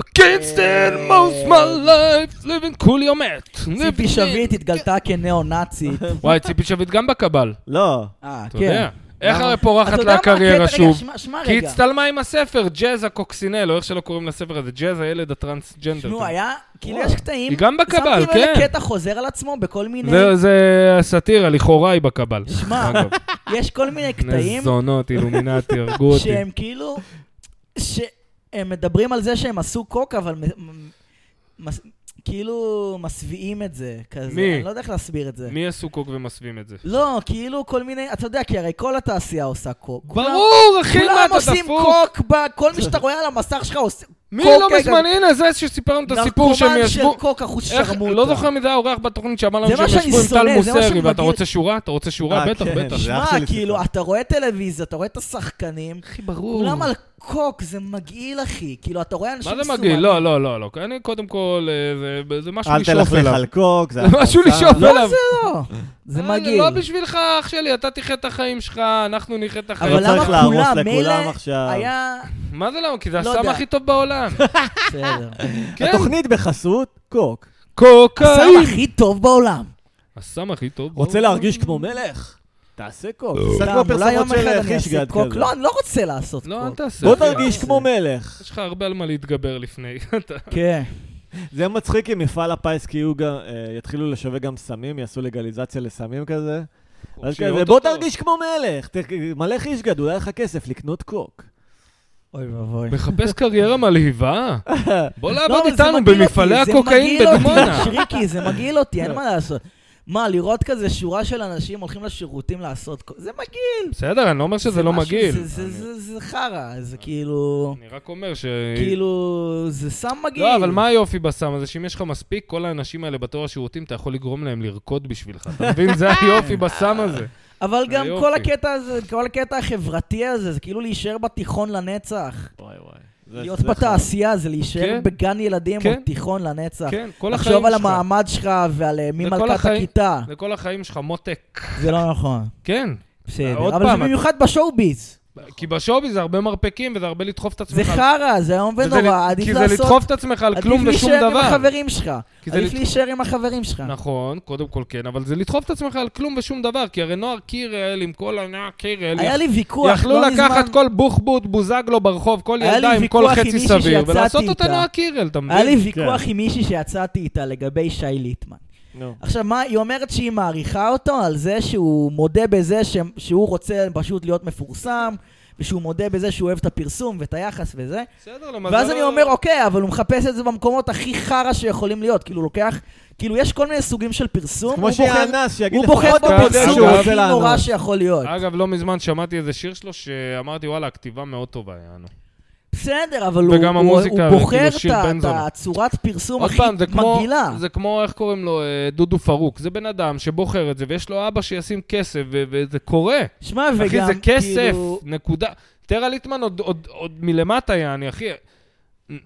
Speaker 3: I can't stand most my life, living cool your mat.
Speaker 1: ציפי שביט התגלתה כניאו-נאצית.
Speaker 3: וואי, ציפי שביט גם בקבל,
Speaker 2: לא,
Speaker 1: אה,
Speaker 3: אתה
Speaker 1: כן.
Speaker 3: יודע. איך
Speaker 1: למה?
Speaker 3: הרי
Speaker 1: אתה
Speaker 3: פורחת
Speaker 1: יודע
Speaker 3: לה
Speaker 1: מה
Speaker 3: הקריירה
Speaker 1: הקטע? רגע,
Speaker 3: שוב?
Speaker 1: שמע- שמע
Speaker 3: כי היא
Speaker 1: רגע.
Speaker 3: הצטלמה עם הספר, ג'אז הקוקסינל, או איך שלא קוראים לספר הזה, ג'אז הילד הטרנסג'נדר.
Speaker 1: נו,
Speaker 3: אתה-
Speaker 1: היה, כאילו יש קטעים.
Speaker 3: היא גם בקבל,
Speaker 1: שמתי לב
Speaker 3: כן.
Speaker 1: לקטע חוזר על עצמו בכל מיני,
Speaker 3: זה- זה הסאטירה, לכאורה היא בקבל.
Speaker 1: שמע,
Speaker 3: אגב,
Speaker 1: יש כל מיני קטעים
Speaker 3: זונות, אילומינטי, הרגו אותי.
Speaker 1: שהם כאילו, שהם מדברים על זה שהם עשו קוק, אבל מ- מ- מס- כאילו מסביעים את זה, כזה.
Speaker 3: מי?
Speaker 1: אני לא יודע איך להסביר את זה.
Speaker 3: מי עשו קוק ומסווים את זה?
Speaker 1: לא, כאילו כל מיני, אתה יודע, כי הרי כל התעשייה עושה קוק.
Speaker 3: ברור, אחי, מה
Speaker 1: כולם
Speaker 3: אתה
Speaker 1: עושים
Speaker 3: דפוק?
Speaker 1: קוק, ב- כל מי שאתה רואה על המסך שלך עושה...
Speaker 3: מי
Speaker 1: קוק,
Speaker 3: לא
Speaker 1: רגע.
Speaker 3: מזמן, הנה, זה שסיפר לנו את הסיפור שהם
Speaker 1: נרקומן של
Speaker 3: ישבו...
Speaker 1: קוק אחוז
Speaker 3: איך,
Speaker 1: שרמוטה.
Speaker 3: לא זוכר מי זה האורח בתוכנית שאמר לנו
Speaker 1: זה מה
Speaker 3: שהם
Speaker 1: שאני
Speaker 3: ישבו עם טל
Speaker 1: שונא, זה מה
Speaker 3: מוסרי, ואתה
Speaker 1: שמגעיל.
Speaker 3: רוצה שורה? אתה רוצה שורה?
Speaker 2: אה,
Speaker 3: בטח,
Speaker 2: כן,
Speaker 3: בטח.
Speaker 2: זה- אח
Speaker 1: שמע,
Speaker 2: שלי
Speaker 1: כאילו,
Speaker 2: סיפר.
Speaker 1: אתה רואה טלוויזיה, אתה רואה את השחקנים,
Speaker 3: אחי, ברור.
Speaker 1: כולם על קוק, זה מגעיל, אחי. כאילו, אתה רואה אנשים
Speaker 3: מה זה מגעיל? לא, לא, לא, לא. אני קודם כל, אה, זה- זה משהו
Speaker 2: אל
Speaker 3: לשאוף
Speaker 2: תלך
Speaker 3: אליו.
Speaker 2: לחלקוק, זה
Speaker 3: זה משהו
Speaker 2: הפצה.
Speaker 3: לשאוף אליו.
Speaker 1: לא, זה לא. זה
Speaker 3: אה,
Speaker 1: מגעיל.
Speaker 3: לא בשבילך, אח שלי, אתה תחיה את החיים שלך, אנחנו נחיה את החיים.
Speaker 1: אבל
Speaker 2: לא
Speaker 1: למה
Speaker 2: צריך להרוס
Speaker 1: כולם?
Speaker 2: לכולם
Speaker 1: מילא
Speaker 2: עכשיו.
Speaker 1: היה...
Speaker 3: מה זה למה? כי זה
Speaker 1: לא
Speaker 3: הסם
Speaker 1: יודע.
Speaker 3: הכי טוב בעולם.
Speaker 1: בסדר.
Speaker 3: כן,
Speaker 2: התוכנית בחסות קוק.
Speaker 1: לא. הסם
Speaker 3: קוקאין.
Speaker 1: הכי טוב בעולם.
Speaker 3: הסם הכי טוב.
Speaker 2: רוצה להרגיש כמו מלך? תעשה קוק. זה
Speaker 1: סתם,
Speaker 2: כמו
Speaker 1: אולי
Speaker 2: פרסומות
Speaker 1: יום
Speaker 2: של
Speaker 1: אחד
Speaker 2: אה,
Speaker 1: אני
Speaker 2: חיש
Speaker 1: אעשה
Speaker 2: גד
Speaker 1: קוק.
Speaker 2: כזה.
Speaker 1: לא, אני לא רוצה לעשות קוק.
Speaker 3: לא, אל תעשה.
Speaker 2: בוא
Speaker 3: אחי.
Speaker 2: תרגיש כמו מלך.
Speaker 3: יש לך הרבה על מה להתגבר לפני. אתה-
Speaker 1: כן.
Speaker 2: זה מצחיק אם מפעל הפיס כי יהיו גם, אה, יתחילו לשווק גם סמים, יעשו לגליזציה לסמים כזה. אז
Speaker 3: שיהיה
Speaker 2: כזה,
Speaker 3: עוד
Speaker 2: בוא
Speaker 3: אותו.
Speaker 2: תרגיש כמו מלך, ת- מלא חיש גד, אולי יהיה לך כסף לקנות קוק.
Speaker 1: אוי ואבוי.
Speaker 3: מחפש קריירה מלהיבה? בוא לעבוד
Speaker 1: לא, אבל זה
Speaker 3: איתנו
Speaker 1: מגעיל
Speaker 3: במפעלי
Speaker 1: אותי,
Speaker 3: הקוקאין
Speaker 1: זה מגעיל
Speaker 3: בדימונה.
Speaker 1: אותי, שריקי, זה מגעיל אותי, אין מה לעשות. מה, לראות כזה שורה של אנשים הולכים לשירותים לעשות... כל- זה מגעיל.
Speaker 3: בסדר, אני לא אומר שזה לא
Speaker 1: משהו-
Speaker 3: מגעיל. אה.
Speaker 1: זה- זה- זה- זה חרא, זה כאילו...
Speaker 3: אני רק אומר ש...
Speaker 1: כאילו, זה סם מגעיל.
Speaker 3: אה. לא, אבל מה היופי בסם הזה? שאם יש לך מספיק, כל האנשים האלה בתור השירותים, אתה יכול לגרום להם לרקוד בשבילך. אתה מבין? זה היופי בסם הזה.
Speaker 1: אבל גם
Speaker 3: היופי.
Speaker 1: כל הקטע הזה, כל הקטע החברתי הזה, זה כאילו להישאר בתיכון לנצח.
Speaker 2: וואי וואי.
Speaker 1: להיות בתעשייה זה להישאר
Speaker 3: נכון. כן.
Speaker 1: בגן ילדים או
Speaker 3: כן.
Speaker 1: תיכון לנצח.
Speaker 3: כן, כל החיים שלך.
Speaker 1: לחשוב על המעמד שלך ועל אה, מי
Speaker 3: זה כל
Speaker 1: מלכת
Speaker 3: החיים. אה,
Speaker 1: הכיתה.
Speaker 3: זה כל החיים שלך, מותק.
Speaker 1: זה לא נכון.
Speaker 3: כן. עוד
Speaker 1: בסדר. אבל
Speaker 3: פעם,
Speaker 1: זה במיוחד בשואו-ביז.
Speaker 3: כי בשובי זה הרבה מרפקים וזה הרבה לדחוף את עצמך.
Speaker 1: זה חרא, זה איום
Speaker 3: וזה
Speaker 1: ונורא,
Speaker 3: ל-
Speaker 1: עדיף
Speaker 3: כי
Speaker 1: לעשות...
Speaker 3: זה לדחוף את עצמך על כלום ושום
Speaker 1: עדיף להישאר עם
Speaker 3: דבר.
Speaker 1: החברים שלך.
Speaker 3: כי זה
Speaker 1: עדיף
Speaker 3: לד-
Speaker 1: להישאר עם החברים שלך.
Speaker 3: נכון, קודם כל כן, אבל זה לדחוף את עצמך על כלום ושום דבר, כי הרי נוער קירל עם כל הנוער קירל,
Speaker 1: היה
Speaker 3: יכ-
Speaker 1: לי ויכוח,
Speaker 3: יכלו
Speaker 1: לא
Speaker 3: לקחת
Speaker 1: מזמן-
Speaker 3: כל בוחבוט בוזגלו ברחוב, כל
Speaker 1: היה
Speaker 3: ילדה
Speaker 1: לי
Speaker 3: עם כל
Speaker 1: ויכוח עם
Speaker 3: חצי
Speaker 1: מישהי
Speaker 3: סביר,
Speaker 1: שיצאתי
Speaker 3: ולעשות אותה
Speaker 1: איתה.
Speaker 3: נוער קירל, אתה
Speaker 1: היה לי
Speaker 3: מבין?
Speaker 1: ויכוח עם מישהי שיצאתי איתה לגבי שי ליטמן.
Speaker 2: נו.
Speaker 1: עכשיו, מה, היא אומרת שהיא מעריכה אותו על זה שהוא מודה בזה ש... שהוא רוצה פשוט להיות מפורסם, ושהוא מודה בזה שהוא אוהב את הפרסום ואת היחס וזה.
Speaker 3: בסדר, למזלו...
Speaker 1: ואז אני אומר, אוקיי, אבל הוא מחפש את זה במקומות הכי חרא שיכולים להיות. כאילו, הוא לוקח... כאילו, יש כל מיני סוגים של פרסום,
Speaker 2: כמו
Speaker 1: הוא בוחר-
Speaker 2: שיהיה אנס, שיגיד
Speaker 1: הוא
Speaker 2: לך
Speaker 1: בוחר
Speaker 3: אתה יודע
Speaker 1: בפרסום
Speaker 3: שהוא
Speaker 1: הכי
Speaker 2: רוצה לענות.
Speaker 1: נורא שיכול להיות.
Speaker 3: אגב, לא מזמן שמעתי איזה שיר שלו שאמרתי, וואלה, הכתיבה מאוד טובה, יענו.
Speaker 1: בסדר, אבל הוא,
Speaker 3: וגם
Speaker 1: הוא,
Speaker 3: המוזיקה,
Speaker 1: הוא בוחר
Speaker 3: כאילו, שיר
Speaker 1: את ה-
Speaker 3: בן
Speaker 1: את
Speaker 3: זונה.
Speaker 1: הצורת פרסום
Speaker 3: עוד
Speaker 1: הכי
Speaker 3: פעם, זה כמו,
Speaker 1: מגעילה.
Speaker 3: זה כמו, איך קוראים לו, אה, דודו פרוק. זה בן אדם שבוחר את זה, ויש לו אבא שישים כסף, ו- וזה קורה.
Speaker 1: שמע, וגם,
Speaker 3: אחי, זה כסף,
Speaker 1: כאילו...
Speaker 3: נקודה. תראה ליטמן עוד- עוד עוד מלמטה, יעני, אחי.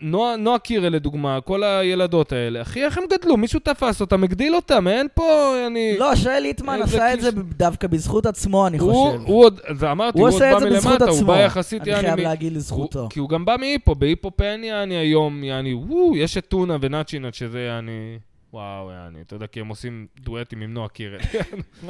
Speaker 3: נועה נועה קירל, לדוגמה, כל הילדות האלה, אחי, איך הם גדלו? מישהו תפס אותם, הגדיל אותם, אין פה, אני...
Speaker 1: לא, שי ליטמן
Speaker 3: איזה
Speaker 1: עשה את
Speaker 3: כאילו-
Speaker 1: זה דווקא בזכות עצמו, אני חושב.
Speaker 3: הוא, הוא עוד, אז אמרתי,
Speaker 1: הוא
Speaker 3: הוא,
Speaker 1: עושה את
Speaker 3: עוד
Speaker 1: זה
Speaker 3: בא
Speaker 1: בזכות
Speaker 3: מלמטה, הוא
Speaker 1: עצמו.
Speaker 3: בא יחסית,
Speaker 1: אני
Speaker 3: יעני,
Speaker 1: חייב
Speaker 3: מ-
Speaker 1: להגיד
Speaker 3: הוא-
Speaker 1: לזכותו.
Speaker 3: כי הוא גם בא מהיפו, בהיפו אין יעני היום, יעני, וואו, יש את טונה ונאצ'ינת, שזה יעני, וואו, יעני, אתה יודע, כי הם עושים דואטים עם נועה קירל. כן.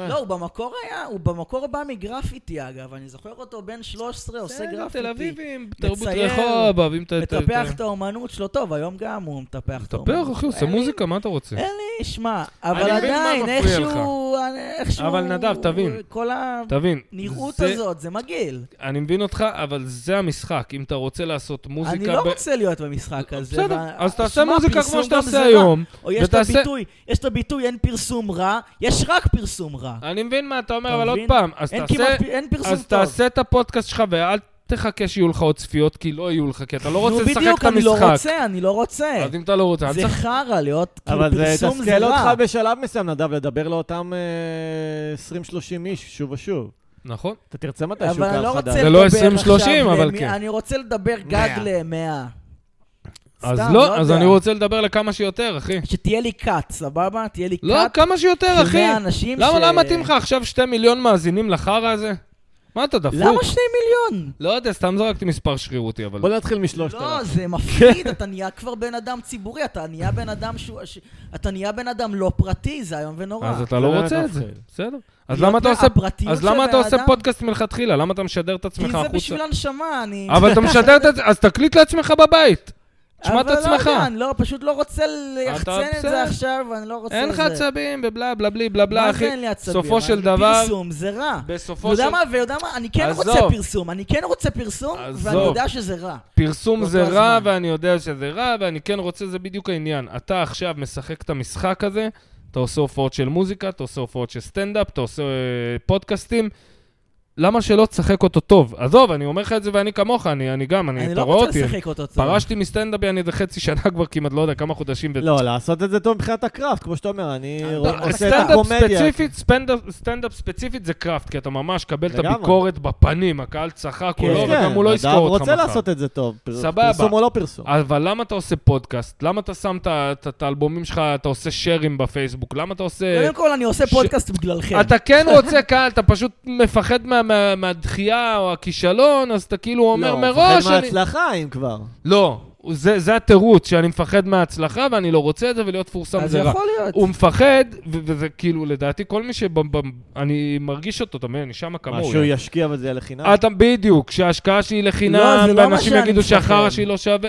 Speaker 1: לא, הוא במקור היה, הוא במקור בא מגרפיטי, אגב. אני זוכר אותו בן 13, עושה גרפיטי.
Speaker 3: תל אביבים, תרבות
Speaker 1: מצייר,
Speaker 3: רחוב, אוהבים את ה...
Speaker 1: מטפח את האומנות שלו טוב, היום גם הוא מטפח את האומנות.
Speaker 3: מטפח, אחי, הוא עושה
Speaker 1: אין לי-
Speaker 3: מוזיקה, מה אתה רוצה?
Speaker 1: אין לי, שמע, אבל
Speaker 3: אני מבין מה
Speaker 1: עדיין,
Speaker 3: מפריע
Speaker 1: איכשהו... איכשהו...
Speaker 3: אבל נדב, תבין.
Speaker 1: כל
Speaker 3: תבין.
Speaker 1: הנראות
Speaker 3: זה-
Speaker 1: הזאת, זה מגעיל.
Speaker 3: אני מבין אותך, אבל זה המשחק. אם אתה רוצה לעשות מוזיקה...
Speaker 1: אני לא
Speaker 3: ב-
Speaker 1: רוצה להיות במשחק הזה.
Speaker 3: בסדר,
Speaker 1: וה-
Speaker 3: אז תעשה
Speaker 1: שמע,
Speaker 3: מוזיקה
Speaker 1: פרסום
Speaker 3: כמו שאתה
Speaker 1: גם זה לא.
Speaker 3: עושה
Speaker 1: רע.
Speaker 3: היום,
Speaker 1: או יש את
Speaker 3: ותעשה-
Speaker 1: הביטוי, יש את הביטוי אין פרסום רע, יש רק פרסום רע.
Speaker 3: אני מבין מה אתה
Speaker 1: אתה
Speaker 3: אומר, אבל עוד
Speaker 1: מבין?
Speaker 3: פעם, אז
Speaker 1: אין
Speaker 3: תעשה...
Speaker 1: כמעט, פ- אין פרסום
Speaker 3: אז
Speaker 1: טוב.
Speaker 3: תעשה את הפודקאסט שלך ואל תחכה שיהיו לך עוד צפיות, כי לא יהיו לך, כי אתה לא רוצה
Speaker 1: נו,
Speaker 3: לשחק
Speaker 1: בדיוק,
Speaker 3: את
Speaker 1: אני לא
Speaker 3: המשחק.
Speaker 1: רוצה, אני לא רוצה.
Speaker 3: אז אם אתה לא רוצה, אני
Speaker 1: זה
Speaker 3: צריך...
Speaker 1: חרא להיות, כאילו
Speaker 2: אבל זה
Speaker 1: פרסום זה
Speaker 2: תסכל
Speaker 1: רע.
Speaker 2: אותך בשלב מסוים, נדב, לדבר לאותם אה, 20-30 איש שוב ושוב.
Speaker 3: נכון.
Speaker 2: אתה תרצה מתישהו
Speaker 1: אבל אני
Speaker 2: קהל
Speaker 1: לא רוצה
Speaker 2: חדש.
Speaker 3: זה
Speaker 1: לדבר
Speaker 3: לא 20-30,
Speaker 1: עכשיו
Speaker 3: אבל
Speaker 1: למי-
Speaker 3: כן.
Speaker 1: אני רוצה לדבר גג ל-100.
Speaker 3: אז לא, אז אני רוצה לדבר לכמה שיותר, אחי.
Speaker 1: שתהיה לי כת, סבבה? תהיה לי כת.
Speaker 3: לא, כמה שיותר,
Speaker 1: של
Speaker 3: אחי.
Speaker 1: 100 אנשים
Speaker 3: למה
Speaker 1: ש-
Speaker 3: למה מתאים לך עכשיו שתי מיליון מאזינים לחרא הזה? מה אתה דפוק?
Speaker 1: למה שני מיליון?
Speaker 3: לא יודע, סתם זרקתי מספר שרירותי, אבל...
Speaker 2: בוא נתחיל משלושת
Speaker 1: לא,
Speaker 2: אלפים.
Speaker 1: זה מפחיד, אתה נהיה כבר בן אדם ציבורי, אתה נהיה בן אדם שהוא... ש- אתה נהיה בן אדם לא פרטי, זה איום ונורא.
Speaker 3: אז אתה
Speaker 2: זה
Speaker 3: לא
Speaker 2: באמת
Speaker 3: רוצה את זה,
Speaker 2: מפחיד.
Speaker 3: בסדר. אז
Speaker 1: להיות
Speaker 3: למה אתה עושה-
Speaker 1: מהפרטיות
Speaker 3: אז
Speaker 1: של
Speaker 3: למה
Speaker 1: בן
Speaker 3: אתה עושה
Speaker 1: אדם?
Speaker 3: פודקאסט מלכתחילה? למה אתה משדר את
Speaker 1: כי
Speaker 3: עצמך
Speaker 1: זה
Speaker 3: החוצה?
Speaker 1: בשביל הנשמה, אני...
Speaker 3: אבל אתה משדר את עצמך, אז תקליט לעצמך בבית. תשמע את
Speaker 1: אבל לא
Speaker 3: עצמך.
Speaker 1: יודע, אני לא, פשוט לא רוצה ליחצן את
Speaker 3: בסדר.
Speaker 1: זה עכשיו, אני לא רוצה
Speaker 3: אין
Speaker 1: את
Speaker 3: לך
Speaker 1: זה.
Speaker 3: עצבים, בבלה בלה בלי בלה בלה,
Speaker 1: מה זה
Speaker 3: אחי.
Speaker 1: אין לי עצבים?
Speaker 3: סופו
Speaker 1: אני-
Speaker 3: של דבר,
Speaker 1: פרסום זה רע.
Speaker 3: בסופו של...
Speaker 1: ויודע מה, ויודע מה, אני כן
Speaker 3: עזוב.
Speaker 1: רוצה פרסום, אני כן רוצה פרסום, ואני
Speaker 3: עזוב.
Speaker 1: יודע שזה רע.
Speaker 3: פרסום
Speaker 1: באותו
Speaker 3: זה רע,
Speaker 1: לא הזמן.
Speaker 3: ואני יודע שזה רע, ואני כן רוצה, זה בדיוק העניין. אתה עכשיו משחק את המשחק הזה, אתה עושה הופעות של מוזיקה, אתה עושה הופעות של סטנדאפ, אתה עושה אה, פודקאסטים. למה שלא תשחק אותו טוב? עזוב, אני אומר לך את זה ואני כמוך, אני, אני גם, אני,
Speaker 1: אני
Speaker 3: אתה
Speaker 1: לא
Speaker 3: רואה
Speaker 1: רוצה
Speaker 3: אותי. אני-
Speaker 1: לשחק אותו טוב.
Speaker 3: פרשתי מסטנדאפי, אני איזה חצי שנה כבר כמעט, לא יודע, כמה חודשים. ו-
Speaker 2: לא, לעשות את זה טוב מבחינת הקראפט, כמו שאתה אומר, אני
Speaker 1: אתה-
Speaker 2: רוא-
Speaker 1: אתה
Speaker 2: עושה את
Speaker 3: אה, לא, סטנדאפ
Speaker 2: הקומדיה.
Speaker 3: ספציפית, סטנדאפ- סטנדאפ ספציפית זה קראפט, כי אתה ממש קבל את
Speaker 2: לגמרי.
Speaker 3: הביקורת בפנים, הקהל צחק או
Speaker 1: כן,
Speaker 3: לא, וגם הוא לא
Speaker 2: נדב
Speaker 3: יזכור אותך מחר.
Speaker 2: רוצה לעשות את זה טוב. פר-
Speaker 3: סבבה.
Speaker 2: פרסום או לא פרסום.
Speaker 3: אבל למה אתה עושה פודקאסט? למה אתה שם את ה- את את האלבומים שלך, אתה עושה שרים בפייסבוק? למה אתה עושה...
Speaker 1: קודם כל, אני עושה
Speaker 3: ש-
Speaker 1: פודקאסט בגללכם.
Speaker 3: אתה כן רוצה קהל, אתה פשוט מפחד מה- מה- מהדחייה או הכישלון, אז אתה כאילו אומר מראש...
Speaker 2: לא, מפחד
Speaker 3: אני-
Speaker 2: מההצלחה, אם כבר.
Speaker 3: לא, זה זה התירוץ, שאני מפחד מההצלחה ואני לא רוצה את זה, ולהיות מפורסם
Speaker 1: אז
Speaker 3: זה רע.
Speaker 1: יכול להיות.
Speaker 3: הוא מפחד, ו- וזה כאילו, לדעתי, כל מי ש... אני מרגיש אותו, אתה מבין? אני שם
Speaker 2: מה,
Speaker 3: כמוהו.
Speaker 2: שהוא
Speaker 3: יא.
Speaker 2: ישקיע וזה יהיה לחינם.
Speaker 3: אתה בדיוק, שההשקעה שלי
Speaker 1: לא,
Speaker 3: לחינם,
Speaker 1: זה לא מה
Speaker 3: ואנשים
Speaker 1: שאני
Speaker 3: יגידו
Speaker 1: מפחד.
Speaker 3: שהחרא שלי לא שווה.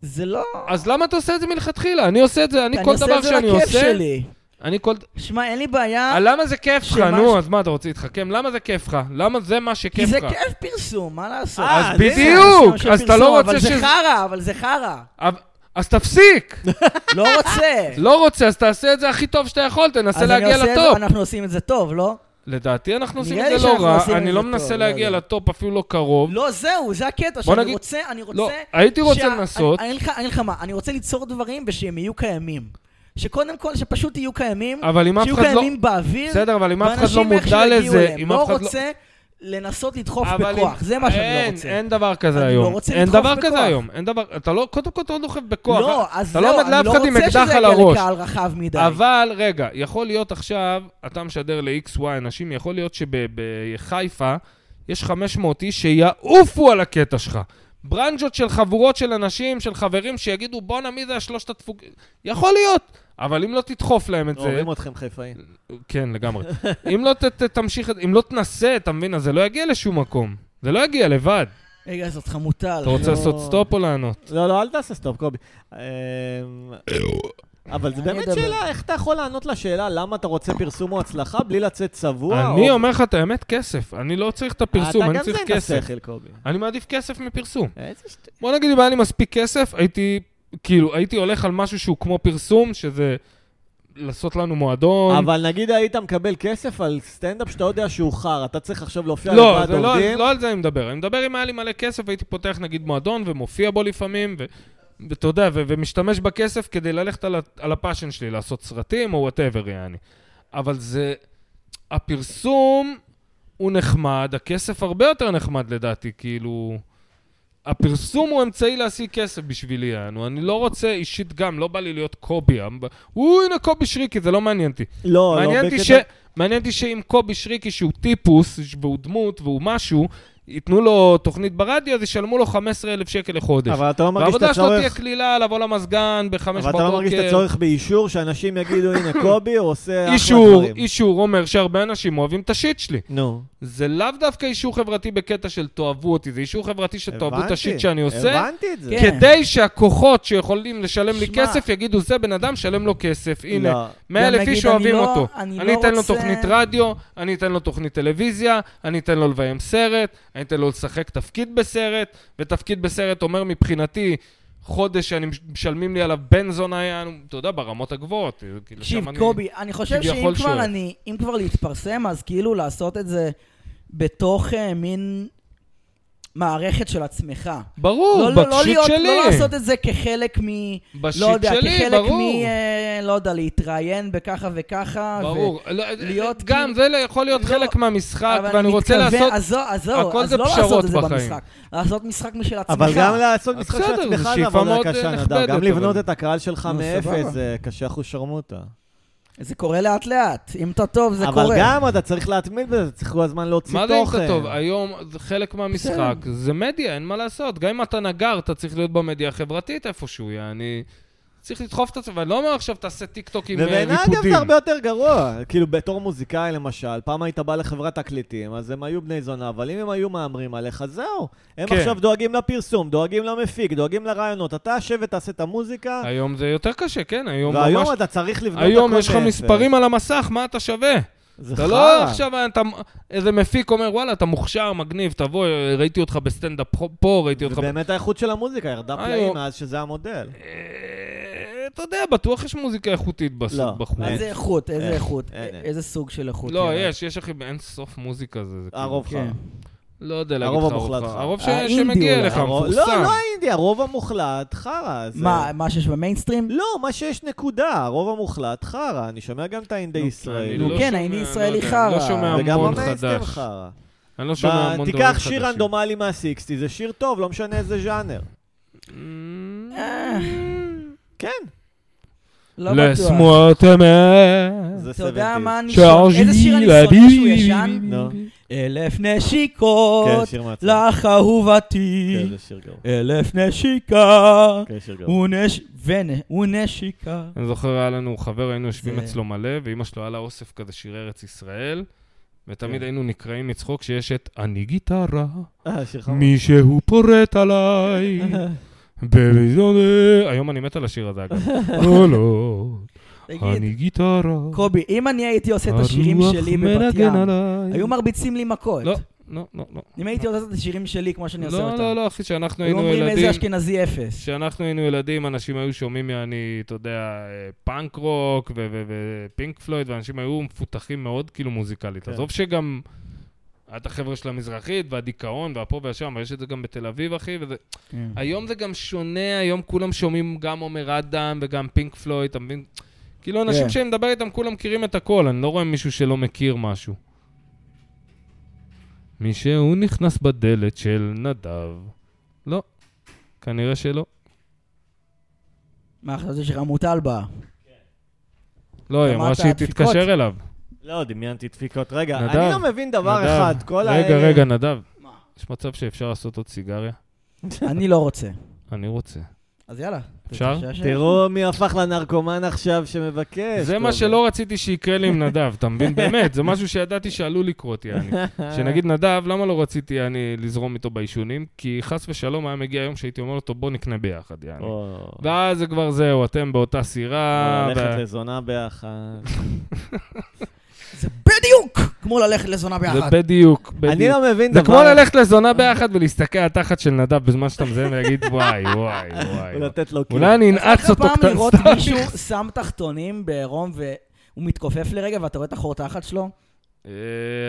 Speaker 1: זה לא...
Speaker 3: אז למה אתה עושה את זה מלכתחילה? אני עושה את זה, אני כל דבר שאני
Speaker 1: אני עושה את זה לכיף
Speaker 3: עושה...
Speaker 1: שלי.
Speaker 3: אני כל...
Speaker 1: שמע, אין לי בעיה,
Speaker 3: אה, למה זה כיף לך?
Speaker 1: שמה ש-
Speaker 3: נו, אז מה, אתה רוצה להתחכם? למה זה כיף לך? למה זה מה
Speaker 1: כי
Speaker 3: שכיף
Speaker 1: זה
Speaker 3: לך?
Speaker 1: כיף פרסום, מה לעשות?
Speaker 2: אה,
Speaker 1: זה-
Speaker 2: אז
Speaker 3: בדיוק,
Speaker 1: זה שם
Speaker 3: אז אתה
Speaker 1: פרסום,
Speaker 3: לא רוצה
Speaker 1: אבל זה
Speaker 3: שזה-
Speaker 1: חרא, אבל זה חרא.
Speaker 3: אבל- אז תפסיק!
Speaker 1: לא רוצה.
Speaker 3: לא רוצה, אז תעשה את זה הכי טוב שאתה יכול, תנסה
Speaker 1: אז אני
Speaker 3: להגיע
Speaker 1: עושה את זה,
Speaker 3: לטופ.
Speaker 1: אנחנו עושים את זה טוב, לא?
Speaker 3: לדעתי אנחנו עושים
Speaker 1: נראה לי
Speaker 3: את זה לא
Speaker 1: שאנחנו
Speaker 3: רע,
Speaker 1: עושים
Speaker 3: אני
Speaker 1: את
Speaker 3: לא
Speaker 1: זה
Speaker 3: מנסה
Speaker 1: טוב,
Speaker 3: להגיע
Speaker 1: לא יודע.
Speaker 3: לטופ אפילו לא קרוב.
Speaker 1: לא, זהו, זה הקטע,
Speaker 3: בוא
Speaker 1: שאני
Speaker 3: נגיד-
Speaker 1: רוצה, אני רוצה...
Speaker 3: לא, הייתי רוצה
Speaker 1: שה-
Speaker 3: לנסות.
Speaker 1: אני- אני אגיד לך- אני אגיד לך מה, אני רוצה ליצור דברים ושהם יהיו קיימים. שקודם כל, שפשוט יהיו קיימים,
Speaker 3: אבל אם אף
Speaker 1: שיהיו
Speaker 3: אחד לא...
Speaker 1: קיימים באוויר,
Speaker 3: בסדר, אבל אם אף אחד לא
Speaker 1: ואנשים איכשהו
Speaker 3: מודע
Speaker 1: יגיעו
Speaker 3: לזה,
Speaker 1: אליהם.
Speaker 3: אם
Speaker 1: לא
Speaker 3: אף אחד לא...
Speaker 1: רוצה לדחוף לדחוף
Speaker 3: אבל
Speaker 1: בכוח,
Speaker 3: אם-
Speaker 1: זה מה שאני
Speaker 3: אין,
Speaker 1: לא רוצה.
Speaker 3: אין דבר כזה
Speaker 1: אני
Speaker 3: היום.
Speaker 1: לא רוצה
Speaker 3: אין
Speaker 1: לדחוף
Speaker 3: דבר
Speaker 1: בכוח.
Speaker 3: כזה היום. אין דבר, אתה לא, קודם כל אתה לא דוחף בכוח.
Speaker 1: לא, אז
Speaker 3: אתה לא
Speaker 1: זהו,
Speaker 3: עומד
Speaker 1: אני
Speaker 3: לאף
Speaker 1: לא
Speaker 3: אחד עם
Speaker 1: רוצה
Speaker 3: אקדח
Speaker 1: שזה
Speaker 3: על
Speaker 1: יגיע
Speaker 3: הראש.
Speaker 1: לקהל רחב מדי.
Speaker 3: אבל רגע, יכול להיות עכשיו, אתה משדר ל-XY אנשים, יכול להיות שבחיפה יש 500 איש שיעופו על הקטע שלך. ברנז'ות של חבורות של אנשים, של חברים, שיגידו בואנה מי זה השלושת הדפוק... יכול להיות, אבל אם לא תדחוף להם את זה...
Speaker 2: רואים אתכם חיפאים.
Speaker 3: כן, לגמרי. אם לא ת- ת- תמשיך, את- אם לא תנסה, אתה מבין? אז זה לא יגיע לשום מקום. זה לא יגיע לבד.
Speaker 1: רגע, זאת חמוטל.
Speaker 3: אתה רוצה
Speaker 2: לא.
Speaker 3: לעשות סטופ או לענות?
Speaker 2: לא, לא, אל תעשה סטופ, קובי. אמ, אבל זה
Speaker 1: אני
Speaker 2: באמת
Speaker 1: אדבר.
Speaker 2: שאלה, איך אתה יכול לענות לשאלה למה אתה רוצה פרסום או הצלחה בלי לצאת צבוע?
Speaker 3: אני
Speaker 2: או-
Speaker 3: אומר לך את האמת, כסף. אני לא צריך את הפרסום, אני צריך
Speaker 2: אתה גם זה עם
Speaker 3: כסף.
Speaker 2: השכל, קובי.
Speaker 3: אני מעדיף כסף מפרסום.
Speaker 2: איזה שט...
Speaker 3: בוא נגיד, אם היה לי מספיק כסף, הייתי, כאילו, הייתי הולך על משהו שהוא כמו פרסום, שזה לעשות לנו מועדון.
Speaker 2: אבל נגיד היית מקבל כסף על סטנדאפ שאתה יודע שהוא חר, אתה צריך עכשיו להופיע
Speaker 3: לא,
Speaker 2: לוועד
Speaker 3: זה לא,
Speaker 2: עובדים?
Speaker 3: לא על זה אני מדבר. אני מדבר אם היה לי מלא כסף, הייתי פותח נגיד מועדון ומופיע בו לפעמים, ו- ואתה יודע, ו- ומשתמש בכסף כדי ללכת על, ה- על הפאשן שלי, לעשות סרטים או וואטאבר, יעני. אבל זה... הפרסום הוא נחמד, הכסף הרבה יותר נחמד לדעתי, כאילו... הפרסום הוא אמצעי להשיג כסף בשבילי, יענו. אני לא רוצה אישית גם, לא בא לי להיות קובי. אמב- הוא, הנה קובי שריקי, זה לא מעניין אותי.
Speaker 2: לא, לא,
Speaker 3: מעניין אותי
Speaker 2: בקטע-
Speaker 3: ש... מעניין אותי שאם קובי שריקי, שהוא טיפוס, ש- והוא דמות, והוא משהו, ייתנו לו תוכנית ברדיו, אז ישלמו לו 15,000 שקל לחודש.
Speaker 2: אבל אתה לא מרגיש את
Speaker 3: והעבודה שלו תהיה אוקיי.
Speaker 2: הצורך...
Speaker 3: קלילה, לבוא למזגן ב-5 בבוקר.
Speaker 2: אבל אתה לא מרגיש את הצורך באישור, שאנשים יגידו, הנה, קובי הוא עושה אחלה
Speaker 3: אישור,
Speaker 2: דברים.
Speaker 3: אישור אומר שהרבה אנשים אוהבים את השיט שלי.
Speaker 2: נו,
Speaker 3: זה לאו דווקא אישור חברתי בקטע של תאהבו אותי, זה אישור חברתי שתאהבו את
Speaker 2: הבנתי,
Speaker 3: השיט שאני עושה,
Speaker 2: הבנתי את זה.
Speaker 1: כן.
Speaker 3: כדי שהכוחות שיכולים לשלם לי
Speaker 1: שמע.
Speaker 3: כסף יגידו, זה בן אדם, שלם לו כסף, הנה,
Speaker 2: לא.
Speaker 3: 100
Speaker 1: גם
Speaker 3: אלף
Speaker 1: נגיד,
Speaker 3: איש
Speaker 1: אני
Speaker 3: אוהבים
Speaker 1: לא-
Speaker 3: אותו.
Speaker 1: אני
Speaker 3: אני
Speaker 1: לא
Speaker 3: אתן לו
Speaker 1: רוצה-
Speaker 3: תוכנית רדיו, אני אתן לו תוכנית טלוויזיה, אני אתן לו לביים סרט, אני אתן לו לשחק תפקיד בסרט, ותפקיד בסרט אומר מבחינתי... חודש שאני מש- משלמים לי עליו בן זונה, יענו, אתה יודע, ברמות הגבוהות. כאילו,
Speaker 1: תקשיב,
Speaker 3: שם אני-
Speaker 1: קובי, אני חושב
Speaker 3: כביכול
Speaker 1: שאם
Speaker 3: שואל.
Speaker 1: כבר אני, אם כבר להתפרסם, אז כאילו לעשות את זה בתוך אה, מין מערכת של עצמך.
Speaker 3: ברור,
Speaker 1: לא- לא- לא
Speaker 3: בשיט
Speaker 1: להיות-
Speaker 3: שלי.
Speaker 1: לא לעשות את זה כחלק מ...
Speaker 3: בשיט
Speaker 1: לא יודע,
Speaker 3: שלי,
Speaker 1: כחלק
Speaker 3: ברור.
Speaker 1: מ... אה, לא יודע, להתראיין בככה וככה.
Speaker 3: ברור. לא,
Speaker 1: להיות
Speaker 3: גם
Speaker 1: כאילו-
Speaker 3: זה לא- יכול להיות
Speaker 1: לא,
Speaker 3: חלק מהמשחק,
Speaker 1: אבל אני
Speaker 3: ואני רוצה
Speaker 1: מתכוון-
Speaker 3: לעשות...
Speaker 1: אז זהו, אז זהו,
Speaker 3: הכל
Speaker 1: אז
Speaker 3: זה
Speaker 1: לא לעשות
Speaker 3: פשרות
Speaker 1: את זה
Speaker 3: בחיים.
Speaker 1: במשחק. לעשות משחק משל עצמך.
Speaker 2: אבל גם לעשות משחק של
Speaker 3: בסדר,
Speaker 2: עצמך
Speaker 3: זו
Speaker 2: זה
Speaker 3: שאיפה
Speaker 2: עבודה
Speaker 3: מאוד, אה,
Speaker 2: קשה, נדב.
Speaker 3: נכבדת,
Speaker 2: גם
Speaker 3: אבל-
Speaker 2: לבנות את הקהל שלך
Speaker 1: נו,
Speaker 2: מאפס
Speaker 1: סבבה.
Speaker 2: זה קשה אחושרמוטה.
Speaker 1: זה קורה לאט-לאט. אם אתה טוב, זה קורה.
Speaker 2: אבל גם אתה צריך להתמיד בזה, צריך כל הזמן להוציא
Speaker 3: מה
Speaker 2: תוכן.
Speaker 3: זה אם אתה טוב? היום זה חלק מהמשחק זה מדיה, אין מה לעשות. גם אם אתה נגר, אתה צריך להיות במדיה החברתית איפשהו, יעני... צריך לדחוף את עצמך, ואני לא אומר עכשיו, תעשה טיקטוק עם אה,
Speaker 2: ובעיניי אגב
Speaker 3: ריקודים.
Speaker 2: זה הרבה יותר גרוע. כאילו בתור מוזיקאי למשל, פעם היית בא לחברת תקליטים, אז הם היו בני זונה, אבל אם הם היו מהמרים עליך, זהו. הם
Speaker 3: כן.
Speaker 2: עכשיו דואגים לפרסום, דואגים למפיק, דואגים לרעיונות. אתה שב ותעשה את המוזיקה,
Speaker 3: היום זה יותר קשה, כן, היום ממש...
Speaker 2: והיום אתה צריך לבנות הכל
Speaker 3: היום יש לך
Speaker 2: מאפס.
Speaker 3: מספרים על המסך, מה אתה שווה?
Speaker 2: זה
Speaker 3: אתה
Speaker 2: חרא.
Speaker 3: לא עכשיו, אתה- איזה מפיק אומר, וואלה, אתה מוכשר, מגניב, תבוא, ראיתי אותך בסטנדאפ פה, ראיתי אותך... ב-"
Speaker 2: ובאמת האיכות של המוזיקה ירדה
Speaker 3: היום.
Speaker 2: פלאים מאז שזה המודל.
Speaker 3: אה, אתה יודע, בטוח יש מוזיקה איכותית בס-
Speaker 2: לא.
Speaker 3: בחוץ.
Speaker 2: אין.
Speaker 1: איזה איכות,
Speaker 2: אין,
Speaker 1: איזה איכות,
Speaker 2: אין, אין.
Speaker 1: איזה סוג של איכות.
Speaker 3: לא,
Speaker 1: יאללה.
Speaker 3: יש, יש אחי, אין סוף מוזיקה זה. זה כאילו-
Speaker 2: הרוב
Speaker 1: כן.
Speaker 2: חרא.
Speaker 3: לא יודע להגיד לך
Speaker 2: הרוב
Speaker 3: הרוב
Speaker 2: המוחלט
Speaker 3: חרא.
Speaker 2: חרא.
Speaker 3: הרוב ש-
Speaker 1: האינדי
Speaker 3: שמגיע
Speaker 1: אולי.
Speaker 3: אליך,
Speaker 2: הרוב- לא,
Speaker 3: מפורסם.
Speaker 2: לא האינדי, הרוב המוחלט חרא. זה-
Speaker 1: מה, מה שיש במיינסטרים?
Speaker 2: לא, מה שיש נקודה, הרוב המוחלט חרא. אני שומע גם את האינדי
Speaker 3: נו,
Speaker 2: ישראלי.
Speaker 3: אני
Speaker 1: נו,
Speaker 3: לא
Speaker 1: כן,
Speaker 3: שומע,
Speaker 1: האינדי
Speaker 3: לא יודע,
Speaker 1: ישראלי
Speaker 3: אני
Speaker 1: חרא.
Speaker 3: לא שומע
Speaker 2: וגם
Speaker 3: המון
Speaker 2: המיינסטרים
Speaker 3: חדש.
Speaker 2: חרא.
Speaker 3: אני לא שומע המון דברים
Speaker 2: תיקח
Speaker 3: חדשים.
Speaker 2: שיר רנדומלי מהסיקסטי, זה שיר טוב, לא משנה איזה ז'אנר. כן.
Speaker 1: אה, לא בטוח.
Speaker 4: לשמאתם
Speaker 2: זה
Speaker 1: כן. אתה יודע
Speaker 2: סבנטיז.
Speaker 1: מה אני שונא? איזה שיר אני שונא שהוא ישן?
Speaker 4: שאוז'י
Speaker 2: נו.
Speaker 1: אלף
Speaker 2: כן,
Speaker 1: נשיקות,
Speaker 2: שיר מעצבן.
Speaker 1: לך אהובתי,
Speaker 2: כן, זה שיר גרוע.
Speaker 1: אלף נשיקה,
Speaker 2: כן, שיר גרוע.
Speaker 1: ונש- ונ- ונשיקה.
Speaker 3: אני זוכר, היה לנו חבר, היינו יושבים
Speaker 1: זה-
Speaker 3: אצלו מלא, ואימא שלו היה לה אוסף כזה שיר ארץ ישראל, ותמיד
Speaker 2: כן.
Speaker 3: היינו נקרעים מצחוק שיש את אני גיטרה,
Speaker 2: אה, שיר חמור.
Speaker 4: מישהו פורט עליי
Speaker 3: בריזונה. היום אני מת על השיר הזה, אגב. לא.
Speaker 4: קולות,
Speaker 1: תגיד,
Speaker 4: אני גיטרה,
Speaker 1: קובי, אם אני הייתי עושה את השירים
Speaker 4: הרוח
Speaker 1: שלי בבת ים,
Speaker 4: מנגן עליי.
Speaker 1: היו מרביצים לי מכות.
Speaker 3: לא, לא, לא, לא.
Speaker 1: אם הייתי עושה את השירים שלי כמו שאני עושה
Speaker 3: לא,
Speaker 1: אותם.
Speaker 3: לא, לא, אחי, שאנחנו
Speaker 1: היו
Speaker 3: היינו ילדים...
Speaker 1: אומרים איזה אשכנזי אפס.
Speaker 3: כשאנחנו היינו ילדים, אנשים היו שומעים יעני, אתה יודע, אה, פאנק רוק ו- ו- ופינק פלויד, ואנשים היו מפותחים מאוד, כאילו, מוזיקלית.
Speaker 2: כן.
Speaker 3: עזוב שגם... היה את החבר'ה של המזרחית, והדיכאון, והפה והשם, אבל יש את זה גם בתל אביב, אחי, וזה...
Speaker 1: כן.
Speaker 3: היום זה גם שונה, היום כולם שומעים גם עומר אדם וגם פינק פלויד, אתה מבין? כאילו, אנשים
Speaker 1: כן.
Speaker 3: שאני מדבר איתם, כולם מכירים את הכל, אני לא רואה מישהו שלא מכיר משהו. מישהו נכנס בדלת של נדב. לא, כנראה שלא.
Speaker 1: מה, חשבתי שרמוטל באה.
Speaker 3: לא, היא
Speaker 1: שמעת
Speaker 3: אמרה שהיא
Speaker 1: הדפיקות?
Speaker 3: תתקשר אליו.
Speaker 2: לא, דמיינתי דפיקות. רגע,
Speaker 3: נדב,
Speaker 2: אני לא מבין דבר
Speaker 3: נדב,
Speaker 2: אחד. כל ה...
Speaker 3: רגע, רגע, נדב.
Speaker 1: מה?
Speaker 3: יש מצב שאפשר לעשות עוד סיגריה?
Speaker 1: אני לא רוצה.
Speaker 3: אני רוצה.
Speaker 1: אז יאללה.
Speaker 3: אפשר?
Speaker 1: בבקשה,
Speaker 2: תראו מי הפך לנרקומן עכשיו שמבקש.
Speaker 3: זה מה
Speaker 2: טוב.
Speaker 3: שלא רציתי שיקרה לי עם נדב, אתה מבין? באמת, זה משהו שידעתי שעלול לקרות, יעני. שנגיד נדב, למה לא רציתי יעני לזרום איתו בעישונים? כי חס ושלום היה מגיע יום שהייתי אומר לו, בוא נקנה ביחד, יעני.
Speaker 2: או,
Speaker 3: ואז זה כבר זהו, אתם באותה סירה.
Speaker 2: אה, ללכת
Speaker 3: ו-
Speaker 2: לזונה ביחד.
Speaker 1: זה בדיוק כמו ללכת לזונה
Speaker 3: זה
Speaker 1: ביחד.
Speaker 3: בדיוק, בדיוק.
Speaker 2: אני לא מבין
Speaker 3: זה
Speaker 2: דבר...
Speaker 3: כמו ללכת לזונה ביחד ולהסתכל על התחת של נדב בזמן שאתה מזהם ולהגיד, וואי, וואי, וואי. וואי."
Speaker 2: ולתת לו כאילו.
Speaker 3: אולי אני אנעץ
Speaker 1: אתה
Speaker 3: אותו
Speaker 1: פעם
Speaker 3: קטן.
Speaker 1: לראות
Speaker 3: סתם.
Speaker 1: מישהו שם תחתונים בעירום והוא מתכופף לרגע ואתה רואה את החור תחת שלו?
Speaker 3: אה,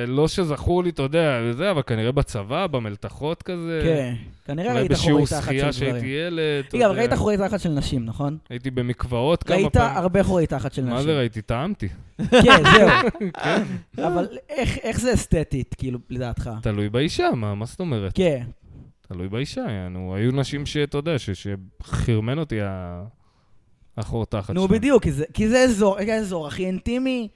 Speaker 3: לא שזכור לי, אתה יודע, זה, אבל כנראה בצבא, במלתחות כזה.
Speaker 1: כן. כנראה
Speaker 3: אולי
Speaker 1: ראית חורי
Speaker 3: בשיעור
Speaker 1: תחת
Speaker 3: שחייה
Speaker 1: של
Speaker 3: שהייתי
Speaker 1: גברים.
Speaker 3: ילד. אתה
Speaker 1: רגע, אבל
Speaker 3: יודע.
Speaker 1: ראית חורי תחת של נשים, נכון?
Speaker 3: הייתי במקוואות כמה
Speaker 1: ראית
Speaker 3: פעמים.
Speaker 1: הרבה חורי תחת של נשים.
Speaker 3: מה זה ראיתי? טעמתי.
Speaker 1: כן, זהו. אבל איך- איך זה אסתטית, כאילו, לדעתך?
Speaker 3: תלוי באישה, מה מה זאת אומרת?
Speaker 1: כן.
Speaker 3: תלוי באישה, יענו. היו נשים שאתה יודע, ש- שחרמן אותי ה- החור תחת שלהם.
Speaker 1: נו, בדיוק, כי זה- כי זה אזור, זה האזור הכי אינטימי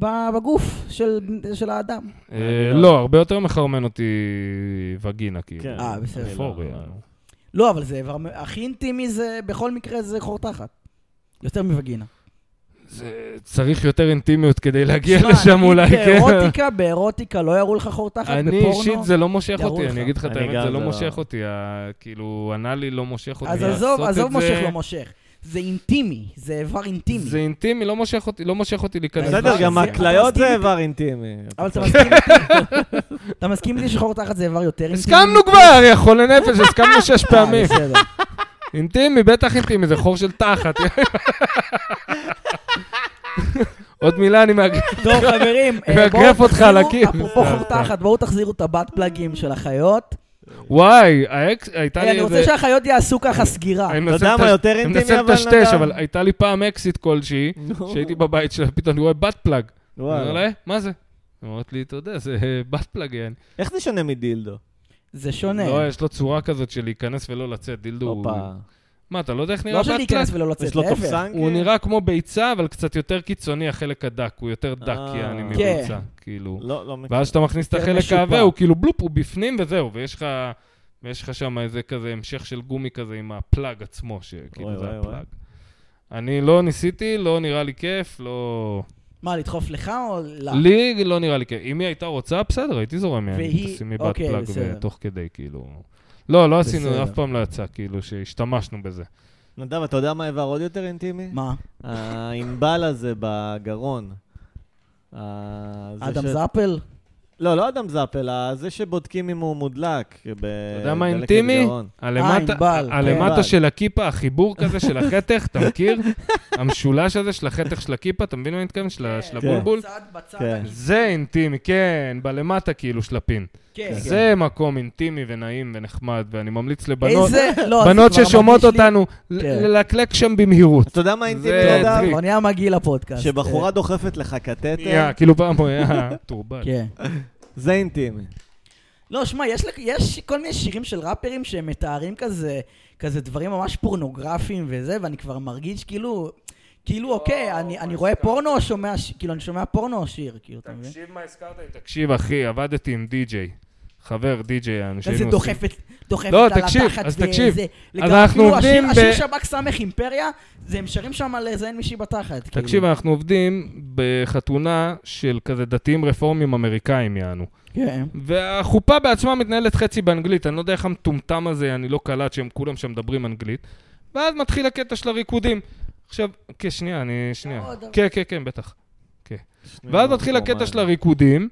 Speaker 1: ב- בגוף של- של האדם.
Speaker 3: אה, לא, הרבה יותר מחרמן אותי וגינה, כאילו.
Speaker 2: כן.
Speaker 1: אה, בסדר.
Speaker 3: אפור,
Speaker 2: לא,
Speaker 3: יענו.
Speaker 1: לא, אבל זה איבר, הכי אינטימי זה, בכל מקרה זה חור תחת. יותר מווגינה.
Speaker 3: זה- צריך יותר אינטימיות כדי להגיע
Speaker 1: שמע,
Speaker 3: לשם
Speaker 1: נגיד אה,
Speaker 3: אולי, כן.
Speaker 1: באירוטיקה, באירוטיקה לא יראו לך חור תחת
Speaker 3: אני
Speaker 1: בפורנו.
Speaker 3: אישית זה לא מושך
Speaker 1: ירו
Speaker 3: אותי,
Speaker 1: לך.
Speaker 3: אני אגיד לך את
Speaker 2: אני
Speaker 3: האמת,
Speaker 2: גם
Speaker 3: זה לא
Speaker 2: לא.
Speaker 3: מושך אותי, ה- כאילו, אנאלי לא מושך אותי.
Speaker 1: אז עזוב,
Speaker 3: לעשות
Speaker 1: עזוב
Speaker 3: את
Speaker 1: מושך
Speaker 3: זה-
Speaker 1: לא מושך. זה אינטימי, זה איבר אינטימי.
Speaker 3: זה אינטימי, לא מושך אותי, לא מושך אותי להיכנס.
Speaker 2: בסדר,
Speaker 1: זה-
Speaker 2: גם
Speaker 1: זה-
Speaker 2: הכליות
Speaker 1: אתה
Speaker 2: זה
Speaker 1: מסכים
Speaker 2: איבר אינטימי.
Speaker 1: אבל אתה מסכים איתי- אתה מסכים איתי שחור תחת זה איבר יותר אינטימי?
Speaker 3: הסכמנו כבר, יא חולה נפש, הסכמנו שש
Speaker 1: אה,
Speaker 3: פעמים.
Speaker 1: בסדר.
Speaker 3: אינטימי, בטח אינטימי, זה חור של תחת. עוד מילה, אני מאגר...
Speaker 1: טוב, חברים, אה,
Speaker 3: מאגרף
Speaker 1: בואו
Speaker 3: אותך
Speaker 1: תחזירו-
Speaker 3: אה, על הקיר.
Speaker 1: אפרופו חור תחת, בואו תחזירו את הבת פלאגים של החיות.
Speaker 3: וואי, האקס, הייתה
Speaker 1: אה, אני
Speaker 3: לי
Speaker 1: רוצה
Speaker 3: איזה...
Speaker 1: שהחיות יעשו ככה סגירה.
Speaker 3: אני
Speaker 2: אתה
Speaker 3: מנסה
Speaker 2: יודע מה
Speaker 3: לטש-
Speaker 2: יותר
Speaker 3: אני
Speaker 2: אינטימי,
Speaker 3: מנסה
Speaker 2: אבל
Speaker 3: לטשטש,
Speaker 2: נדב?
Speaker 3: אבל הייתה לי פעם אקזיט כלשהי,
Speaker 2: נו.
Speaker 3: שהייתי בבית שלה, פתאום אני רואה בת פלאג. אני אומר לה,
Speaker 2: וואלה.
Speaker 3: "אה, מה זה? היא אומרת לי, אתה יודע, זה אה, בת פלאג, יעני.
Speaker 2: איך זה שונה מדילדו?
Speaker 1: זה שונה.
Speaker 3: לא, יש לו צורה כזאת של להיכנס ולא לצאת, דילדו. הוא-
Speaker 2: הופה.
Speaker 3: מה, אתה לא יודע איך נראה
Speaker 1: לא
Speaker 3: בת
Speaker 1: של
Speaker 3: פלאג?
Speaker 1: להיכנס ולא לצאת,
Speaker 2: יש לו
Speaker 1: להפך.
Speaker 2: תופסן?
Speaker 3: הוא
Speaker 2: כן?
Speaker 3: נראה כמו ביצה, אבל קצת יותר קיצוני, החלק הדק. הוא יותר דק,
Speaker 2: אה.
Speaker 3: יעני,
Speaker 1: כן.
Speaker 3: מביצה. כאילו.
Speaker 2: לא, לא מכיר.
Speaker 3: ואז כשאתה מכניס את
Speaker 1: יותר
Speaker 3: החלק
Speaker 1: משופע.
Speaker 3: העבה, הוא כאילו בלופ, הוא בפנים וזהו, ויש לך... ויש לך שם איזה כזה המשך של גומי כזה עם הפלאג עצמו,
Speaker 2: אוי,
Speaker 3: שכאילו זה
Speaker 2: אוי,
Speaker 3: הפלאג. אני לא ניסיתי, לא נראה לי כיף, לא...
Speaker 1: מה, לדחוף לך או לה?
Speaker 3: לי לא נראה לי כיף. אם היא הייתה רוצה, בסדר, הייתי זורם יעני,
Speaker 1: והיא-
Speaker 3: תשימי בת
Speaker 1: אוקיי,
Speaker 3: פלאג
Speaker 1: בסדר.
Speaker 3: ותוך כדי, כאילו... לא, לא עשינו,
Speaker 1: בסדר.
Speaker 3: אף פעם לא יצא, כאילו, שהשתמשנו בזה.
Speaker 2: נדב, אתה יודע מה איבר עוד יותר אינטימי?
Speaker 1: מה?
Speaker 2: הענבל הזה בגרון. אה, זה
Speaker 1: אדם
Speaker 2: ש-
Speaker 1: זאפל?
Speaker 2: לא, לא אדם זאפל, אה, זה שבודקים אם הוא מודלק.
Speaker 3: אתה
Speaker 2: אה,
Speaker 3: יודע מה אינטימי?
Speaker 1: אה,
Speaker 3: הלמטה-
Speaker 1: ענבל,
Speaker 3: הלמטה
Speaker 2: ענבל.
Speaker 3: של הכיפה, החיבור כזה של החתך, אתה מכיר? המשולש הזה של החתך של הכיפה, אתה מבין מה אני מתכוון? של ה- של
Speaker 2: כן.
Speaker 3: הבולבול?
Speaker 1: בצד, בצד.
Speaker 2: כן.
Speaker 3: זה אינטימי, כן, בלמטה כאילו של הפין.
Speaker 1: כן.
Speaker 3: זה מקום אינטימי ונעים ונחמד, ואני ממליץ לבנות
Speaker 1: איזה... לא, זה
Speaker 3: בנות
Speaker 1: כבר
Speaker 3: ששומעות
Speaker 1: מרגיש לי-
Speaker 3: אותנו ל-
Speaker 1: כן.
Speaker 3: ללקלק שם במהירות.
Speaker 2: אתה יודע מה אינטימי,
Speaker 3: זה
Speaker 1: זה
Speaker 2: נדב?
Speaker 3: טריק.
Speaker 1: כבר נהיה מגעיל לפודקאסט.
Speaker 2: שבחורה דוחפת לך קטטר,
Speaker 3: יא, כאילו פעם הוא היה טורבן.
Speaker 1: אה, כן.
Speaker 2: זה אינטימי.
Speaker 1: לא, שמע, יש, לק- יש כל מיני שירים של ראפרים שהם מתארים כזה, כזה דברים ממש פורנוגרפיים וזה, ואני כבר מרגיש כאילו, כאילו, אוקיי, אני, אני רואה פורנו או שומע, ש- כאילו, אני שומע פורנו או שיר, כאילו, אתה מבין?
Speaker 3: תקשיב מה הזכרת לי, תקשיב אחי, עבדתי עם די-ג'יי. חבר די-ג'יי, האנשים
Speaker 1: וזה דוחפת, דוחפת
Speaker 3: לא,
Speaker 1: על
Speaker 3: תקשיב,
Speaker 1: התחת
Speaker 3: אז תקשיב.
Speaker 1: וזה.
Speaker 3: אז
Speaker 1: לגמרי,
Speaker 3: אנחנו
Speaker 1: כאילו, השיר-
Speaker 3: עובדים ב-
Speaker 1: השיר שב"כ סמך אימפריה, זה הם שרים שם על איזה אין מישהי בתחת. כאילו.
Speaker 3: תקשיב, אנחנו עובדים בחתונה של כזה דתיים רפורמים אמריקאים, יענו.
Speaker 1: כן.
Speaker 3: והחופה בעצמה מתנהלת חצי באנגלית, אני לא יודע איך המטומטם הזה, אני לא קלט שהם כולם שם מדברים אנגלית. ואז מתחיל הקטע של הריקודים. עכשיו, כן, שנייה, אני... שנייה.
Speaker 1: עוד דבר.
Speaker 3: כן, כן, כן, בטח. ואז מתחיל הקטע של הריקודים,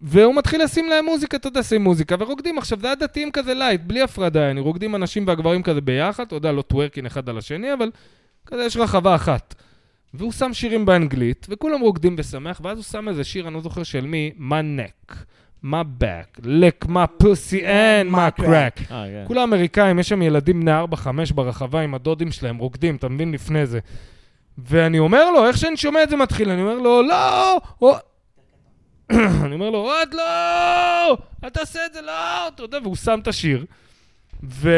Speaker 3: והוא מתחיל לשים להם מוזיקה, אתה יודע, שים מוזיקה, ורוקדים. עכשיו, זה היה דתיים כזה לייט, בלי הפרדה, יעני, רוקדים הנשים והגברים כזה ביחד, אתה יודע, לא טוורקין אחד על השני, אבל כזה יש רחבה אחת. והוא שם שירים באנגלית, וכולם רוקדים ושמח, ואז הוא שם איזה שיר, אני לא זוכר של מי, my neck, my back, lick my pussy and my crack.
Speaker 2: אה, כן.
Speaker 3: כולם אמריקאים, יש שם ילדים בני 4-5 ברחבה עם הדודים שלהם, רוקדים, אתה מבין לפני זה. ואני אומר לו, איך שאני שומע את זה מתחיל, אני אומר לו, לא! או-" אני אומר לו, עוד לא! אל תעשה את זה, לא! אתה יודע, והוא שם את השיר. ו...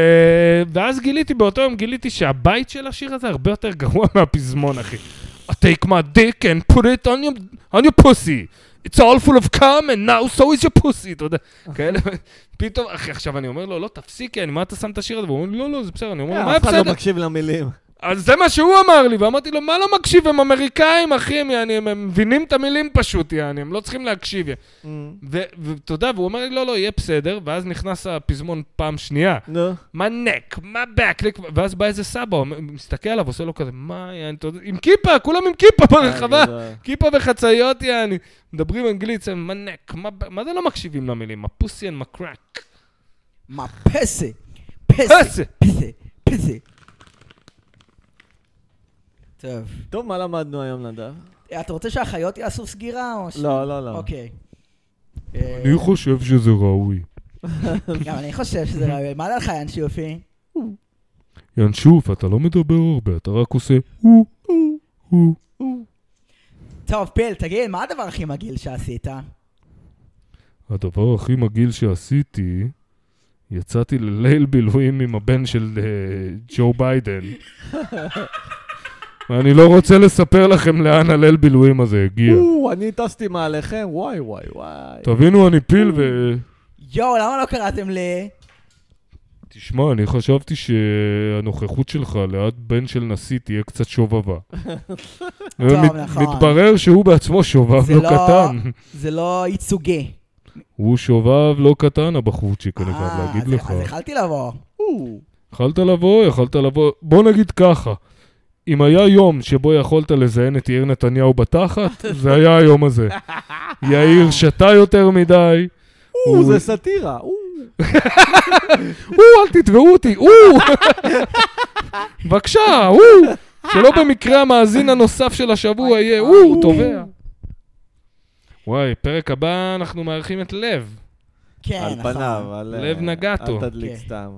Speaker 3: ואז גיליתי, באותו יום גיליתי שהבית של השיר הזה הרבה יותר גרוע מהפזמון, אחי. I take my dick and put it on your, on your pussy. It's all full of cum and now so is your pussy, אתה יודע. כאלה, פתאום, אחי, עכשיו אני אומר לו, לא, תפסיק, יעני, מה אתה שם את השיר הזה? והוא אומר, לי, לא, לא, זה בסדר. אני אומר לו, מה
Speaker 2: אף אחד לא
Speaker 3: בסדר?
Speaker 2: מקשיב למילים.
Speaker 3: אז זה מה שהוא אמר לי, ואמרתי לו, מה לא מקשיב? הם אמריקאים, אחי, הם, יעני, הם, הם מבינים את המילים פשוט, יעני, הם לא צריכים להקשיב. יא." ו- ואתה יודע, והוא אומר לי, לא, לא, יהיה בסדר, ואז נכנס הפזמון פעם שנייה.
Speaker 2: נו.
Speaker 3: מה נק? מה בקליק? ואז בא איזה סבא, הוא מסתכל עליו, עושה לו כזה, מה, יעני, אתה יודע, עם כיפה, כולם עם כיפה
Speaker 1: אה,
Speaker 3: ברחבה,
Speaker 2: גדול.
Speaker 3: כיפה וחצאיות, יעני. מדברים אנגלית, זה מה נק? מה ב- מה זה לא מקשיבים למילים? מה פוסיאן, מה קראק?
Speaker 1: מה פסה? פסה.
Speaker 3: פסה.
Speaker 1: פסה. פסה. טוב.
Speaker 2: טוב, מה למדנו היום, נדב?
Speaker 1: אתה רוצה שהחיות יעשו סגירה או ש...
Speaker 2: לא, לא, לא.
Speaker 1: אוקיי. אה,
Speaker 4: אני חושב שזה ראוי.
Speaker 1: גם אני חושב שזה רעיון. מה דעתך, יאן שיופי?
Speaker 4: ינשוף, אתה לא מדבר הרבה, אתה רק עושה הוא, הוא, הוא.
Speaker 1: טוב, פיל, תגיד, מה הדבר הכי מגעיל שעשית?
Speaker 4: הדבר הכי מגעיל שעשיתי, יצאתי לליל בילויים עם הבן של אה, ג'ו ביידן. ואני לא רוצה לספר לכם לאן הליל בילויים הזה הגיע.
Speaker 2: או, אני טסתי מעליכם, וואי, וואי, וואי.
Speaker 4: תבינו, אני פיל ו...
Speaker 1: יואו, למה לא קראתם לי?
Speaker 4: תשמע, אני חשבתי שהנוכחות שלך ליד בן של נשיא תהיה קצת שובבה. ומת-
Speaker 1: נכון.
Speaker 4: מתברר שהוא בעצמו שובב
Speaker 1: זה
Speaker 4: לא
Speaker 1: לא-
Speaker 4: קטן.
Speaker 1: זה לא ייצוגי.
Speaker 4: הוא שובב לא קטן, הבחורצ'יק, אני חייב
Speaker 1: אה,
Speaker 4: להגיד
Speaker 1: אז-
Speaker 4: לך.
Speaker 1: אז יכלתי לבוא.
Speaker 2: או.
Speaker 4: יכלת לבוא, יכלת לבוא, בוא נגיד ככה, אם היה יום שבו יכולת לזיין את יאיר נתניהו בתחת, זה היה היום הזה. יאיר שתה יותר מדי,
Speaker 2: או,
Speaker 4: הוא-
Speaker 2: זה סאטירה. או.
Speaker 4: או, אל תתבעו אותי, או! בבקשה, או! שלא במקרה המאזין הנוסף של השבוע יהיה, או, תובע. וואי, פרק הבא אנחנו מארחים את לב.
Speaker 1: כן,
Speaker 2: על
Speaker 1: נכון.
Speaker 2: פניו, על...
Speaker 3: לב
Speaker 2: אה,
Speaker 3: נגטו.
Speaker 2: אל תדליק
Speaker 1: כן.
Speaker 2: סתם.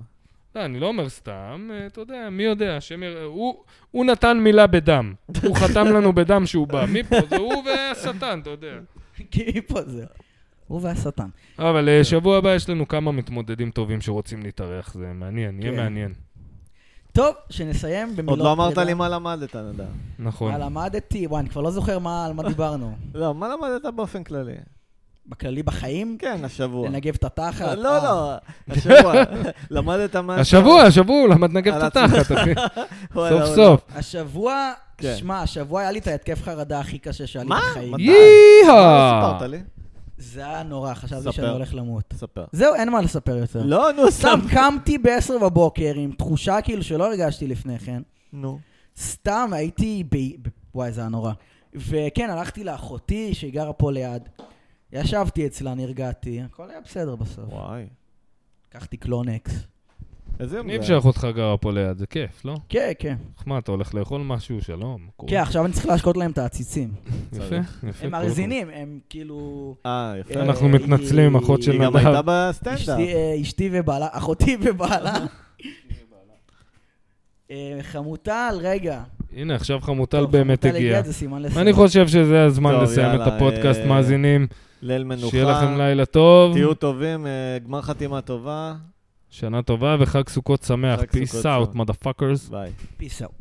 Speaker 3: לא, אני לא אומר סתם, אה, אתה יודע, מי יודע, השם יראה, הוא- הוא נתן מילה בדם. הוא חתם לנו בדם שהוא בא. מפה זה הוא והשטן, אתה יודע.
Speaker 1: כי פה זה. הוא והשטן.
Speaker 3: אבל
Speaker 2: כן.
Speaker 3: אה, שבוע הבא יש לנו כמה מתמודדים טובים שרוצים להתארח, זה מעניין, יהיה
Speaker 1: כן.
Speaker 3: מעניין.
Speaker 1: טוב, שנסיים במילות...
Speaker 2: עוד לא אמרת
Speaker 1: פרידה.
Speaker 2: לי מה למדת, נדב.
Speaker 3: נכון.
Speaker 1: מה למדתי? וואי, אני כבר לא זוכר מה- על מה דיברנו.
Speaker 2: לא, מה למדת באופן כללי?
Speaker 1: בכללי בחיים?
Speaker 2: כן, השבוע.
Speaker 1: לנגב את התחת?
Speaker 2: לא,
Speaker 1: אה.
Speaker 2: לא, השבוע. למדת מה...
Speaker 3: השבוע, השבוע הוא למד נגב
Speaker 2: על
Speaker 3: את התחת, אחי.
Speaker 2: וואלה,
Speaker 3: סוף
Speaker 2: וואלה.
Speaker 3: סוף.
Speaker 1: אה, השבוע,
Speaker 2: כן.
Speaker 1: שמע, השבוע היה לי את ההתקף חרדה הכי קשה שהיה לי
Speaker 2: מה?
Speaker 1: בחיים.
Speaker 2: מה? מה לא
Speaker 3: ייהה!
Speaker 2: סיפרת לי?
Speaker 1: זה היה נורא, חשבתי
Speaker 2: ספר.
Speaker 1: שאני הולך למות.
Speaker 2: ספר.
Speaker 1: זהו, אין מה לספר יותר.
Speaker 2: לא, נו, סתם.
Speaker 1: סתם קמתי ב-10 בבוקר עם תחושה כאילו שלא הרגשתי לפני כן.
Speaker 2: נו.
Speaker 1: סתם הייתי ב... ב- וואי, זה היה נורא. וכן, הלכתי לאחותי שהיא גרה פה ליד. ישבתי אצלה, נרגעתי, הכל היה בסדר בסוף.
Speaker 2: וואי.
Speaker 1: לקחתי קלונקס.
Speaker 2: איזה יום
Speaker 3: מגניב
Speaker 2: זה? היה?
Speaker 3: שאחותך גרה פה ליד, זה כיף, לא?
Speaker 1: כן, כן.
Speaker 3: מה, אתה הולך לאכול משהו? שלום. קורה.
Speaker 1: כן, עכשיו אני צריך להשקות להם את העציצים.
Speaker 3: יפה, יפה.
Speaker 1: הם
Speaker 3: קורה,
Speaker 1: מאזינים, הם כאילו...
Speaker 2: אה, יפה.
Speaker 1: אה,
Speaker 4: אנחנו מתנצלים עם אחות של
Speaker 2: אה, היא גם
Speaker 4: נדב.
Speaker 2: הייתה בסטנדאפ.
Speaker 1: אשתי, אה, אשתי ובעלה, אחותי ובעלה. אה, חמוטל, רגע.
Speaker 3: קורה. הנה, עכשיו חמוטל
Speaker 1: טוב,
Speaker 3: באמת
Speaker 1: חמוטל
Speaker 3: הגיעה.
Speaker 1: זה סימן
Speaker 3: אני
Speaker 1: לסיים.
Speaker 3: חושב שזה הזמן
Speaker 2: טוב,
Speaker 3: לסיים
Speaker 2: יאללה,
Speaker 3: את הפודקאסט,
Speaker 2: אה,
Speaker 3: מאזינים.
Speaker 2: ליל מנוחה.
Speaker 3: שיהיה לכם לילה טוב,
Speaker 2: תהיו טובים, אה, גמר חתימה טובה.
Speaker 3: שנה טובה וחג סוכות שמח.
Speaker 2: חג סוכות
Speaker 3: Peace out,
Speaker 2: שמח.
Speaker 3: motherfuckers.
Speaker 2: ביי.
Speaker 1: Peace out.